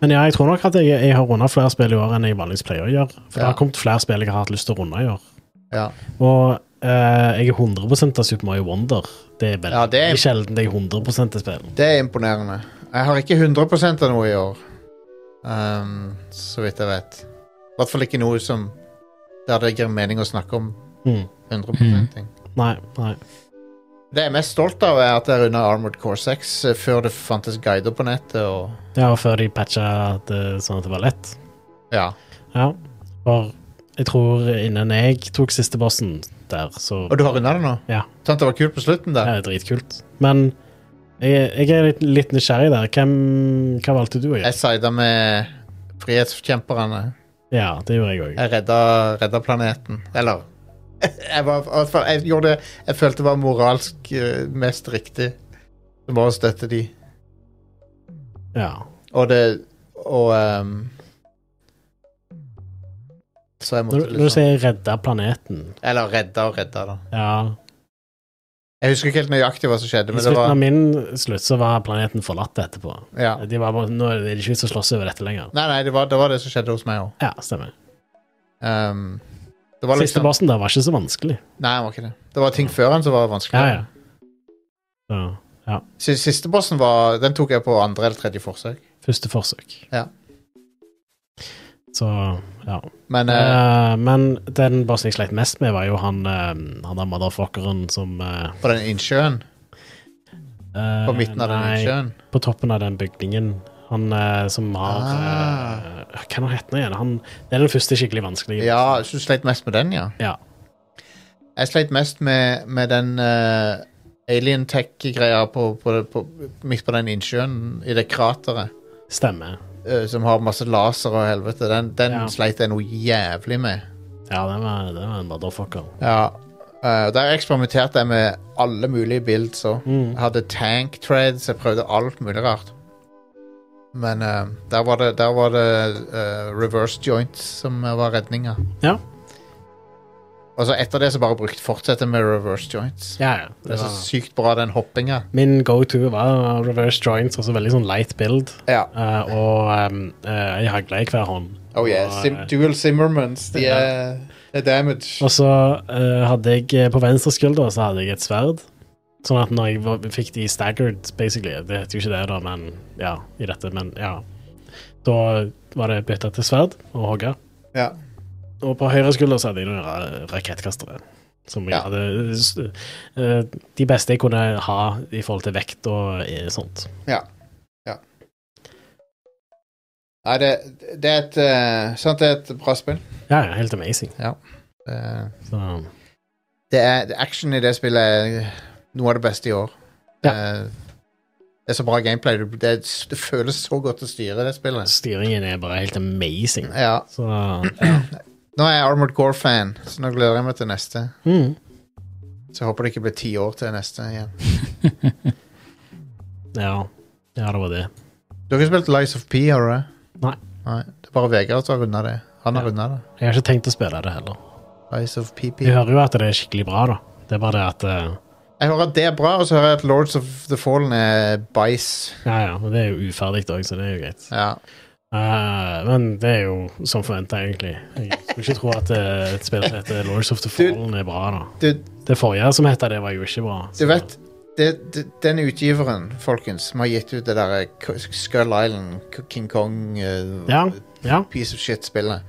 [SPEAKER 2] Men ja, jeg tror nok at jeg, jeg har runda flere spill i år enn jeg vanligvis pleier å gjøre. For det
[SPEAKER 1] Ja.
[SPEAKER 2] har kommet flere spill jeg har hatt lyst til å runde i år.
[SPEAKER 1] Ja.
[SPEAKER 2] Og eh, jeg er 100 av Super Mario Wonder. Det er veldig
[SPEAKER 1] Ja, det er-
[SPEAKER 2] sjelden jeg er 100 av spill.
[SPEAKER 1] Det er imponerende. Jeg har ikke 100 av noe i år. Ehm, så vidt jeg vet. I hvert fall ikke noe som der det gir mening å snakke om
[SPEAKER 2] Mm.
[SPEAKER 1] 100 ting.
[SPEAKER 2] Nei, nei.
[SPEAKER 1] Det jeg er mest stolt av, er at jeg runda Armored Core 6 eh, før det fantes guider på nettet. og
[SPEAKER 2] Ja, og før de patcha det sånn at det var lett.
[SPEAKER 1] ja.
[SPEAKER 2] Ja. For jeg tror innen jeg tok siste bossen der, så
[SPEAKER 1] Og du har runda det nå?
[SPEAKER 2] Ja.
[SPEAKER 1] Sant det var kult på slutten
[SPEAKER 2] Det
[SPEAKER 1] der?
[SPEAKER 2] er dritkult. Men jeg, jeg er litt, litt nysgjerrig der. Hvem, hva valgte du å gjøre?
[SPEAKER 1] Jeg sida med frihetskjemperne.
[SPEAKER 2] Ja, det gjorde jeg òg.
[SPEAKER 1] Jeg redda, redda planeten. Eller Jeg, var, i hvert fall- jeg gjorde det jeg følte det var moralsk eh, mest riktig. Du må støtte de.
[SPEAKER 2] Ja.
[SPEAKER 1] Og det Og ehm, Så jeg måtte liksom-
[SPEAKER 2] Når, når du sier 'redde planeten'
[SPEAKER 1] Eller redda og redda, da.
[SPEAKER 2] Ja,
[SPEAKER 1] Jeg husker ikke helt nøyaktig hva som skjedde,
[SPEAKER 2] I
[SPEAKER 1] men det
[SPEAKER 2] slutten av
[SPEAKER 1] var
[SPEAKER 2] min slutt så var planeten forlatt etterpå.
[SPEAKER 1] ja.
[SPEAKER 2] De var bare, nå er det ikke vits å slåss over dette lenger.
[SPEAKER 1] Nei, nei, det var det, var det som skjedde hos meg òg.
[SPEAKER 2] Ja, stemmer.
[SPEAKER 1] Um, det var
[SPEAKER 2] Siste
[SPEAKER 1] liksom
[SPEAKER 2] bossen der var ikke så vanskelig.
[SPEAKER 1] Nei, det var ikke det. Det var ting før han som var vanskelig.
[SPEAKER 2] Ja, ja. Så,
[SPEAKER 1] Si- Siste bossen var Den tok jeg på andre eller tredje forsøk.
[SPEAKER 2] første forsøk.
[SPEAKER 1] Ja.
[SPEAKER 2] Så, ja.
[SPEAKER 1] Men eh,
[SPEAKER 2] Eh, men den bossen jeg sleit mest med, var jo han, eh, han der motherfuckeren som eh,
[SPEAKER 1] på den innsjøen.
[SPEAKER 2] eh,
[SPEAKER 1] På midten av den
[SPEAKER 2] nei,
[SPEAKER 1] innsjøen.
[SPEAKER 2] På toppen av den bygningen. Han eh, som har
[SPEAKER 1] Ah.
[SPEAKER 2] eh, Hva er det han heter igjen? Han, det er den første skikkelig vanskelige.
[SPEAKER 1] Ja, så du sleit mest med den, ja.
[SPEAKER 2] Ja.
[SPEAKER 1] Jeg sleit mest med, med den eh, alien tech-greia på, på, på, midt på den innsjøen, i det krateret,
[SPEAKER 2] Stemmer.
[SPEAKER 1] eh, som har masse laser og helvete. Den, den
[SPEAKER 2] Ja.
[SPEAKER 1] sleit jeg noe jævlig med.
[SPEAKER 2] Ja, det var, det var en motherfucker.
[SPEAKER 1] Ja. eh, der eksperimenterte jeg med alle mulige bilder. Så.
[SPEAKER 2] Mm.
[SPEAKER 1] Jeg hadde tank treads, jeg prøvde alt mulig rart. Men eh, der var det, der var det eh, reverse joints som eh, var redninga.
[SPEAKER 2] Ja.
[SPEAKER 1] Og så etter det så bare brukte fortsette med reverse joints.
[SPEAKER 2] Ja, ja.
[SPEAKER 1] Det
[SPEAKER 2] Det
[SPEAKER 1] er så
[SPEAKER 2] var.
[SPEAKER 1] sykt bra, den hoppinga.
[SPEAKER 2] Min go-to var reverse joints, altså veldig sånn light build.
[SPEAKER 1] Ja.
[SPEAKER 2] eh, og um, eh, ei hagle i hver hånd.
[SPEAKER 1] Oh yeah.
[SPEAKER 2] Og,
[SPEAKER 1] Sim
[SPEAKER 2] eh,
[SPEAKER 1] dual Zimmermans, de er, det er damage.
[SPEAKER 2] Og så eh, hadde jeg eh, på venstre skulder så hadde jeg et sverd. Sånn at når jeg var, fikk de staggered, basically Det heter jo ikke det, da, men ja, i dette, men ja. Da var det bytta til sverd og hogge.
[SPEAKER 1] Ja.
[SPEAKER 2] Og på høyre skulder så hadde jeg noen ra- rakettkastere. Som jeg
[SPEAKER 1] Ja.
[SPEAKER 2] hadde s- eh, De beste jeg kunne ha i forhold til vekt og eh, sånt.
[SPEAKER 1] Nei, det, det er et eh, Sant, det er et bra spill.
[SPEAKER 2] Ja, ja, helt amazing.
[SPEAKER 1] Eh,
[SPEAKER 2] Så,
[SPEAKER 1] det er det- action i det spillet er noe av det beste i år.
[SPEAKER 2] Ja.
[SPEAKER 1] Eh, det er så bra gameplay. Det, det, det føles så godt å styre det spillet.
[SPEAKER 2] styringen er bare helt amazing.
[SPEAKER 1] Ja.
[SPEAKER 2] Så
[SPEAKER 1] Nå er jeg Armored Gore-fan, så nå gleder jeg meg til neste.
[SPEAKER 2] mm.
[SPEAKER 1] Så jeg håper det ikke blir ti år til neste igjen.
[SPEAKER 2] ja. ja, det var det.
[SPEAKER 1] Du har ikke spilt Lies of P, har du det?
[SPEAKER 2] Nei.
[SPEAKER 1] Nei. Det er bare Vegard som har runda det. Han har
[SPEAKER 2] Ja.
[SPEAKER 1] runda det.
[SPEAKER 2] Jeg har ikke tenkt å spille det heller.
[SPEAKER 1] Lies of PP.
[SPEAKER 2] Jeg hører jo at det er skikkelig bra, da. Det er bare det at eh,
[SPEAKER 1] Jeg hører at det er bra, og så hører jeg at Lords of the Fallen er bæsj.
[SPEAKER 2] Ja, ja, men det er jo uferdig òg, så det er jo greit.
[SPEAKER 1] Ja.
[SPEAKER 2] Eh, men det er jo som forventa, egentlig. Jeg skulle ikke tro at eh, et spill som heter Lords of the Fallen er bra, da.
[SPEAKER 1] Du,
[SPEAKER 2] Det forrige som heta det, var jo ikke bra.
[SPEAKER 1] du vet det, det, Den utgiveren, folkens, som har gitt ut det derre K- Skull Island, K- King Kong eh,
[SPEAKER 2] Ja. ja.
[SPEAKER 1] Piece of shit-spillet.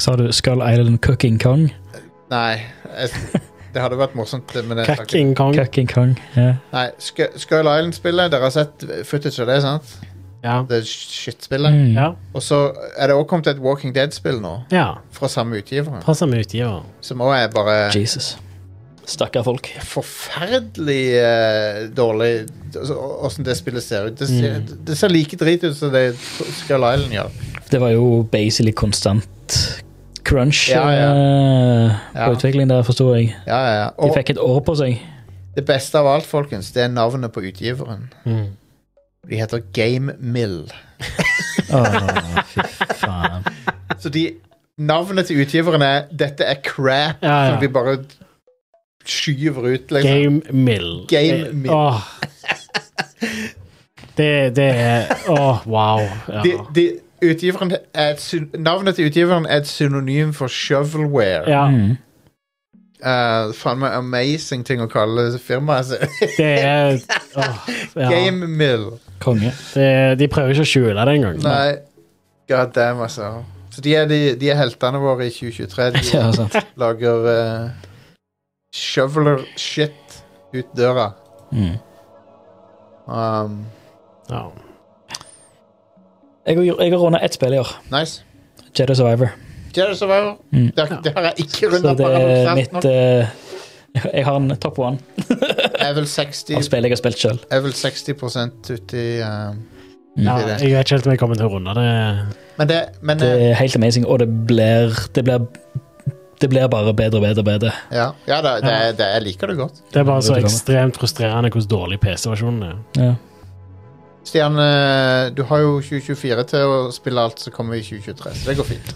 [SPEAKER 3] Sa du Skull Island Cooking Kong?
[SPEAKER 1] Nei, jeg, det hadde vært morsomt, eh, men det
[SPEAKER 2] Cuck in Kong.
[SPEAKER 3] Cooking Kong, ja.
[SPEAKER 1] Nei, Sk- Skull Island-spillet, dere har sett footage av det, sant?
[SPEAKER 2] Ja.
[SPEAKER 1] Det shit-spillet.
[SPEAKER 3] Mm.
[SPEAKER 2] ja.
[SPEAKER 1] Og så er det også kommet et Walking Dead-spill nå,
[SPEAKER 2] ja.
[SPEAKER 1] fra samme utgiveren,
[SPEAKER 2] Fra samme utgiver.
[SPEAKER 1] som også er bare
[SPEAKER 3] Jesus. Stakkar folk.
[SPEAKER 1] forferdelig eh, dårlig altså, å- Åssen det spillet ser ut. Det ser,
[SPEAKER 3] Mm.
[SPEAKER 1] det ser like drit ut som det Skull Island gjør.
[SPEAKER 3] Det var jo basically konstant crunch
[SPEAKER 1] Ja, ja.
[SPEAKER 3] eh,
[SPEAKER 1] Ja.
[SPEAKER 3] på utvikling der, forsto jeg.
[SPEAKER 1] Ja, ja, ja.
[SPEAKER 3] De
[SPEAKER 1] Og
[SPEAKER 3] fikk et år på seg.
[SPEAKER 1] det beste av alt, folkens, det er navnet på utgiveren.
[SPEAKER 2] Mm.
[SPEAKER 1] De heter Game Mill.
[SPEAKER 3] Åh, fy faen.
[SPEAKER 1] Så de Navnet til utgiveren er 'Dette er crap',
[SPEAKER 2] Ja, ja.
[SPEAKER 1] som de bare skyver ut, liksom.
[SPEAKER 2] Game Mill.
[SPEAKER 1] Game
[SPEAKER 2] Det-
[SPEAKER 1] Mill.
[SPEAKER 2] Åh. Det, det er Åh, wow. Ja.
[SPEAKER 1] De, de, utgiveren er et syn navnet til utgiveren er et synonym for shovelware.
[SPEAKER 2] ja.
[SPEAKER 3] Mm.
[SPEAKER 1] Eh, faen meg amazing ting å kalle firmaet sitt.
[SPEAKER 2] Det er åh, ja.
[SPEAKER 1] Game Mill.
[SPEAKER 3] Konge.
[SPEAKER 2] det, De prøver ikke å skjule det engang.
[SPEAKER 1] Nei. God damn, altså. Så de er, de, de er heltene våre i 2023. De
[SPEAKER 3] Ja, sant.
[SPEAKER 1] lager uh, shoveler shit ut døra.
[SPEAKER 3] Mm.
[SPEAKER 1] Um,
[SPEAKER 2] Ja.
[SPEAKER 3] Jeg, har- jeg har runda ett spill i år.
[SPEAKER 1] nice.
[SPEAKER 3] Jedi Survivor.
[SPEAKER 1] Jedi Survivor.
[SPEAKER 3] Mm.
[SPEAKER 1] Det, har- det har jeg ikke
[SPEAKER 3] Så
[SPEAKER 1] runda
[SPEAKER 3] det er
[SPEAKER 1] paradoksalt
[SPEAKER 3] mitt
[SPEAKER 1] nok.
[SPEAKER 3] eh, Jeg har en top one
[SPEAKER 1] Jeg er vel 60,
[SPEAKER 3] av spill jeg har spilt sjøl.
[SPEAKER 1] jeg er vel 60 uti um,
[SPEAKER 2] ja.
[SPEAKER 1] Det er det.
[SPEAKER 2] Jeg vet ikke helt om jeg kommer til å runde det.
[SPEAKER 1] Men det men,
[SPEAKER 3] Det
[SPEAKER 1] eh,
[SPEAKER 3] er helt amazing, og det blir, det blir det blir bare bedre og bedre og bedre.
[SPEAKER 1] Ja, ja det, det, er- det, jeg liker det godt.
[SPEAKER 2] Det er bare så
[SPEAKER 3] Det er
[SPEAKER 2] ekstremt frustrerende hvordan dårlig PC-versjonen er.
[SPEAKER 3] Ja.
[SPEAKER 1] Stian, eh, du har jo 2024 til å spille alt som kommer i 2023, så det går fint.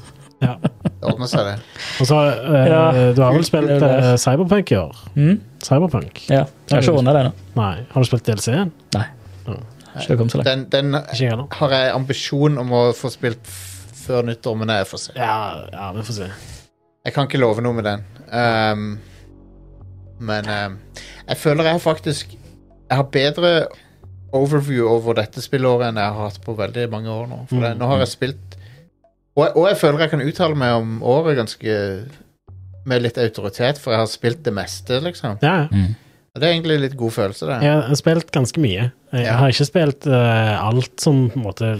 [SPEAKER 2] Ja.
[SPEAKER 1] Det ordner seg, det.
[SPEAKER 2] Og så, eh,
[SPEAKER 3] Ja,
[SPEAKER 2] Du har vel
[SPEAKER 3] kult,
[SPEAKER 2] spilt
[SPEAKER 3] det der.
[SPEAKER 2] eh, Cyberpunk i år?
[SPEAKER 3] Mm?
[SPEAKER 2] Cyberpunk?
[SPEAKER 3] ja. Jeg har ikke runda det ennå.
[SPEAKER 2] Nei. Har du spilt DLC-en?
[SPEAKER 3] Ikke kommet så langt.
[SPEAKER 1] Den, den
[SPEAKER 2] Ikke jeg heller.
[SPEAKER 1] har jeg ambisjon om å få spilt f- før nyttår, men jeg får se.
[SPEAKER 2] Ja, ja, vi får se.
[SPEAKER 1] Jeg kan ikke love noe med den. Ehm, men ehm, jeg føler jeg har faktisk Jeg har bedre overview over dette spillåret enn jeg har hatt på veldig mange år nå. For det, nå har jeg spilt og jeg, og jeg føler jeg kan uttale meg om året ganske med litt autoritet, for jeg har spilt det meste, liksom.
[SPEAKER 2] Ja, ja.
[SPEAKER 3] Mm.
[SPEAKER 1] Og det er egentlig litt god følelse, det.
[SPEAKER 2] Jeg har spilt ganske mye. Jeg
[SPEAKER 1] Ja.
[SPEAKER 2] har ikke spilt eh, alt som på en måte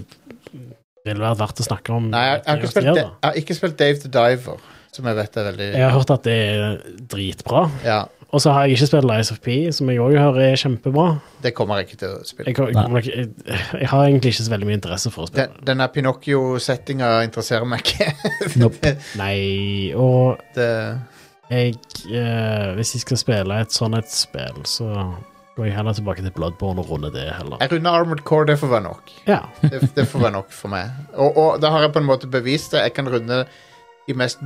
[SPEAKER 2] vil være verdt å snakke om.
[SPEAKER 1] Nei, jeg, jeg, har ikke spilt,
[SPEAKER 2] Ja,
[SPEAKER 1] Da-
[SPEAKER 2] da.
[SPEAKER 1] jeg har ikke spilt Dave the Diver, som jeg vet er veldig
[SPEAKER 2] Jeg har hørt at det er dritbra.
[SPEAKER 1] Ja,
[SPEAKER 2] Og så har jeg ikke spilt Lies of P, som jeg òg hører er kjempebra.
[SPEAKER 1] det kommer jeg ikke til å spille.
[SPEAKER 2] Jeg, jeg, kommer nok- jeg, jeg har egentlig ikke så veldig mye interesse for å spille.
[SPEAKER 1] Den, denne Pinocchio-settinga interesserer meg ikke.
[SPEAKER 3] Nope.
[SPEAKER 2] Nei, og
[SPEAKER 1] det,
[SPEAKER 2] jeg eh, Hvis jeg skal spille et sånn et spill, så går jeg heller tilbake til Bloodborne og runder det heller.
[SPEAKER 1] jeg runder Armored Core, det får være nok.
[SPEAKER 2] Ja.
[SPEAKER 1] Det, det får være nok for meg. Og, og da har jeg på en måte bevist det. Jeg kan runde de mest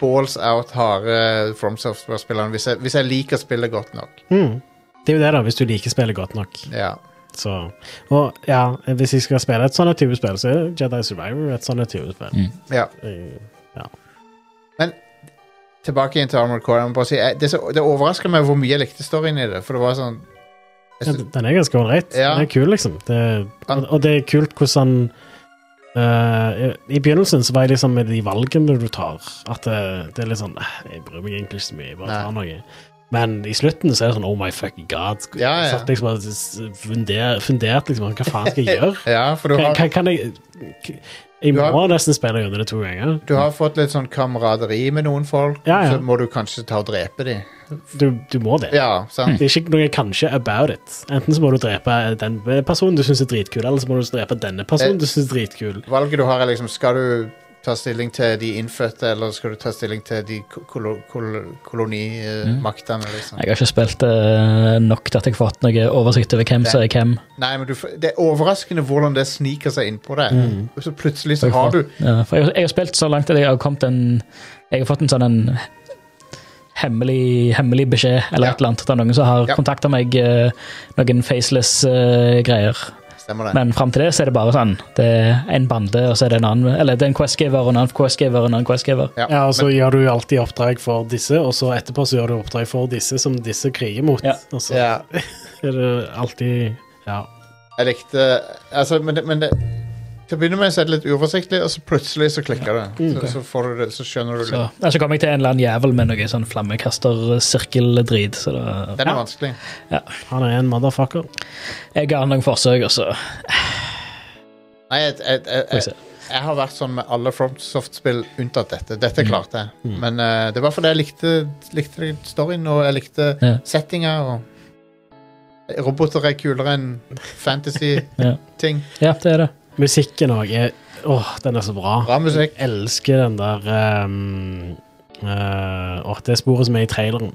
[SPEAKER 1] balls out harde eh, From Software-spillerne hvis, jeg- hvis jeg liker spillet godt nok.
[SPEAKER 2] Mm. Det er jo det, da, hvis du liker spillet godt nok.
[SPEAKER 1] Ja.
[SPEAKER 2] Så, og ja, hvis jeg skal spille et sånt type spill, så er Jedi Survivor et sånt type spill.
[SPEAKER 3] Mm.
[SPEAKER 1] ja.
[SPEAKER 2] Eh,
[SPEAKER 1] Tilbake inn til Armored Core. Jeg må bare si, jeg, det, er så, det overrasker meg hvor mye jeg likte storyen i det. For det var sånn jeg
[SPEAKER 2] ja,
[SPEAKER 1] synes-
[SPEAKER 2] Den er ganske ålreit.
[SPEAKER 1] Ja.
[SPEAKER 2] Den er kul, liksom. Det, og, og det er kult hvordan eh, i, I begynnelsen så var jeg liksom med de valgene du tar, at det, det er litt sånn eh, Jeg bryr meg egentlig ikke så mye, jeg bare tar noe. Men i slutten så er det sånn Oh my fucking god.
[SPEAKER 1] Ja, ja.
[SPEAKER 2] Jeg satt liksom og s- funder- funderte liksom Hva faen skal jeg gjøre?
[SPEAKER 1] Ja, for du
[SPEAKER 2] Kan,
[SPEAKER 1] har,
[SPEAKER 2] kan, kan jeg Jeg
[SPEAKER 1] Du har-
[SPEAKER 2] må nesten spille gjennom det to ganger.
[SPEAKER 1] du har fått litt sånn kameraderi med noen folk,
[SPEAKER 2] Ja, ja.
[SPEAKER 1] så må du kanskje ta og drepe dem.
[SPEAKER 2] Du, du må det.
[SPEAKER 1] Ja, sant?
[SPEAKER 2] Det er ikke noe kanskje about it. Enten så må du drepe den personen du syns er dritkul, eller så må du drepe denne
[SPEAKER 1] Eh.
[SPEAKER 2] personen du syns er dritkul.
[SPEAKER 1] Valget du har er liksom Skal du ta stilling til de innfødte, eller skal du ta stilling til de ko- kolo, kol- kolonimaktene, liksom?
[SPEAKER 3] Jeg har ikke spilt eh, nok til at jeg har fått noe oversikt over hvem som er hvem.
[SPEAKER 1] Nei, men du, f- det er overraskende hvordan det sniker seg innpå deg. Og så plutselig så har du
[SPEAKER 3] Ja, for jeg, jeg har spilt så langt at jeg har kommet en Jeg har fått en sånn en hemmelig, hemmelig beskjed eller
[SPEAKER 1] Ja.
[SPEAKER 3] et eller annet. Det er noen som har
[SPEAKER 1] Ja.
[SPEAKER 3] kontaktet kontakta meg, eh, noen faceless eh, greier.
[SPEAKER 1] Stemmer det?
[SPEAKER 3] Men fram til det så er det bare sånn. Det er en bande, og så er det en annen Eller det er en questgiver og en annen questgiver og en annen questgiver.
[SPEAKER 1] Ja,
[SPEAKER 2] Ja, altså. og så
[SPEAKER 1] men,
[SPEAKER 2] gjør du alltid oppdrag for disse, og så etterpå så gjør du oppdrag for disse som disse kriger mot.
[SPEAKER 3] Ja.
[SPEAKER 2] Og så
[SPEAKER 1] ja,
[SPEAKER 2] er det alltid Ja.
[SPEAKER 1] jeg likte altså, Men, det, men det, til å begynne med så er det litt uoversiktlig, og så plutselig så klikker det. Så, så, får du det. så skjønner du
[SPEAKER 3] Så,
[SPEAKER 1] det.
[SPEAKER 3] ja, så kom jeg til en eller annen jævel med noe sånn flammekastersirkeldrit. Så det,
[SPEAKER 1] Den er
[SPEAKER 2] Ja.
[SPEAKER 1] vanskelig.
[SPEAKER 2] Han er en motherfucker.
[SPEAKER 3] jeg ga han noen forsøk, og så
[SPEAKER 1] Nei, jeg, jeg, jeg,
[SPEAKER 3] får vi
[SPEAKER 1] jeg,
[SPEAKER 3] se.
[SPEAKER 1] Jeg har vært sånn med alle FromSoft-spill unntatt dette.
[SPEAKER 3] Mm.
[SPEAKER 1] Dette klarte jeg. Men eh, det var fordi jeg likte, likte storyen, og jeg likte
[SPEAKER 3] Ja.
[SPEAKER 1] settinga. Og roboter er kulere enn
[SPEAKER 3] Ja.
[SPEAKER 1] fantasy-ting.
[SPEAKER 3] Ja, det er det.
[SPEAKER 2] Musikken òg er Åh, den er så bra.
[SPEAKER 1] Bra musikk.
[SPEAKER 2] Jeg elsker den der ehm, eh, Åh, det sporet som er i traileren.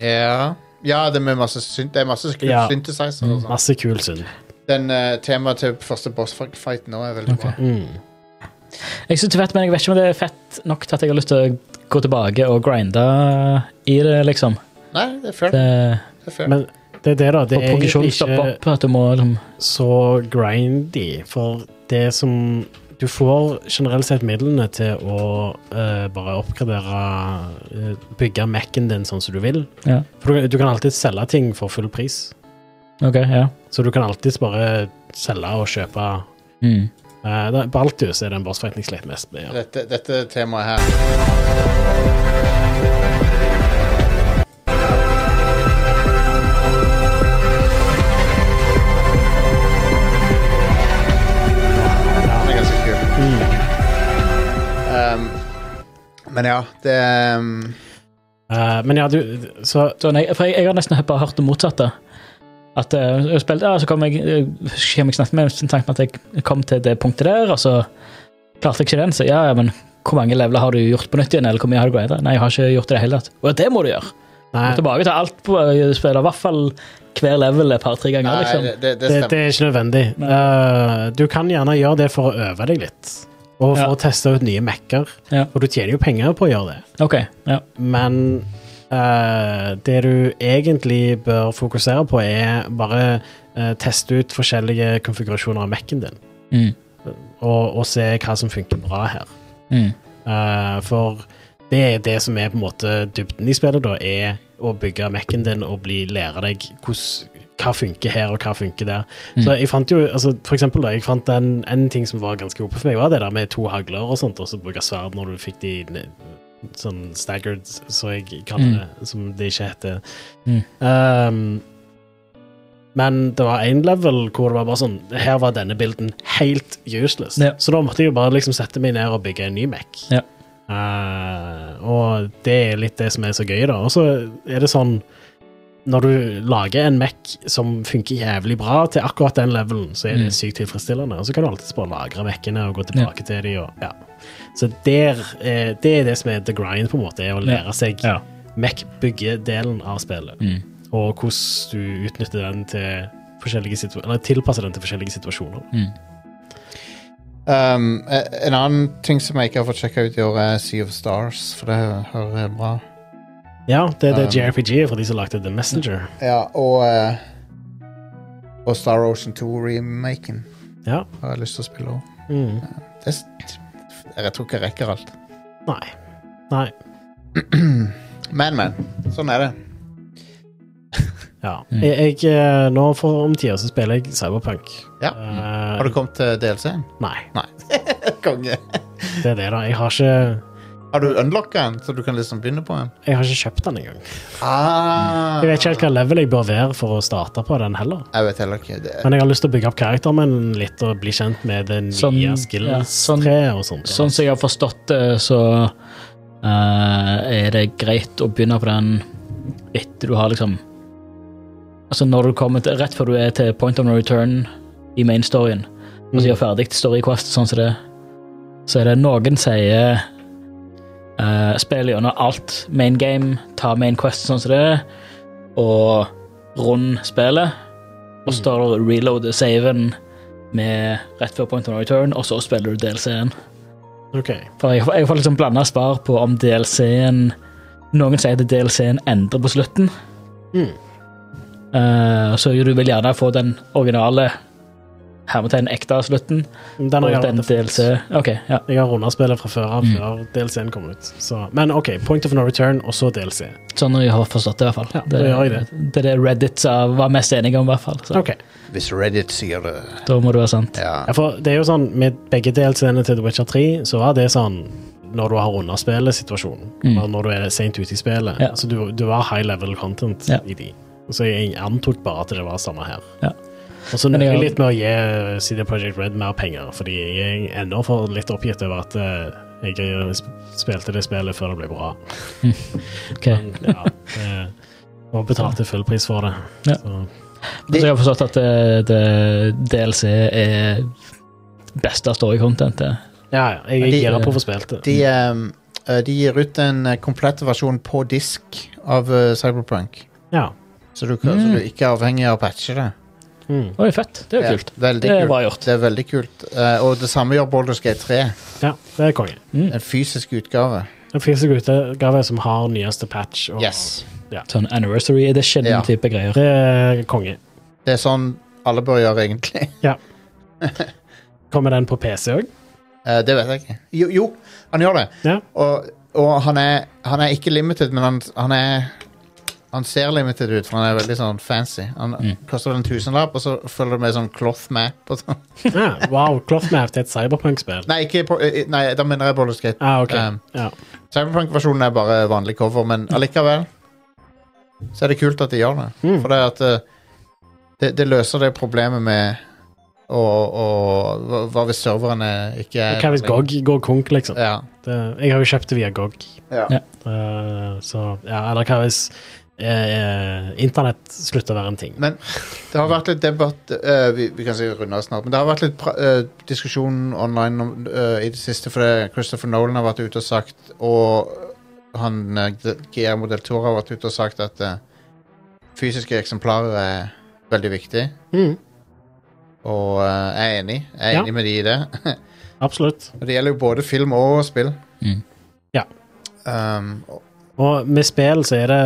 [SPEAKER 1] Ja. ja, det er med masse, syn det er masse syn
[SPEAKER 2] Ja.
[SPEAKER 1] synthesizer. Og
[SPEAKER 3] Mm.
[SPEAKER 1] sånn.
[SPEAKER 2] Masse kul synd.
[SPEAKER 1] Den eh, temaet til første boss-fight nå er veldig bra.
[SPEAKER 2] Mm.
[SPEAKER 3] Jeg synes det er fett, men jeg vet ikke om det er fett nok til at jeg har lyst til å gå tilbake og grinde i det, liksom.
[SPEAKER 1] Nei, det er fair.
[SPEAKER 3] Det,
[SPEAKER 1] Det er fair.
[SPEAKER 2] Men det er det, da. Det
[SPEAKER 3] og
[SPEAKER 2] er egentlig
[SPEAKER 3] progresjonen stopper
[SPEAKER 2] ikke
[SPEAKER 3] opp. At du må liksom
[SPEAKER 2] så grindy, for det som Du får generelt sett midlene til å eh, bare oppgradere eh, Bygge Mac-en din sånn som du vil.
[SPEAKER 3] Ja.
[SPEAKER 2] For du, du kan alltid selge ting for full pris.
[SPEAKER 3] OK, ja.
[SPEAKER 2] Så du kan alltid bare selge og kjøpe
[SPEAKER 3] Mm.
[SPEAKER 2] eh, det- Baltus er den bossfighten jeg slet mest med. Ja.
[SPEAKER 1] Dette, dette temaet her. Den er ganske kul. Um, men ja, det um,
[SPEAKER 2] Eh, men ja, du Så
[SPEAKER 3] Sånn, jeg, for jeg, jeg har nesten bare hørt det motsatte. At eh, jeg eh, har spilt, ja, så kom jeg, jeg husker ikke hvem jeg snakket med, men snakket med at jeg kom til det punktet der, og så klarte jeg ikke den, så ja, ja, men hvor mange leveler har du gjort på nytt igjen, eller hvor mye har du grindet? Nei, jeg har ikke gjort det i det hele tatt. Og det må du gjøre.
[SPEAKER 2] Nei,
[SPEAKER 3] Gå Tilbake til alt på eh, spillet, i hvert fall hver level et par-tre ganger, liksom.
[SPEAKER 1] det, det, det
[SPEAKER 2] det,
[SPEAKER 1] stemmer.
[SPEAKER 2] det er ikke nødvendig.
[SPEAKER 3] Nei.
[SPEAKER 2] Eh, du kan gjerne gjøre det for å øve deg litt, og for
[SPEAKER 3] Ja.
[SPEAKER 2] å teste ut nye Mac-er.
[SPEAKER 3] Ja.
[SPEAKER 2] For du tjener jo penger på å gjøre det.
[SPEAKER 3] Ok, ja.
[SPEAKER 2] Men eh, det du egentlig bør fokusere på, er bare eh, teste ut forskjellige konfigurasjoner av Mac-en din,
[SPEAKER 3] Mm.
[SPEAKER 2] og, og se hva som funker bra her.
[SPEAKER 3] Mm.
[SPEAKER 2] Eh, for det er det som er på en måte dybden i spillet, da, er å bygge Mac-en din og bli, lære deg hvordan- hva funker her og hva funker der.
[SPEAKER 3] Mm.
[SPEAKER 2] Så jeg fant jo, altså For eksempel, da, jeg fant en, en ting som var ganske oppe for meg, var det der med to hagler og sånt, og så bruke sverd når du fikk de ne- sånn staggered, så jeg kaller
[SPEAKER 3] Mm.
[SPEAKER 2] det, som det ikke heter.
[SPEAKER 3] Mm.
[SPEAKER 2] Um, men det var én level hvor det var bare sånn Her var denne bilden helt useless.
[SPEAKER 3] Ja.
[SPEAKER 2] Så da måtte jeg jo bare liksom sette meg ned og bygge en ny Mac.
[SPEAKER 3] Ja.
[SPEAKER 2] Eh, og det er litt det som er så gøy, da. Og så er det sånn Når du lager en Mac som funker jævlig bra til akkurat den levelen, så er det
[SPEAKER 3] Mm.
[SPEAKER 2] sykt tilfredsstillende. Og så kan du alltids bare lagre Mac-ene og gå tilbake til dem. Og, ja. Så der, eh, det er det som er the grind, på en måte. Er å
[SPEAKER 3] Ja.
[SPEAKER 2] lære seg
[SPEAKER 3] Ja.
[SPEAKER 2] Mac-byggedelen av spillet
[SPEAKER 3] Mm.
[SPEAKER 2] og hvordan du utnytter den til forskjellige situ- eller tilpasser den til forskjellige situasjoner.
[SPEAKER 3] Mm.
[SPEAKER 1] Um, eh, en annen ting som jeg ikke har fått sjekka ut i år, er Sea of Stars, for det hører jeg bra.
[SPEAKER 2] Ja, det er det
[SPEAKER 1] Um,
[SPEAKER 2] JRPG er for de som lagde The Messenger.
[SPEAKER 1] Ja, og eh, Og Star Ocean 2-remaken
[SPEAKER 2] Ja.
[SPEAKER 1] har jeg lyst til å spille òg.
[SPEAKER 2] Mm.
[SPEAKER 1] Jeg tror ikke jeg rekker alt.
[SPEAKER 2] Nei. Nei.
[SPEAKER 1] Men, men. Sånn er det.
[SPEAKER 2] Ja.
[SPEAKER 3] Mm.
[SPEAKER 2] Jeg, jeg, eh, nå for om tida så spiller jeg Cyberpunk.
[SPEAKER 1] Ja.
[SPEAKER 3] Mm.
[SPEAKER 2] Eh,
[SPEAKER 1] Har du kommet til DLC-en?
[SPEAKER 2] Nei,
[SPEAKER 1] Konge.
[SPEAKER 2] det er det, da. Jeg har ikke,
[SPEAKER 1] Har du unlocka den, så du kan liksom begynne på den?
[SPEAKER 2] jeg har ikke kjøpt den engang.
[SPEAKER 1] Ah.
[SPEAKER 2] Jeg vet ikke helt hva level jeg bør være for å starte på den heller.
[SPEAKER 1] Jeg vet heller ikke. Det.
[SPEAKER 2] Men jeg har lyst til å bygge opp karakteren min litt og bli kjent med det nye
[SPEAKER 3] Sånn- ja, sånn-
[SPEAKER 2] skills-treet og sånt.
[SPEAKER 3] Sånn som jeg har forstått det, så eh, er det greit å begynne på den etter du har liksom Altså når du kommer til, rett før du er til point of no return i main storyen, og så gjør ferdig story quest sånn som det, så er det noen sier uh, spill gjennom alt main game, ta main quest sånn som det, og rund spillet, og så tar du reload saven med rett før point of no return, og så spiller du DLC-en.
[SPEAKER 2] Ok.
[SPEAKER 3] For jeg, jeg får liksom blanda svar på om DLC-en Noen sier at DLC-en endrer på slutten.
[SPEAKER 2] Mm.
[SPEAKER 3] eh, så du vil gjerne få den originale hermetegn ekte slutten.
[SPEAKER 2] Den har
[SPEAKER 3] Og
[SPEAKER 2] jeg
[SPEAKER 3] den
[SPEAKER 2] allerede fått.
[SPEAKER 3] DLC Ok, ja.
[SPEAKER 2] Jeg har runda spillet fra før av,
[SPEAKER 3] Mm.
[SPEAKER 2] før DLC-en kom ut. Så. Men OK, Point of no return, og så DLC.
[SPEAKER 3] Sånn jeg har forstått det, i hvert fall.
[SPEAKER 2] Ja, da gjør jeg det.
[SPEAKER 3] det er det Reddit sa- var mest enige om, i hvert fall. Så
[SPEAKER 2] Ok,
[SPEAKER 1] Hvis Reddit sier det
[SPEAKER 3] da må det være sant.
[SPEAKER 1] Ja.
[SPEAKER 2] ja, for det er jo sånn, Med begge DLC-ene til The Witcher 3 så var det sånn når du har runda spillet-situasjonen.
[SPEAKER 3] Mm.
[SPEAKER 2] Bare Når du er seint ute i spillet.
[SPEAKER 3] Ja.
[SPEAKER 2] Så du, du har high level content
[SPEAKER 3] Ja.
[SPEAKER 2] i de. Så jeg antok bare at det var samme her.
[SPEAKER 3] Ja.
[SPEAKER 2] Og så nøyer
[SPEAKER 3] Men jeg
[SPEAKER 2] jeg
[SPEAKER 3] har-
[SPEAKER 2] litt med å gi CD Projekt Red mer penger, fordi jeg er ennå for litt oppgitt over at eh, jeg sp- spilte det spillet før det ble bra.
[SPEAKER 3] Ok.
[SPEAKER 2] Men, ja, det- og betalte fullpris for det.
[SPEAKER 3] Ja.
[SPEAKER 2] Så,
[SPEAKER 3] Så jeg har forstått at det, det DLC er beste eh. story-contentet.
[SPEAKER 2] ja, ja. Jeg er
[SPEAKER 1] De-
[SPEAKER 2] gira på å få spilt det.
[SPEAKER 1] De, ehm, eh, de gir ut en eh, komplett versjon på disk av eh, Cyberpunk.
[SPEAKER 2] Ja.
[SPEAKER 1] Så du, kan, så du ikke er avhengig av å patche det.
[SPEAKER 2] Mm.
[SPEAKER 3] Oi, fett. Mm. Det er jo
[SPEAKER 1] Ja,
[SPEAKER 3] kult.
[SPEAKER 1] veldig
[SPEAKER 3] Det er
[SPEAKER 1] kult.
[SPEAKER 3] bra gjort.
[SPEAKER 1] Det er veldig kult. Eh, og det samme gjør Baldur's Gate 3.
[SPEAKER 2] ja, det er konge.
[SPEAKER 1] En fysisk utgave.
[SPEAKER 2] En fysisk utgave som har nyeste patch. Og
[SPEAKER 1] Yes.
[SPEAKER 3] Sånn anniversary
[SPEAKER 1] Ja.
[SPEAKER 3] edition-type greier.
[SPEAKER 2] Det er konge.
[SPEAKER 1] Det er sånn alle bør gjøre, egentlig.
[SPEAKER 2] Kommer den på PC òg?
[SPEAKER 1] Eh, det vet jeg ikke. Jo, jo han gjør det.
[SPEAKER 2] Ja.
[SPEAKER 1] Og, og han, er, han er ikke limited, men han, han er Han ser limited ut, for han er veldig sånn fancy. Han koster en tusenlapp, og så følger det med sånn cloth map og sånn.
[SPEAKER 2] Ja, wow, Clothmap det er et cyberpunk-spill.
[SPEAKER 1] Nei, ikke på, eh, nei, da mener jeg Baldur's Gate.
[SPEAKER 2] Ah, ok.
[SPEAKER 1] Um,
[SPEAKER 2] ja.
[SPEAKER 1] Cyberpunk-versjonen er bare vanlig cover, men allikevel så er det kult at de gjør det.
[SPEAKER 2] Mm.
[SPEAKER 1] For det er at eh, det, det løser det problemet med å, å, hva- Hva hvis serverne ikke er
[SPEAKER 2] Hva hvis GOG går konk, liksom?
[SPEAKER 1] Ja.
[SPEAKER 2] Det, jeg har jo kjøpt det via GOG.
[SPEAKER 1] Ja.
[SPEAKER 3] Ja.
[SPEAKER 2] Eh, så ja, eller hva hvis eh, internett slutter å være en ting.
[SPEAKER 1] Men det har vært litt debatt eh, vi, vi kan si vi runder snart, men det har vært litt pra eh, diskusjon online om, eh, i det siste, for det, Christopher Nolan har vært ute og sagt, og han uh, Guillermo del Toro har vært ute og sagt at eh, fysiske eksemplarer er veldig viktig,
[SPEAKER 2] Mm,
[SPEAKER 1] og eh, jeg er enig. Jeg er
[SPEAKER 2] Ja.
[SPEAKER 1] enig med de i det.
[SPEAKER 2] absolutt.
[SPEAKER 1] og det gjelder jo både film og spill.
[SPEAKER 3] Mm.
[SPEAKER 2] Ja.
[SPEAKER 1] Um, og,
[SPEAKER 2] Og med spill så er det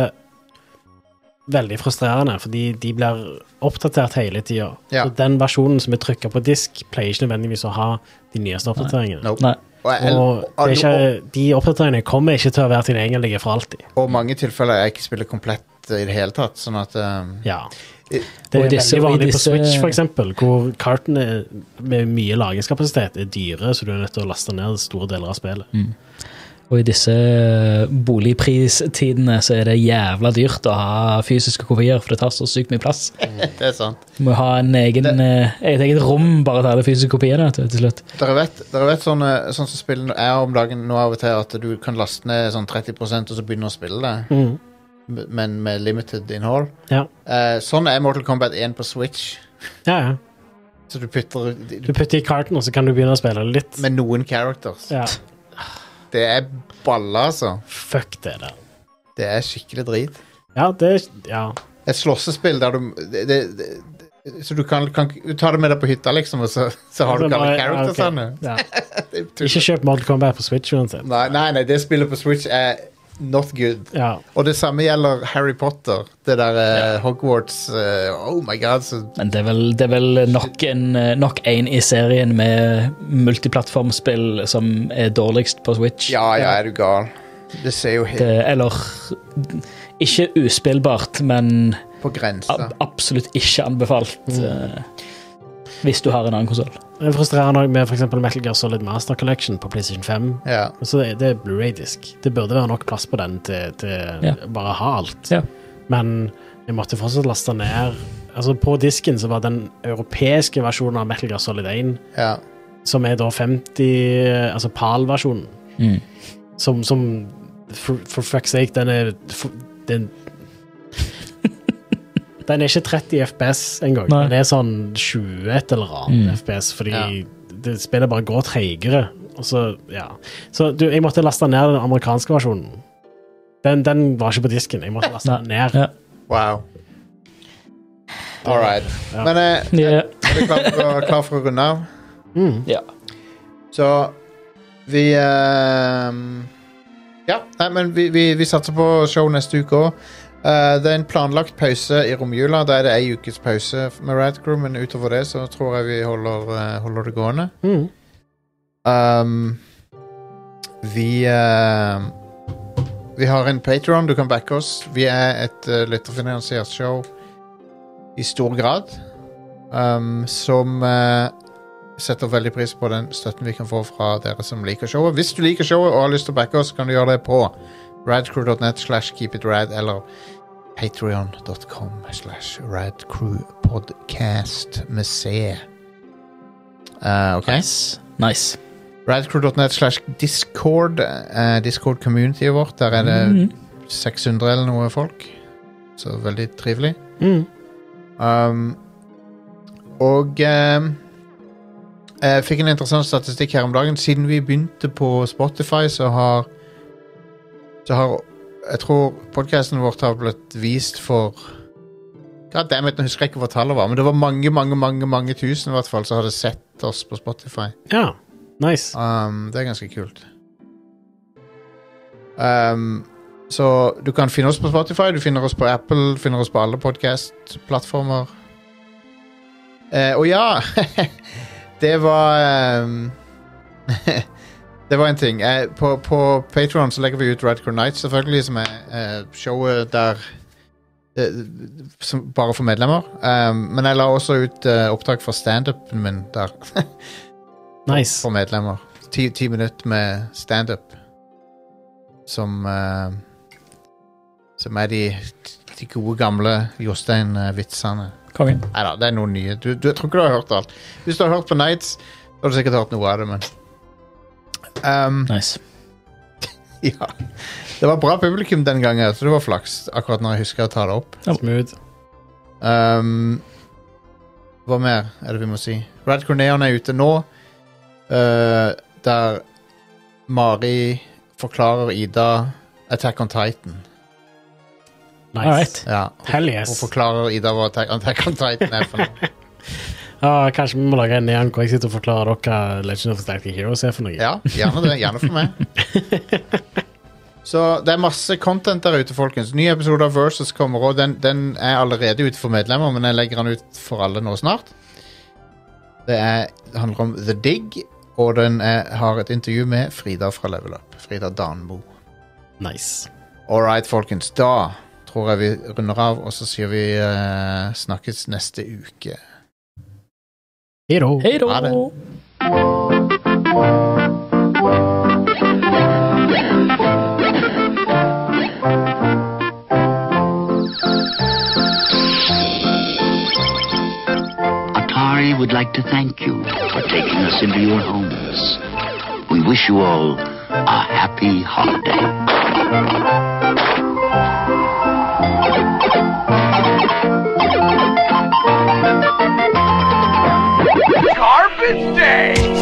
[SPEAKER 2] veldig frustrerende, fordi de blir oppdatert hele tida.
[SPEAKER 1] Ja.
[SPEAKER 2] Så den versjonen som er trykka på disk, pleier ikke nødvendigvis å ha de nyeste oppdateringene.
[SPEAKER 1] Nope.
[SPEAKER 3] Nei.
[SPEAKER 1] og, jeg,
[SPEAKER 2] Og det er ikke,
[SPEAKER 1] og,
[SPEAKER 2] de oppdateringene kommer ikke til å være tilgjengelige for alltid.
[SPEAKER 1] og mange tilfeller er ikke spillet komplett i det hele tatt, sånn at um,
[SPEAKER 2] Ja.
[SPEAKER 1] I-
[SPEAKER 2] Det
[SPEAKER 3] Og
[SPEAKER 2] er
[SPEAKER 3] i
[SPEAKER 2] veldig
[SPEAKER 3] disse- og i
[SPEAKER 2] vanlig på
[SPEAKER 3] disse-
[SPEAKER 2] Switch, for eksempel, hvor kartene med mye lagringskapasitet er dyre, så du er nødt til å laste ned store deler av spillet.
[SPEAKER 3] Og i disse eh, boligpristidene så er det jævla dyrt å ha fysiske kopier, for det tar så sykt mye plass.
[SPEAKER 1] Det er sant.
[SPEAKER 3] Du må ha en egen, eh, et eget rom bare til alle fysiske kopiene vet du, til slutt.
[SPEAKER 1] Dere vet, dere vet sånne, sånn som spillet er om dagen nå av og til, at du kan laste ned sånn 30 og så begynne å spille det,
[SPEAKER 2] Mm.
[SPEAKER 1] men med limited innhold.
[SPEAKER 2] Ja.
[SPEAKER 1] Eh, sånn er Mortal Kombat 1 på Switch.
[SPEAKER 2] Ja, ja.
[SPEAKER 1] Så du putter du,
[SPEAKER 2] Du putter i karten, og så kan du begynne å spille litt.
[SPEAKER 1] med noen characters.
[SPEAKER 2] Ja.
[SPEAKER 1] Det er balla, altså.
[SPEAKER 2] Fuck det der.
[SPEAKER 1] Det er skikkelig drit.
[SPEAKER 2] Ja, det Ja.
[SPEAKER 1] Et slåssespill der du det, det, det, Så du kan, kan du tar det med deg på hytta, liksom, og så, så har du
[SPEAKER 2] Det
[SPEAKER 1] ikke
[SPEAKER 2] er
[SPEAKER 1] alle
[SPEAKER 2] bare-
[SPEAKER 1] charactersene.
[SPEAKER 2] Altså, ja, ok. Ja.
[SPEAKER 1] Det er
[SPEAKER 2] Ikke
[SPEAKER 1] tull.
[SPEAKER 2] kjøp Model Combat på Switch uansett.
[SPEAKER 1] Nei, nei, nei, det spillet på Switch er not good.
[SPEAKER 2] Ja.
[SPEAKER 1] Og det samme gjelder Harry Potter. Det der eh, Hogwarts eh, Oh my god, så
[SPEAKER 3] Men det er vel, det er vel nok, en, eh, nok en i serien med multiplattformspill som er dårligst på Switch.
[SPEAKER 1] Ja, ja, er du gal. Det ser jo helt
[SPEAKER 3] Det, eller ikke uspillbart, men
[SPEAKER 1] på grensa.
[SPEAKER 3] ab absolutt ikke anbefalt
[SPEAKER 1] Mm.
[SPEAKER 3] eh, hvis du har en annen konsoll.
[SPEAKER 2] Det er frustrerende òg med f.eks. Metal Gear Solid Master Collection på PlayStation 5.
[SPEAKER 1] Ja.
[SPEAKER 2] Og så er det Blu-ray-disk. Det burde være nok plass på den til, til
[SPEAKER 3] Ja.
[SPEAKER 2] bare å ha alt.
[SPEAKER 3] Ja.
[SPEAKER 2] Men jeg måtte fortsatt laste ned Altså På disken så var den europeiske versjonen av Metal Gear Solid 1,
[SPEAKER 1] ja.
[SPEAKER 2] som er da 50 Altså PAL-versjonen,
[SPEAKER 3] Mm.
[SPEAKER 2] som, som for, for fuck's sake, den er for, den, den er ikke 30 FPS engang.
[SPEAKER 3] Nei.
[SPEAKER 2] Den er sånn 20 et eller annet
[SPEAKER 3] Mm.
[SPEAKER 2] FPS, fordi
[SPEAKER 1] Ja.
[SPEAKER 2] det spillet bare går treigere. Og så, ja. så du, jeg måtte laste ned den amerikanske versjonen. Den, den var ikke på disken. Jeg måtte laste
[SPEAKER 3] Nei.
[SPEAKER 2] den ned.
[SPEAKER 3] Ja.
[SPEAKER 1] Wow. All right.
[SPEAKER 2] Ja.
[SPEAKER 1] Men eh,
[SPEAKER 3] Ja.
[SPEAKER 1] er du klar for, klar for å runde av?
[SPEAKER 2] Mm.
[SPEAKER 3] Ja.
[SPEAKER 1] Så vi eh, Ja, nei, men vi, vi, vi satser på show neste uke òg. det er en planlagt pause i romjula. Da er det ei ukes pause med Radcrew, men utover det så tror jeg vi holder, eh, holder det gående.
[SPEAKER 2] Mm.
[SPEAKER 1] Um, vi eh, Vi har en Patreon du kan backe oss. Vi er et uh, lytterfinansiert show i stor grad. Um, som eh, setter veldig pris på den støtten vi kan få fra dere som liker showet. Hvis du liker showet og har lyst til å backe oss, kan du gjøre det på radcrew.net slash keepitrad eller patreon.com slash radcrewpodcast med C. Eh, ok?
[SPEAKER 3] Nice. nice.
[SPEAKER 1] Radcrew.net slash discord. eh, Discord-communityet vårt. Der er det
[SPEAKER 3] Mhm.
[SPEAKER 1] 600 eller noe folk. Så veldig trivelig.
[SPEAKER 2] Mm.
[SPEAKER 1] Um, og ehm, jeg fikk en interessant statistikk her om dagen. Siden vi begynte på Spotify, så har Så har Jeg tror podkasten vårt har blitt vist for God damn it, nå husker jeg ikke hva tallet var, men det var mange mange, mange, mange tusen i hvert fall som hadde sett oss på Spotify.
[SPEAKER 2] ja. Nice.
[SPEAKER 1] Um, det er ganske kult. Um, så du kan finne oss på Spotify, du finner oss på Apple, du finner oss på alle podkast-plattformer. Eh, og ja Det var um, Det var en ting. Eh, på på Patron legger vi ut Radcore Nights, selvfølgelig, som er eh, showet der eh, som, Bare for medlemmer. Um, men jeg la også ut eh, opptak fra standupen min der
[SPEAKER 2] Nice.
[SPEAKER 1] for medlemmer. Ti, ti minutter med standup. Som eh, Som er de, de gode, gamle Jostein-vitsene.
[SPEAKER 3] Konge.
[SPEAKER 1] Nei da, det er noen nye. Du, du, jeg tror ikke du har hørt alt. Hvis du har hørt på Nights, så har du sikkert hørt noe av det, men um,
[SPEAKER 3] Nice.
[SPEAKER 1] ja. Det var bra publikum den gangen, så det var flaks akkurat når jeg husker å ta det opp.
[SPEAKER 2] Smooth.
[SPEAKER 1] Um, hva mer er det vi må si? Rad Corneon er ute nå, eh, der Mari forklarer Ida Attack on Titan.
[SPEAKER 2] Nice.
[SPEAKER 3] Alright.
[SPEAKER 1] Ja, hun,
[SPEAKER 2] Hell
[SPEAKER 1] hun
[SPEAKER 2] yes.
[SPEAKER 1] forklarer Ida hva Attack, Attack on Titan er for noe.
[SPEAKER 2] Ja, kanskje vi må lage en neon hvor jeg sitter og forklarer dere hva Legend of the Galactic Heroes er for noe.
[SPEAKER 1] Ja, gjerne det. Gjerne for meg. Så det er masse content der ute, folkens. Ny episode av Versus kommer, og den, den er allerede ute for medlemmer, men jeg legger den ut for alle nå snart. Det er, det handler om The Dig, og den er, har et intervju med Frida fra Level Up. Frida Danmo.
[SPEAKER 2] Nice.
[SPEAKER 1] All right, folkens. Da tror jeg vi runder av, og så sier vi eh, snakkes neste uke.
[SPEAKER 2] Hero.
[SPEAKER 3] Hei
[SPEAKER 1] Ha
[SPEAKER 3] da!
[SPEAKER 1] det.
[SPEAKER 5] Atari would like to thank you for taking us into your homes. We wish you all a happy holiday.
[SPEAKER 6] Carpet Day!